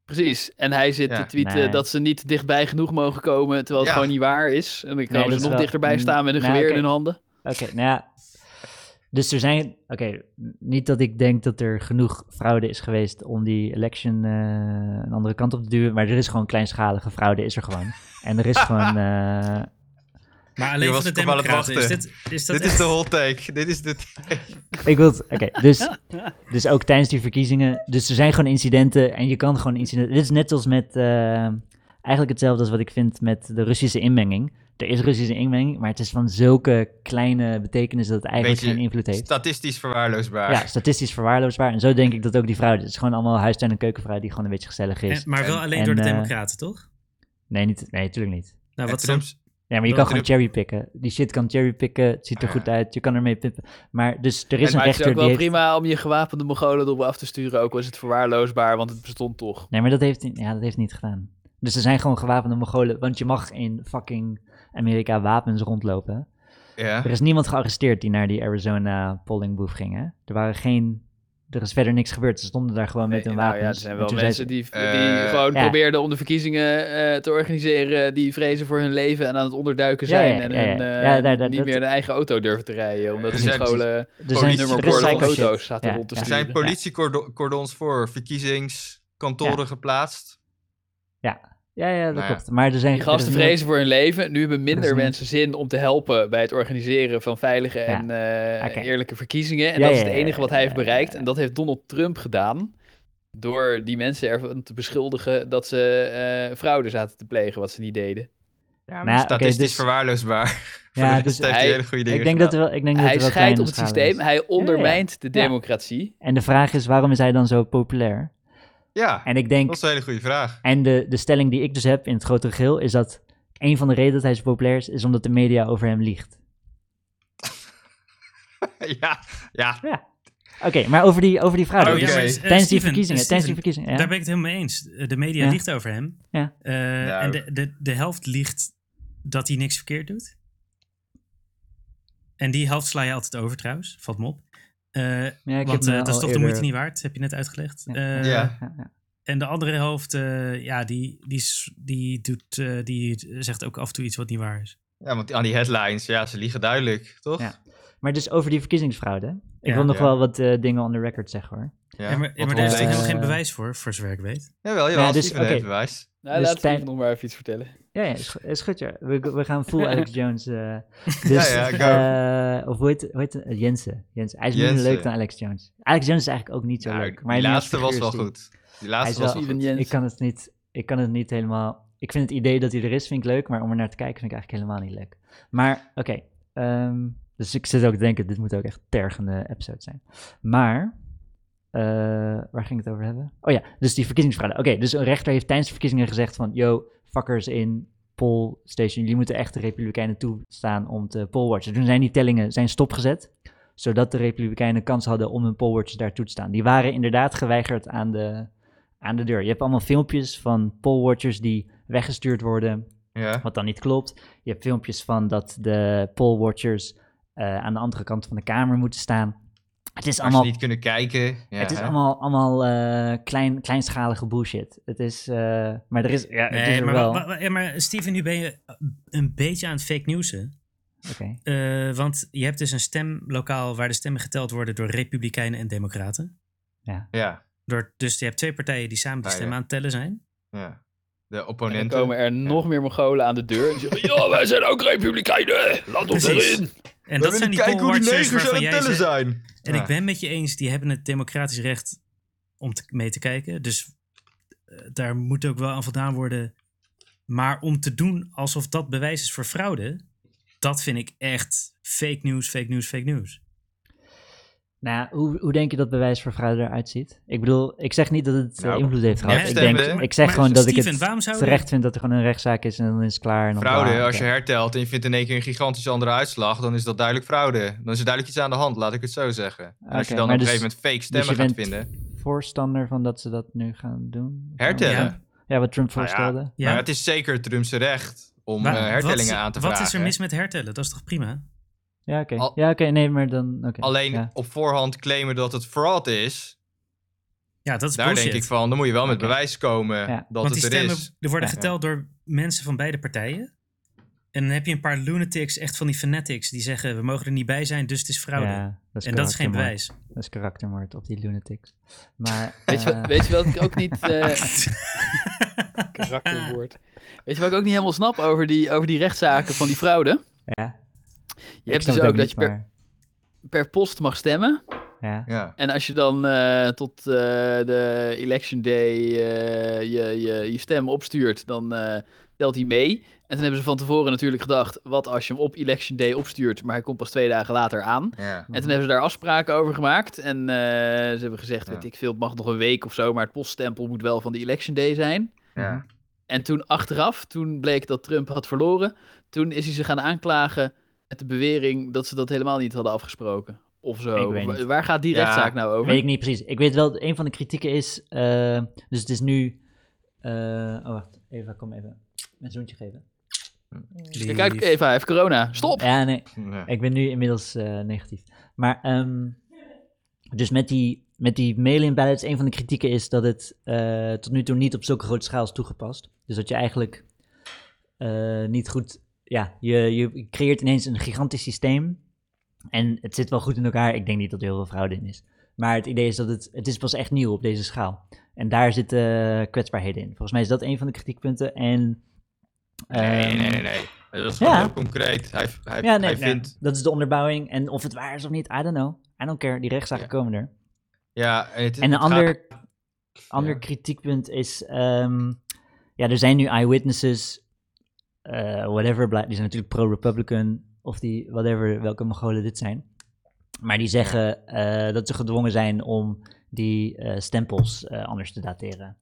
S5: Precies. En hij zit
S3: Ja.
S5: te tweeten
S4: Nee.
S5: dat ze niet dichtbij genoeg mogen komen, terwijl het
S3: Ja.
S5: gewoon niet waar is. En dan komen
S4: dat
S5: ze
S4: is
S5: nog
S4: wel-
S5: dichterbij staan met een
S4: Nou,
S5: geweer
S4: oké.
S5: in hun handen.
S4: Oké, nou ja. Dus er zijn. Oké, niet dat ik denk dat er genoeg fraude is geweest om die election eh, een andere kant op te duwen. Maar er is gewoon kleinschalige fraude, is er gewoon. En er is gewoon. eh,
S1: Maar
S3: Je
S1: alleen van
S3: was
S1: de
S3: toch wel aan het
S1: Democraten. Is
S3: wachten.
S1: dit, is dat
S3: Dit is de hot take. Dit is de take.
S4: ik wil. het- Oké, dus. Dus ook tijdens die verkiezingen. Dus er zijn gewoon incidenten en je kan gewoon incidenten. Dit is net als met. eh, eigenlijk hetzelfde als wat ik vind met de Russische inmenging. Er is Russische inmenging, maar het is van zulke kleine betekenis dat het eigenlijk
S3: Beetje
S4: geen invloed heeft.
S3: Statistisch verwaarloosbaar.
S4: Ja, statistisch verwaarloosbaar. En zo denk ik dat ook die fraude. Het is gewoon allemaal huistuin- en keukenvrouw die gewoon een beetje gezellig is.
S1: en- maar wel
S3: en-
S1: alleen
S4: en,
S1: door de
S4: eh,
S1: Democraten, toch?
S4: Nee, niet, nee, natuurlijk niet.
S1: Nou,
S3: En
S1: wat is dan-
S3: Trumps-
S4: Ja, maar je
S1: Dat
S4: kan gewoon
S3: Trump-
S4: cherrypicken. Die shit kan cherrypicken. Het ziet er
S3: Ah,
S4: goed
S3: ja.
S4: uit. Je kan ermee pippen. Maar dus
S5: maar
S4: er is een
S5: het is ook
S4: rechter die
S5: wel
S4: heeft...
S5: prima om je gewapende Mongolen erop af te sturen, ook al is het verwaarloosbaar, want het bestond toch.
S4: Nee, maar dat heeft, hij- ja, dat heeft hij niet gedaan. Dus er zijn gewoon gewapende Mongolen. Want je mag in fucking Amerika wapens rondlopen.
S3: Ja.
S4: Er is niemand gearresteerd die naar die Arizona polling booth ging, hè? Er waren geen... Er is verder niks gebeurd. Ze stonden daar gewoon met
S5: Nee,
S4: hun
S5: nou
S4: wapens.
S5: ja, er zijn
S4: En
S5: wel
S4: toen zei
S5: mensen
S4: ze-
S5: die, die
S3: Eh,
S5: gewoon
S4: Ja.
S5: probeerden om de verkiezingen eh, te organiseren, die vrezen voor hun leven en aan het onderduiken
S4: Ja, ja,
S5: zijn
S4: ja,
S5: en
S4: ja, ja.
S5: hun, eh,
S4: Ja, daar- daar-
S5: niet
S4: dat-
S5: meer hun eigen auto durven te rijden, omdat
S3: Er
S5: de
S3: zijn-
S5: scholen
S4: Er zijn,
S3: politie-
S4: er
S5: nummer
S4: is
S3: voor-
S4: psycho shit.
S5: auto's zaten
S4: Ja,
S5: rond te
S4: ja.
S3: Er
S5: sturen.
S3: zijn politiecordons voor verkiezingskantoren geplaatst.
S4: Ja, ja, dat
S3: Nou ja.
S4: klopt. Maar er zijn
S5: Die
S4: er is
S5: gasten
S4: niemand-
S5: vrezen voor hun leven. Nu hebben
S4: Er is
S5: minder
S4: niemand-
S5: mensen zin om te helpen bij het organiseren van veilige en eh,
S4: Oké.
S5: eerlijke verkiezingen. En
S4: Ja,
S5: dat
S4: ja,
S5: is het
S4: ja,
S5: enige wat hij heeft
S4: ja, ja,
S5: bereikt.
S4: ja.
S5: En dat heeft Donald Trump gedaan. Door die mensen ervan te beschuldigen dat ze eh, fraude zaten te plegen, wat ze niet deden.
S3: Ja,
S4: Nou, oké,
S3: statistisch
S4: dus-
S3: verwaarloosbaar.
S4: Ja,
S3: Ja,
S4: dus-
S3: dus heeft hij
S5: Hij-
S3: hele goede dingen
S4: Ik denk dat er wel, ik denk dat
S5: hij
S4: er wel
S5: scheidt
S4: kleine
S5: op het
S4: schade
S5: systeem,
S4: is.
S5: hij ondermijnt de
S4: Ja.
S5: democratie.
S4: En de vraag is, waarom is hij dan zo populair?
S3: Ja,
S4: En ik
S3: dat
S4: denk,
S3: is een hele goede vraag.
S4: en de, de stelling die ik dus heb in het grotere geheel, is dat een van de redenen dat hij zo populair is, is omdat de media over hem liegt.
S3: ja, ja.
S4: Oké, maar over die, over die vraag. dus.
S1: Oh,
S3: Oké.
S1: ja, maar, eh,
S4: tijdens die
S1: Steven,
S4: verkiezingen,
S1: eh,
S4: tijdens
S1: Steven,
S4: die verkiezingen. Ja.
S1: Daar ben ik het helemaal mee eens. Eh, De media
S4: Ja.
S1: liegt over hem.
S4: Ja.
S1: Eh,
S3: Nou.
S1: En de, de, de helft liegt dat hij niks verkeerd doet. En die helft sla je altijd over trouwens, valt me op. Eh,
S4: Ja, ik
S1: want
S4: heb
S1: eh,
S4: me
S1: dat is toch
S4: al
S1: de
S4: eerder-
S1: moeite niet waard, heb je net uitgelegd.
S4: Ja.
S1: Eh,
S3: Ja.
S4: Ja, ja.
S1: En de andere helft, eh, ja, die, die, s- die, doet, eh, die zegt ook af en toe iets wat niet waar is.
S3: Ja, want aan die headlines, ja, ze liegen duidelijk, toch?
S4: Ja. Maar dus over die verkiezingsfraude. Ik
S1: Ja.
S4: wil nog
S3: Ja.
S4: wel wat eh, dingen on the record zeggen hoor.
S1: Ja, maar, ja, maar daar
S4: ons-
S1: is toch
S4: eh,
S1: helemaal geen bewijs voor, voor zover ik weet.
S3: Jawel, jawel,
S4: Ja, dus,
S3: Steven heeft
S4: oké.
S3: bewijs.
S5: Nou,
S4: Dus
S5: laat
S4: tij-
S5: Steven nog maar even iets vertellen.
S4: Ja, ja, is, is goed, ja. We, we gaan full Alex Jones. eh, dus,
S3: Dus- ja,
S4: eh, of hoe heet, hoe heet eh, Jensen. Jensen. Hij is minder
S3: Jensen.
S4: leuk dan Alex Jones. Alex Jones is eigenlijk ook niet zo
S3: Ja,
S4: leuk. Maar
S3: die
S4: als
S3: laatste was
S4: figuur
S3: wel
S4: is die-
S3: goed. Die laatste
S4: Hij
S3: was
S4: is
S3: wel
S4: wel-
S3: goed.
S5: Steven Jens.
S4: Ik kan, het niet, ik kan het niet helemaal... Ik vind het idee dat hij er is, vind ik leuk. Maar om er naar te kijken, vind ik eigenlijk helemaal niet leuk. Maar, oké. ehm, dus ik zit ook te denken, dit moet ook echt tergende episode zijn. Maar... eh, waar ging ik het over hebben? Oh ja, dus die verkiezingsfraude. Oké, dus een rechter heeft tijdens de verkiezingen gezegd van... Yo, fuckers in poll station. Jullie moeten echt de Republikeinen toestaan om te pollwatchen. Toen zijn die tellingen zijn stopgezet, zodat de Republikeinen kans hadden om hun pollwatchers daar toe te staan. Die waren inderdaad geweigerd aan de, aan de deur. Je hebt allemaal filmpjes van pollwatchers die weggestuurd worden,
S3: Ja.
S4: wat dan niet klopt. Je hebt filmpjes van dat de pollwatchers eh, aan de andere kant van de kamer moeten staan. Het is
S3: Als ze
S4: allemaal
S3: niet kunnen kijken. Ja,
S4: het is
S3: hè?
S4: allemaal, allemaal eh, klein, kleinschalige bullshit. Het is, eh, maar er is, ja, het is
S1: Nee,
S4: er
S1: maar,
S4: wel.
S1: wa- wa- ja, maar Steven, nu ben je eh, een beetje aan het fake newsen.
S4: Oké.
S1: Eh, want je hebt dus een stemlokaal waar de stemmen geteld worden door republikeinen en democraten.
S3: Ja,
S1: Door, dus je hebt twee partijen die samen die
S3: Ah, ja.
S1: stemmen aan het tellen zijn.
S3: ja. De
S5: En dan
S3: opponenten.
S5: komen er nog meer Mongolen aan de deur. En die zeggen, ja, wij zijn ook republikeinen. Laat ons
S1: Precies.
S5: erin.
S1: En dat zijn die pollwatchers waarvan jij zegt...
S3: zijn.
S1: En ik ben met je eens, die hebben het democratisch recht om te, mee te kijken. Dus eh, daar moet ook wel aan voldaan worden. Maar om te doen alsof dat bewijs is voor fraude, dat vind ik echt fake news, fake news, fake news.
S4: Nou, hoe, hoe denk je dat bewijs voor fraude eruit ziet? Ik bedoel, ik zeg niet dat het eh,
S3: Nou,
S4: invloed heeft gehad. ik,
S3: herstemmen.
S4: denk, ik zeg
S1: Maar
S4: gewoon dat ik
S1: Steven,
S4: het
S1: waarom zou je-
S4: terecht vind dat er gewoon een rechtszaak is en dan is het klaar. En dan
S3: Fraude,
S4: klaar.
S3: als je hertelt en je vindt in één keer een gigantisch andere uitslag, dan is dat duidelijk fraude. Dan is er duidelijk iets aan de hand, laat ik het zo zeggen. En als
S4: Oké,
S3: je dan op
S4: maar
S3: een
S4: dus-
S3: gegeven moment fake
S4: dus je
S3: stemmen gaat
S4: bent
S3: vinden.
S4: Voorstander van dat ze dat nu gaan doen?
S3: Hertellen.
S1: Ja.
S4: Ja, wat Trump
S3: Nou ja.
S4: voorstelde.
S1: Ja.
S3: Maar het is zeker Trumpse recht om
S1: Waar-
S3: eh, hertellingen
S1: wat,
S3: aan te
S1: Wat
S3: vragen.
S1: is er mis met hertellen? Dat is toch prima?
S4: Ja, oké.
S3: Al-
S4: Ja, oké, nee, maar dan... oké,
S3: Alleen
S4: ja.
S3: op voorhand claimen dat het fraud is,
S1: Ja, dat is
S3: daar
S1: bullshit.
S3: denk ik van, dan moet je wel met bewijs komen
S4: Ja.
S3: dat
S1: Want
S3: het
S1: die
S3: er
S1: stemmen
S3: is.
S1: er worden
S4: Ja.
S1: geteld door mensen van beide partijen. En dan heb je een paar lunatics, echt van die fanatics, die zeggen we mogen er niet bij zijn, dus het is fraude.
S4: Ja, dat
S1: en dat is geen
S4: karaktermoord.
S1: bewijs.
S4: Dat is karaktermoord op die lunatics. Maar,
S5: Weet je, wat,
S4: eh,
S5: weet je wat ik ook niet... eh, karakterwoord. Weet je wat ik ook niet helemaal snap over die, over die rechtszaken van die fraude?
S4: ja.
S5: Je
S4: Ik
S5: hebt
S4: snap
S5: dus
S4: het
S5: ook dat je per,
S4: niet,
S5: per post mag stemmen.
S4: maar- Ja.
S3: Ja.
S5: En als je dan eh, tot eh, de election day eh, je, je, je stem opstuurt, dan eh, telt hij mee. En dan hebben ze van tevoren natuurlijk gedacht, wat als je hem op election day opstuurt, maar hij komt pas twee dagen later aan.
S3: Ja.
S5: En toen
S4: Mhm.
S5: hebben ze daar afspraken over gemaakt. En eh, ze hebben gezegd,
S3: Ja.
S5: weet ik veel, het mag nog een week of zo, maar het poststempel moet wel van de election day zijn.
S3: Ja.
S5: En toen achteraf, toen bleek dat Trump had verloren, toen is hij ze gaan aanklagen met de bewering dat ze dat helemaal niet hadden afgesproken. Of zo.
S4: Ik weet
S5: Wa-
S4: niet.
S5: Waar gaat die
S3: Ja.
S5: rechtszaak nou over?
S4: Weet ik niet precies. Ik weet wel, dat een van de kritieken is. eh, dus het is nu. eh, oh, wacht. Eva, kom even. Mijn zoentje geven.
S3: Dus
S5: Ja, kijk, Eva hij heeft corona. Stop!
S4: Ja, nee.
S3: Ja.
S4: Mhm. Ik ben nu inmiddels eh, negatief. Maar, ehm, dus met die, met die mail-in ballots, een van de kritieken is dat het eh, tot nu toe niet op zulke grote schaal is toegepast. Dus dat je eigenlijk eh, niet goed, ja, je, je creëert ineens een gigantisch systeem. En het zit wel goed in elkaar. Ik denk niet dat er heel veel fraude in is. Maar het idee is dat het, het is pas echt nieuw op deze schaal. En daar zitten eh, kwetsbaarheden in. Volgens mij is dat een van de kritiekpunten. En,
S3: Nee,
S4: ehm,
S3: nee, nee, nee. Dat is gewoon
S4: ja.
S3: heel concreet. Hij, hij,
S4: ja, nee,
S3: hij vindt...
S4: dat is de onderbouwing. En of het waar is of niet, I don't know. I don't care, die rechtszaken
S3: Ja.
S4: komen er.
S3: Ja, en, het,
S4: En een
S3: het gaat-
S4: ander, ander
S3: Ja.
S4: kritiekpunt is... ehm, ja, er zijn nu eyewitnesses, eh, whatever, bla- die zijn natuurlijk pro-Republican... of die, whatever, welke Mongolen dit zijn. Maar die zeggen eh, dat ze gedwongen zijn om die eh, stempels eh, anders te dateren.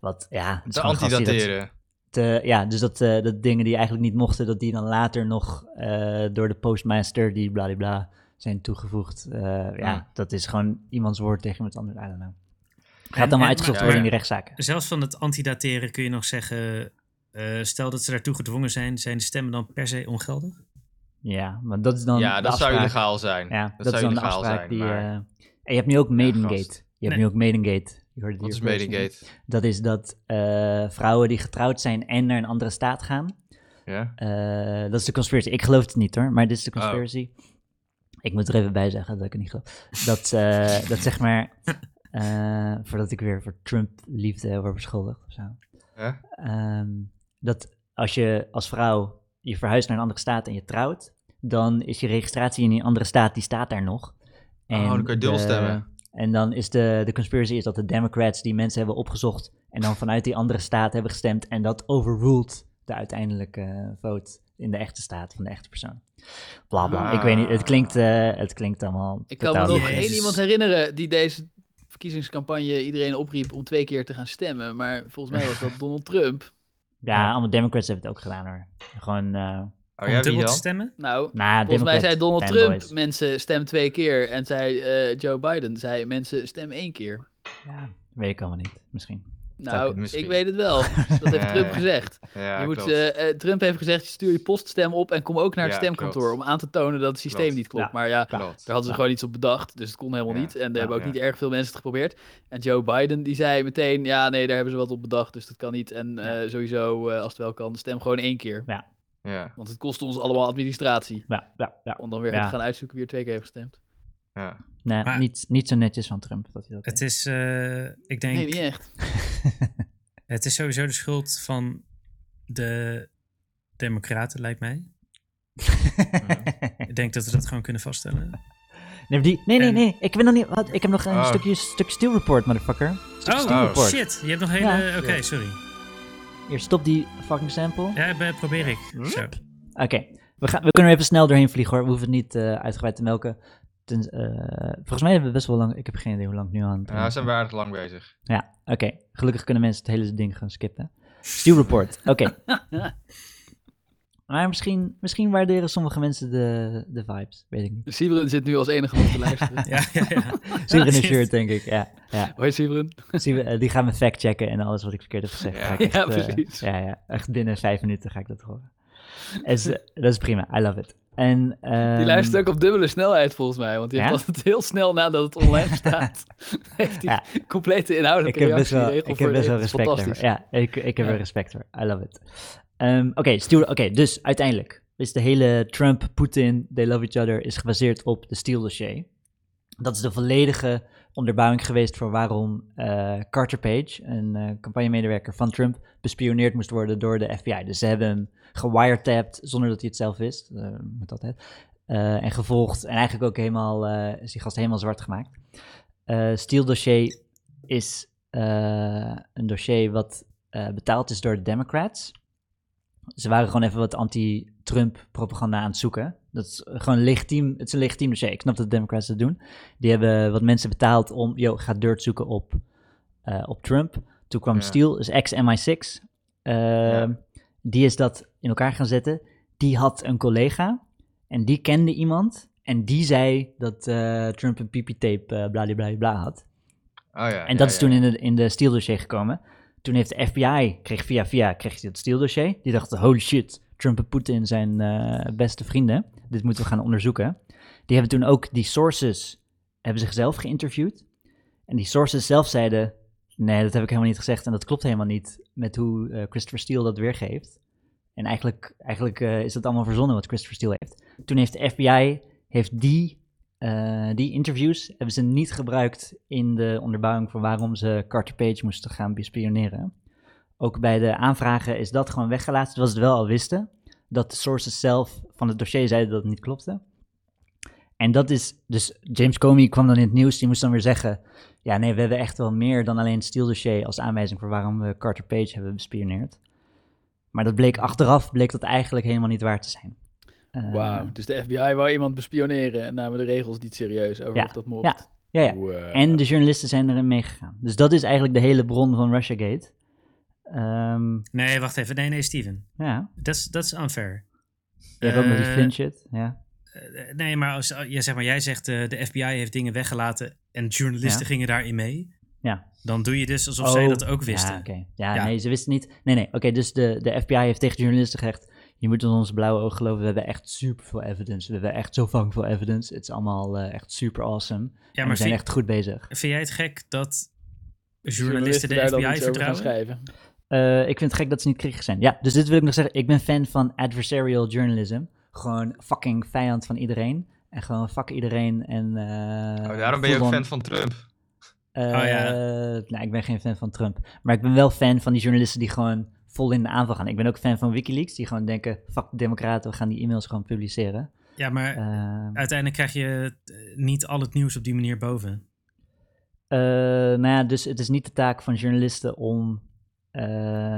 S4: Wat, ja... het is
S3: te
S4: gewoon gasten die dat-
S3: antidateren.
S4: te- ja, dus dat, eh, dat dingen die eigenlijk niet mochten, dat die dan later nog eh, door de postmaster, die bladibla, zijn toegevoegd. Eh, ja,
S3: Ja.
S4: dat is gewoon iemands woord tegen iemand anders. I don't know.
S1: En-
S4: Gaat dan maar
S1: en-
S4: uitgezocht
S1: maar-
S4: worden in
S1: maar-
S4: die rechtszaken.
S1: Zelfs van het antidateren kun je nog zeggen, eh, stel dat ze daartoe gedwongen zijn, zijn de stemmen dan per se ongeldig?
S3: Oh,
S4: Ja, maar dat is dan
S3: Ja,
S4: de
S3: dat zou
S4: afspraak.
S3: illegaal zijn.
S4: Ja, dat,
S3: dat,
S4: is
S3: zou
S4: dan de
S3: illegaal
S4: afspraak
S3: zijn.
S4: die...
S3: maar
S4: eh, en je hebt nu ook Maidengate. Je hebt
S1: Nee.
S4: nu ook Maidengate. Je hoorde het
S3: wat
S4: hier
S3: is
S4: first, hè?
S3: Medingate?
S4: Dat is dat eh, vrouwen die getrouwd zijn en naar een andere staat gaan,
S3: Ja?
S4: Eh, dat is de conspiracy. Ik geloof het niet hoor, maar dit is de
S3: Oh.
S4: conspiracy. Ik moet er even bij zeggen dat ik het niet geloof. Dat, eh, dat zeg maar, eh, voordat ik weer voor Trump liefde word beschuldigd of zo.
S3: Ja?
S4: Ehm, dat als je als vrouw je verhuist naar een andere staat en je trouwt, dan is je registratie in die andere staat, die staat daar nog.
S3: Oh, dan kun je dubbel
S4: de-
S3: stemmen.
S4: En dan is de, de conspiracy is dat de Democrats die mensen hebben opgezocht en dan vanuit die andere staat hebben gestemd en dat overruled de uiteindelijke eh, vote in de echte staat van de echte persoon. Bla bla. Ik weet niet, het klinkt, eh, het klinkt allemaal
S5: Ik kan me
S4: totaal
S5: nog
S4: niet.
S1: Jezus.
S5: één iemand herinneren die deze verkiezingscampagne iedereen opriep om twee keer te gaan stemmen. Maar volgens mij was dat Donald Trump.
S4: Ja, allemaal Democrats hebben het ook gedaan hoor. Gewoon, eh nou,
S3: Oh
S1: Om
S3: ja, wie
S1: dubbel te
S3: dan?
S1: stemmen?
S7: Nou, volgens mij
S4: Democrat
S7: zei Donald Trump,
S4: fanboys.
S7: mensen stem twee keer. En zei eh, Joe Biden, zei mensen stem één keer.
S4: Ja, weet ik allemaal niet, misschien.
S3: Zou ik
S7: Nou,
S3: misschien.
S7: ik weet het wel. Dat heeft
S3: Ja,
S7: Trump
S3: ja.
S7: gezegd.
S3: Ja,
S7: je moet,
S3: klopt.
S7: eh, eh, Trump heeft gezegd, stuur je poststem op en kom ook naar het
S3: Ja,
S7: stemkantoor.
S3: klopt.
S7: Om aan te tonen dat het systeem
S3: Klopt.
S7: niet klopt.
S4: Ja.
S7: Maar ja,
S3: Klopt.
S7: Daar hadden ze
S4: Ja.
S7: gewoon iets op bedacht, dus het kon helemaal
S3: Ja.
S7: niet. En er
S3: Ja.
S7: hebben ook
S3: Ja.
S7: niet erg veel mensen het geprobeerd. En Joe Biden, die zei meteen, ja nee, daar hebben ze wat op bedacht, dus dat kan niet. En eh, sowieso, eh, als het wel kan, stem gewoon één keer.
S3: Ja,
S7: Want het kost ons allemaal administratie.
S4: Ja, ja, ja.
S7: Om dan weer
S4: Ja.
S7: te gaan uitzoeken wie er twee keer heeft gestemd.
S3: ja.
S4: Nee,
S1: Maar-
S4: niet, niet zo netjes van Trump dat hij dat
S1: Het is, eh, ik denk,
S7: Nee, niet echt.
S1: het is sowieso de schuld van de Democraten, lijkt mij.
S4: deed.
S1: Ik denk dat we dat gewoon kunnen vaststellen.
S4: nee, maar die, nee, nee,
S1: En-
S4: nee. Ik, ben nog niet, wat, ik heb nog een
S3: Oh.
S4: stukje, stuk steel report, motherfucker. Stuk
S1: Oh,
S4: steel
S3: Oh.
S4: report.
S1: shit. Je hebt nog hele...
S4: Ja.
S1: Oké, sorry.
S4: Hier, stop die fucking sample.
S1: Ja, ik ben- probeer ik. Zo.
S4: Oké, we, gaan- we kunnen er even snel doorheen vliegen hoor. We hoeven het niet eh, uitgebreid te melken. Ten- eh, volgens mij hebben we best wel lang... Ik heb geen idee hoe lang ik nu aan het
S3: Nou, we zijn we aardig lang bezig.
S4: Ja, oké. Gelukkig kunnen mensen het hele ding gaan skippen. Steel Report, oké. maar misschien, misschien waarderen sommige mensen de, de vibes, weet ik niet.
S7: Sibren zit nu als enige om te luisteren.
S1: Ja, ja, ja.
S4: Sibren in een shirt, denk ik, ja. ja.
S7: Hoi Sibren.
S4: Zie- eh, die gaan me factchecken en alles wat ik verkeerd heb gezegd. ga ik
S7: Ja,
S4: echt, eh,
S7: precies.
S4: ja, ja, echt binnen vijf minuten ga ik dat horen. Dus, eh, dat is prima, I love it. En,
S7: Die luistert ook op dubbele snelheid volgens mij. Want die
S4: Ehm, ja?
S7: was het heel snel nadat het online staat. heeft die
S4: Ja.
S7: complete
S4: ik
S7: inhoudelijke
S4: heb best
S7: reactie
S4: wel,
S7: regel
S4: ik
S7: voor
S4: heb best wel
S7: regel.
S4: respect
S7: Fantastisch.
S4: daarvoor. Ja, ik, ik heb
S7: Ja.
S4: er respect voor. I love it. Ehm, Oké, Steel- oké, dus uiteindelijk is de hele Trump, Poetin, they love each other, is gebaseerd op de Steele dossier. Dat is de volledige onderbouwing geweest voor waarom eh, Carter Page, een eh campagnemedewerker van Trump, bespioneerd moest worden door de FBI. Dus ze hebben hem gewiretapt zonder dat hij het zelf wist, eh, moet altijd, eh, en gevolgd. En eigenlijk ook helemaal, eh, is die gast helemaal zwart gemaakt. Eh Steele dossier is eh, een dossier wat eh, betaald is door de Democrats. Ze waren gewoon even wat anti-Trump propaganda aan het zoeken. Dat is gewoon legitiem. Het is een legitiem dossier. Ik snap dat de Democrats dat doen. Die hebben wat mensen betaald om, yo, ga dirt zoeken op, eh, op Trump. Toen kwam
S3: Ja.
S4: Steele, is ex-MI6. Eh,
S3: Ja.
S4: Die is dat in elkaar gaan zetten. Die had een collega en die kende iemand. En die zei dat eh, Trump een pipi-tape eh bladibladibla had.
S3: Oh ja.
S4: En dat is toen in de, in de Steele dossier gekomen. Toen heeft de FBI, kreeg via via, kreeg hij het Steele dossier. Die dachten, holy shit, Trump en Poetin zijn eh, beste vrienden. Dit moeten we gaan onderzoeken. Die hebben toen ook die sources, hebben zichzelf geïnterviewd. En die sources zelf zeiden, nee, dat heb ik helemaal niet gezegd. En dat klopt helemaal niet met hoe eh, Christopher Steele dat weergeeft. En eigenlijk, eigenlijk eh, is dat allemaal verzonnen wat Christopher Steele heeft. Toen heeft de FBI, heeft die eh, die interviews hebben ze niet gebruikt in de onderbouwing voor waarom ze Carter Page moesten gaan bespioneren. Ook bij de aanvragen is dat gewoon weggelaten, terwijl ze het wel al wisten. Dat de sources zelf van het dossier zeiden dat het niet klopte. En dat is, dus James Comey kwam dan in het nieuws, die moest dan weer zeggen... Ja, nee, we hebben echt wel meer dan alleen het Steele dossier als aanwijzing voor waarom we Carter Page hebben bespioneerd. Maar dat bleek achteraf, bleek dat eigenlijk helemaal niet waar te zijn. Eh,
S7: Wauw, dus de FBI wou iemand bespioneren en namen de regels niet serieus over
S4: Ja,
S7: of dat mocht. eh,
S4: ja, Ja, ja.
S7: Wow.
S4: En de journalisten zijn erin meegegaan. Dus dat is eigenlijk de hele bron van Russiagate. Ehm
S1: Nee, wacht even. Nee, nee, Steven.
S4: ja,
S1: Dat is- dat is unfair.
S4: je hebt ook nog die
S1: Eh,
S4: Flynn shit. Ja.
S1: eh, Nee, maar, als, ja, zeg maar jij zegt eh, de FBI heeft dingen weggelaten en journalisten
S4: Ja.
S1: gingen daarin mee.
S4: Ja.
S1: Dan doe je dus alsof zij
S4: Oh,
S1: dat ook wisten.
S4: Ja, oké. ja,
S1: Ja.
S4: nee, ze wisten niet. Nee, nee, oké. dus de, de FBI heeft tegen journalisten gezegd... Je moet in ons blauwe oog geloven. We hebben echt super veel evidence. We hebben echt zo fucking veel evidence. Het is allemaal eh, echt super awesome.
S1: Ja,
S4: en we
S1: maar
S4: zijn
S1: vind,
S4: echt goed bezig.
S1: vind jij het gek dat journalisten,
S7: Journalisten daar dan
S1: de FBI
S7: iets over gaan
S1: vertrouwen?
S7: schrijven.
S4: Eh, ik vind het gek dat ze niet kritisch zijn. Ja, dus dit wil ik nog zeggen. Ik ben fan van adversarial journalism. Gewoon fucking vijand van iedereen. En gewoon fuck iedereen. En, eh,
S3: Oh, daarom ben je ook fan
S4: full-on-
S3: van Trump.
S4: Eh,
S1: Oh ja.
S4: Nou, ik ben geen fan van Trump. Maar ik ben wel fan van die journalisten die gewoon vol in de aanval gaan. Ik ben ook fan van Wikileaks. Die gewoon denken, fuck de democraten, we gaan die e-mails gewoon publiceren.
S1: Ja, maar
S4: Eh,
S1: uiteindelijk krijg je eh, niet al het nieuws op die manier boven.
S4: Eh, nou ja, dus het is niet de taak van journalisten om eh,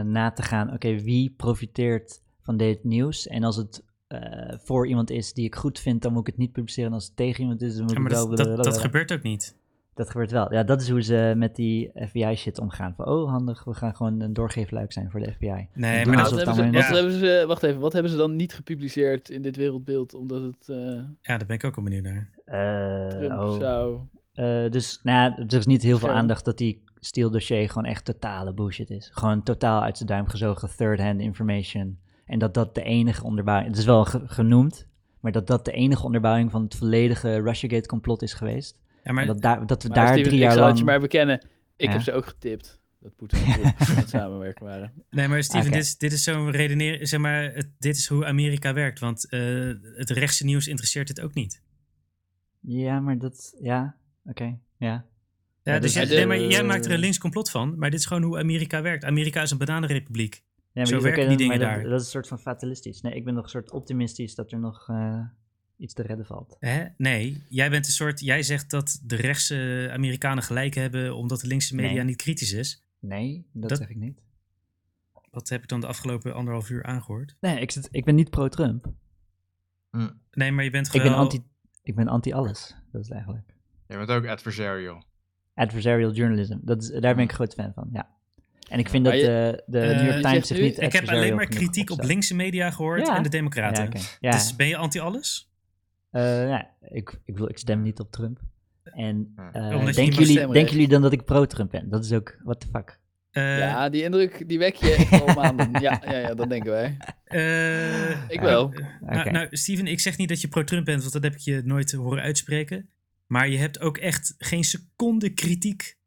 S4: na te gaan, oké, wie profiteert van dit nieuws? En als het eh, voor iemand is die ik goed vind, dan moet ik het niet publiceren. En als het tegen iemand is, dan moet
S1: Ja,
S4: ik
S1: maar
S4: wel...
S1: dat, dat, dat gebeurt ook niet.
S4: Dat gebeurt wel. Ja, dat is hoe ze met die FBI-shit omgaan. Van, oh, handig, we gaan gewoon een doorgeefluik zijn voor de FBI.
S1: Nee,
S4: Doen
S1: maar
S4: alsof
S1: dat,
S5: Wat hebben, ze,
S4: het allemaal
S5: wat,
S1: ja.
S5: hebben ze, wacht even, wat hebben ze dan niet gepubliceerd in dit wereldbeeld? Omdat het eh
S1: ja, daar ben ik ook wel benieuwd naar.
S4: Eh,
S5: Trump
S4: oh.
S5: zou...
S4: Eh, dus nou, ja, er is niet heel veel
S5: Scherm.
S4: aandacht dat die Steele dossier gewoon echt totale bullshit is. Gewoon totaal uit zijn duim gezogen third-hand information. En dat dat de enige onderbouwing... Het is wel ge- genoemd, maar dat dat de enige onderbouwing van het volledige Russiagate-complot is geweest.
S1: Ja, maar
S4: En dat, daar, dat we
S5: Maar
S4: daar
S5: Steven,
S4: drie
S5: ik
S4: jaar
S5: zal het
S4: lang...
S5: je maar bekennen. Ik
S4: Ja.
S5: heb ze ook getipt. Dat Poetin en Trump aan het samenwerken waren.
S1: Nee, maar Steven,
S4: Oké.
S1: dit, is, dit is zo'n redeneren. Zeg maar, het- dit is hoe Amerika werkt. Want eh, het rechtse nieuws interesseert het ook niet.
S4: Ja, maar dat... Ja, oké, ja.
S1: Ja,
S4: Ja,
S1: dus
S4: dus-
S1: jij- nee, maar
S5: Eh,
S1: jij maakt er een links complot van. Maar dit is gewoon hoe Amerika werkt. Amerika is een bananenrepubliek.
S4: Ja, maar
S1: Zo
S4: die-
S1: werken
S4: oké,
S1: die
S4: dan- maar
S1: dingen
S4: dat,
S1: daar.
S4: Dat is een soort van fatalistisch. Nee, ik ben nog een soort optimistisch dat er nog eh, iets te redden valt.
S1: Hè? Nee, jij bent een soort. Jij zegt dat de rechtse Amerikanen gelijk hebben. omdat de linkse media
S4: Nee.
S1: niet kritisch is.
S4: Nee, dat,
S1: Dat-
S4: zeg ik niet.
S1: Wat heb ik dan de afgelopen anderhalf uur aangehoord?
S4: Nee, ik, zit, ik ben niet pro-Trump.
S1: Nee, maar je bent
S4: Ik
S1: gewoon.
S4: ben, anti, ik ben anti-alles. Dat is het eigenlijk.
S3: Je bent ook adversarial.
S4: Adversarial journalism. Dat is, daar ben ik een groot fan van, ja. En ik vind dat
S5: Maar
S4: de, de
S1: Eh,
S4: New York
S1: Hm. je
S4: Times
S5: zegt
S4: zich
S5: nu-
S4: niet
S1: Ik heb alleen
S4: adversarial
S1: maar
S4: genoeg
S1: kritiek op
S4: opstelt.
S1: linkse media gehoord.
S4: Ja.
S1: en de Democraten.
S4: Ja, oké. ja.
S1: Dus ben je anti-alles?
S4: Eh, ja, ik, ik, wil, ik stem niet op Trump. En
S3: Ja.
S4: eh,
S1: Omdat je niet mag
S4: denken, jullie,
S5: stemmen,
S4: denken
S5: hè?
S4: jullie dan dat ik pro-Trump ben? Dat is ook, what the fuck.
S1: Eh,
S5: ja, die indruk die wek je echt al maanden. Ja, ja, ja, dat denken wij.
S1: eh,
S5: Ik wel.
S1: Nou,
S4: Oké.
S1: nou, Steven, ik zeg niet dat je pro-Trump bent, want dat heb ik je nooit horen uitspreken. Maar je hebt ook echt geen seconde kritiek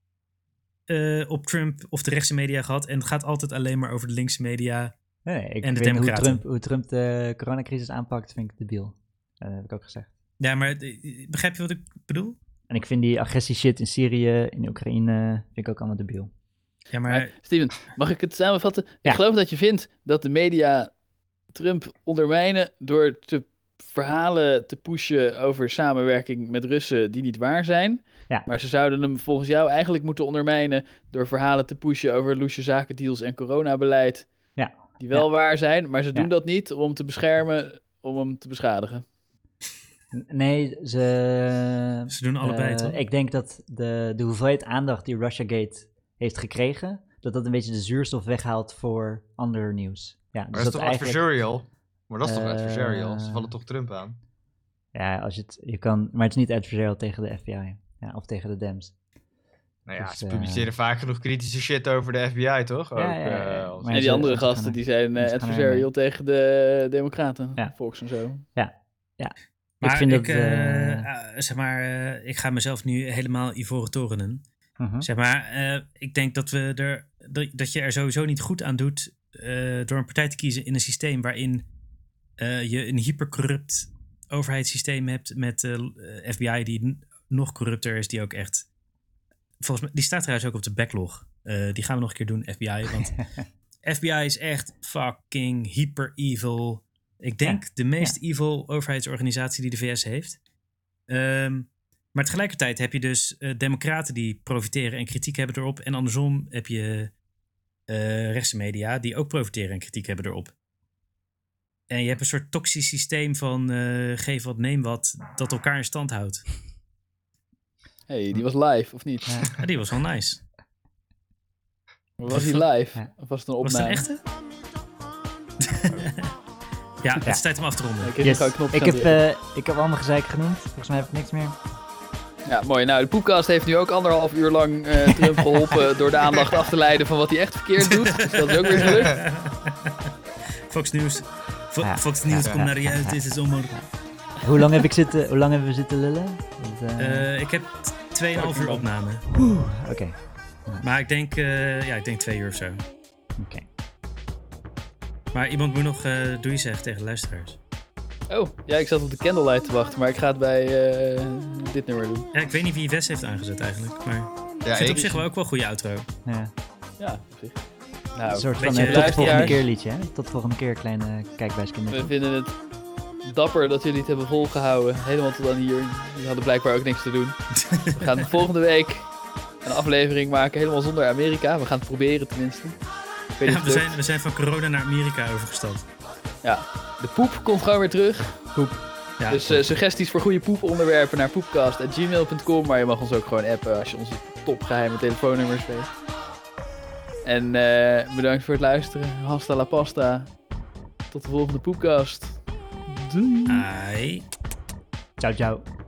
S1: eh, op Trump of de rechtse media gehad. En het gaat altijd alleen maar over de linkse media.
S4: Nee, ik
S1: En de
S4: vind hoe
S1: Democraten.
S4: Trump, hoe Trump de coronacrisis aanpakt, vind ik debiel. Eh, Dat heb ik ook gezegd.
S1: Ja, maar eh, begrijp je wat ik bedoel?
S4: En ik vind die agressie shit in Syrië, in Oekraïne, vind ik ook allemaal debiel.
S1: Ja, maar,
S4: Eh,
S5: Maar, Steven, mag ik het samenvatten?
S4: Ja.
S5: Ik geloof dat je vindt dat de media Trump ondermijnen door te verhalen te pushen over samenwerking met Russen die niet waar zijn.
S4: Ja.
S5: Maar ze zouden hem volgens jou eigenlijk moeten ondermijnen door verhalen te pushen over loesje zakendeals en coronabeleid.
S4: Ja.
S5: Die wel waar zijn, maar ze doen
S4: Ja.
S5: dat niet om hem te beschermen, om hem te beschadigen.
S4: N- Nee, ze...
S1: ze doen allebei
S4: Eh,
S1: toch?
S4: Ik denk dat de, de hoeveelheid aandacht die Russiagate heeft gekregen, dat dat een beetje de zuurstof weghaalt voor ander nieuws. Ja, dus
S3: Maar dat is toch adversarial? Maar dat is toch
S4: Eh,
S3: adversarial? Ze vallen toch Trump aan?
S4: Ja, als je het, je kan, maar het is niet adversarial tegen de FBI ja, of tegen de Dems.
S3: Nou ja,
S4: Dus,
S3: ze
S4: eh,
S3: publiceren vaak genoeg kritische shit over de FBI, toch? Ook,
S4: ja, ja, ja,
S3: eh,
S4: ja.
S3: als-
S4: Maar
S5: en die
S4: ze-
S5: andere
S4: ze gaan
S5: gasten
S4: er-
S5: die zijn eh,
S4: ze gaan er
S5: adversarial tegen de Democraten,
S4: Ja.
S5: Volks en zo.
S1: maar
S4: ik vind dat...
S1: eh,
S4: eh,
S1: ah, zeg maar, eh, ik ga mezelf nu helemaal ivoren torenen.
S4: mhm.
S1: Zeg maar, eh, ik denk dat, we er, dat, dat je er sowieso niet goed aan doet eh, door een partij te kiezen in een systeem waarin eh, je een hypercorrupt overheidssysteem hebt met eh, FBI die n- nog corrupter is, die ook echt... Volgens mij, die staat trouwens ook op de backlog. Eh, die gaan we nog een keer doen, FBI. Want FBI is echt fucking hyper evil. Ik denk de meest evil overheidsorganisatie die de VS heeft. Ehm, maar tegelijkertijd heb je dus eh, democraten die profiteren en kritiek hebben erop. En andersom heb je eh rechtse media die ook profiteren en kritiek hebben erop. En je hebt een soort toxisch systeem van eh, geef wat, neem wat, dat elkaar in stand houdt.
S5: hey, die was live, of niet?
S4: Ja.
S1: Ja, Ah, die was wel nice.
S5: Was hij live?
S4: Ja.
S5: Of was het een
S1: Was het
S5: opname?
S1: een echte? ja, het is tijd om af te ronden.
S5: Ik heb
S4: Yes.
S5: nog een knop
S4: Ik,
S5: gaan
S4: heb,
S5: drukken.
S4: eh, ik heb allemaal gezeik genoemd. Volgens mij heb ik niks meer. eh,
S5: Ja, mooi. Nou, de podcast heeft nu ook anderhalf uur lang eh, Trump geholpen door de aandacht af te leiden van wat hij echt verkeerd doet. Dus dat is ook weer gelukt.
S1: Fox News. Fo-
S4: Ja.
S1: Fox News,
S4: Ja.
S1: komt naar je uit, dit is zomer.
S4: Hoe lang heb ik zitten, hoe lang hebben we zitten lullen? Want, eh,
S1: Eh, ik heb t- 2,5 uur opname.
S4: Oké,
S1: Maar ik denk, eh, ja, ik denk twee uur of zo.
S4: oké.
S1: Maar iemand moet nog eh doei zeggen tegen de luisteraars.
S5: Oh, ja, ik zat op de candlelight te wachten, maar ik ga het bij eh, dit nummer doen.
S1: Ja, ik weet niet wie Wes heeft aangezet eigenlijk. Maar
S3: ja,
S1: ik vind
S3: ik,
S1: op zich wel ook wel een goede outro.
S4: Ja.
S5: Ja, op zich.
S4: Een
S5: Nou,
S4: soort van
S1: beetje
S4: eh, tot de volgende
S5: luisteraars.
S4: keer liedje, hè? Tot de volgende keer, kleine kijkbuiskinderen.
S5: we vinden het dapper dat jullie het hebben volgehouden. Helemaal tot aan hier. Jullie hadden blijkbaar ook niks te doen. We gaan volgende week een aflevering maken, helemaal zonder Amerika. We gaan het proberen tenminste. Ik
S1: Ja,
S5: weet niet of
S1: we,
S5: het lukt.
S1: zijn, we zijn van corona naar Amerika overgestapt.
S5: De poep komt gewoon weer terug.
S4: Poep.
S1: Ja,
S5: Dus eh, suggesties voor goede poeponderwerpen naar poepcast.gmail.com. Maar je mag ons ook gewoon appen als je onze topgeheime telefoonnummers weet. En eh, bedankt voor het luisteren. Hasta la pasta. Tot de volgende poepcast.
S3: eh,
S1: Ai.
S4: Ciao, ciao.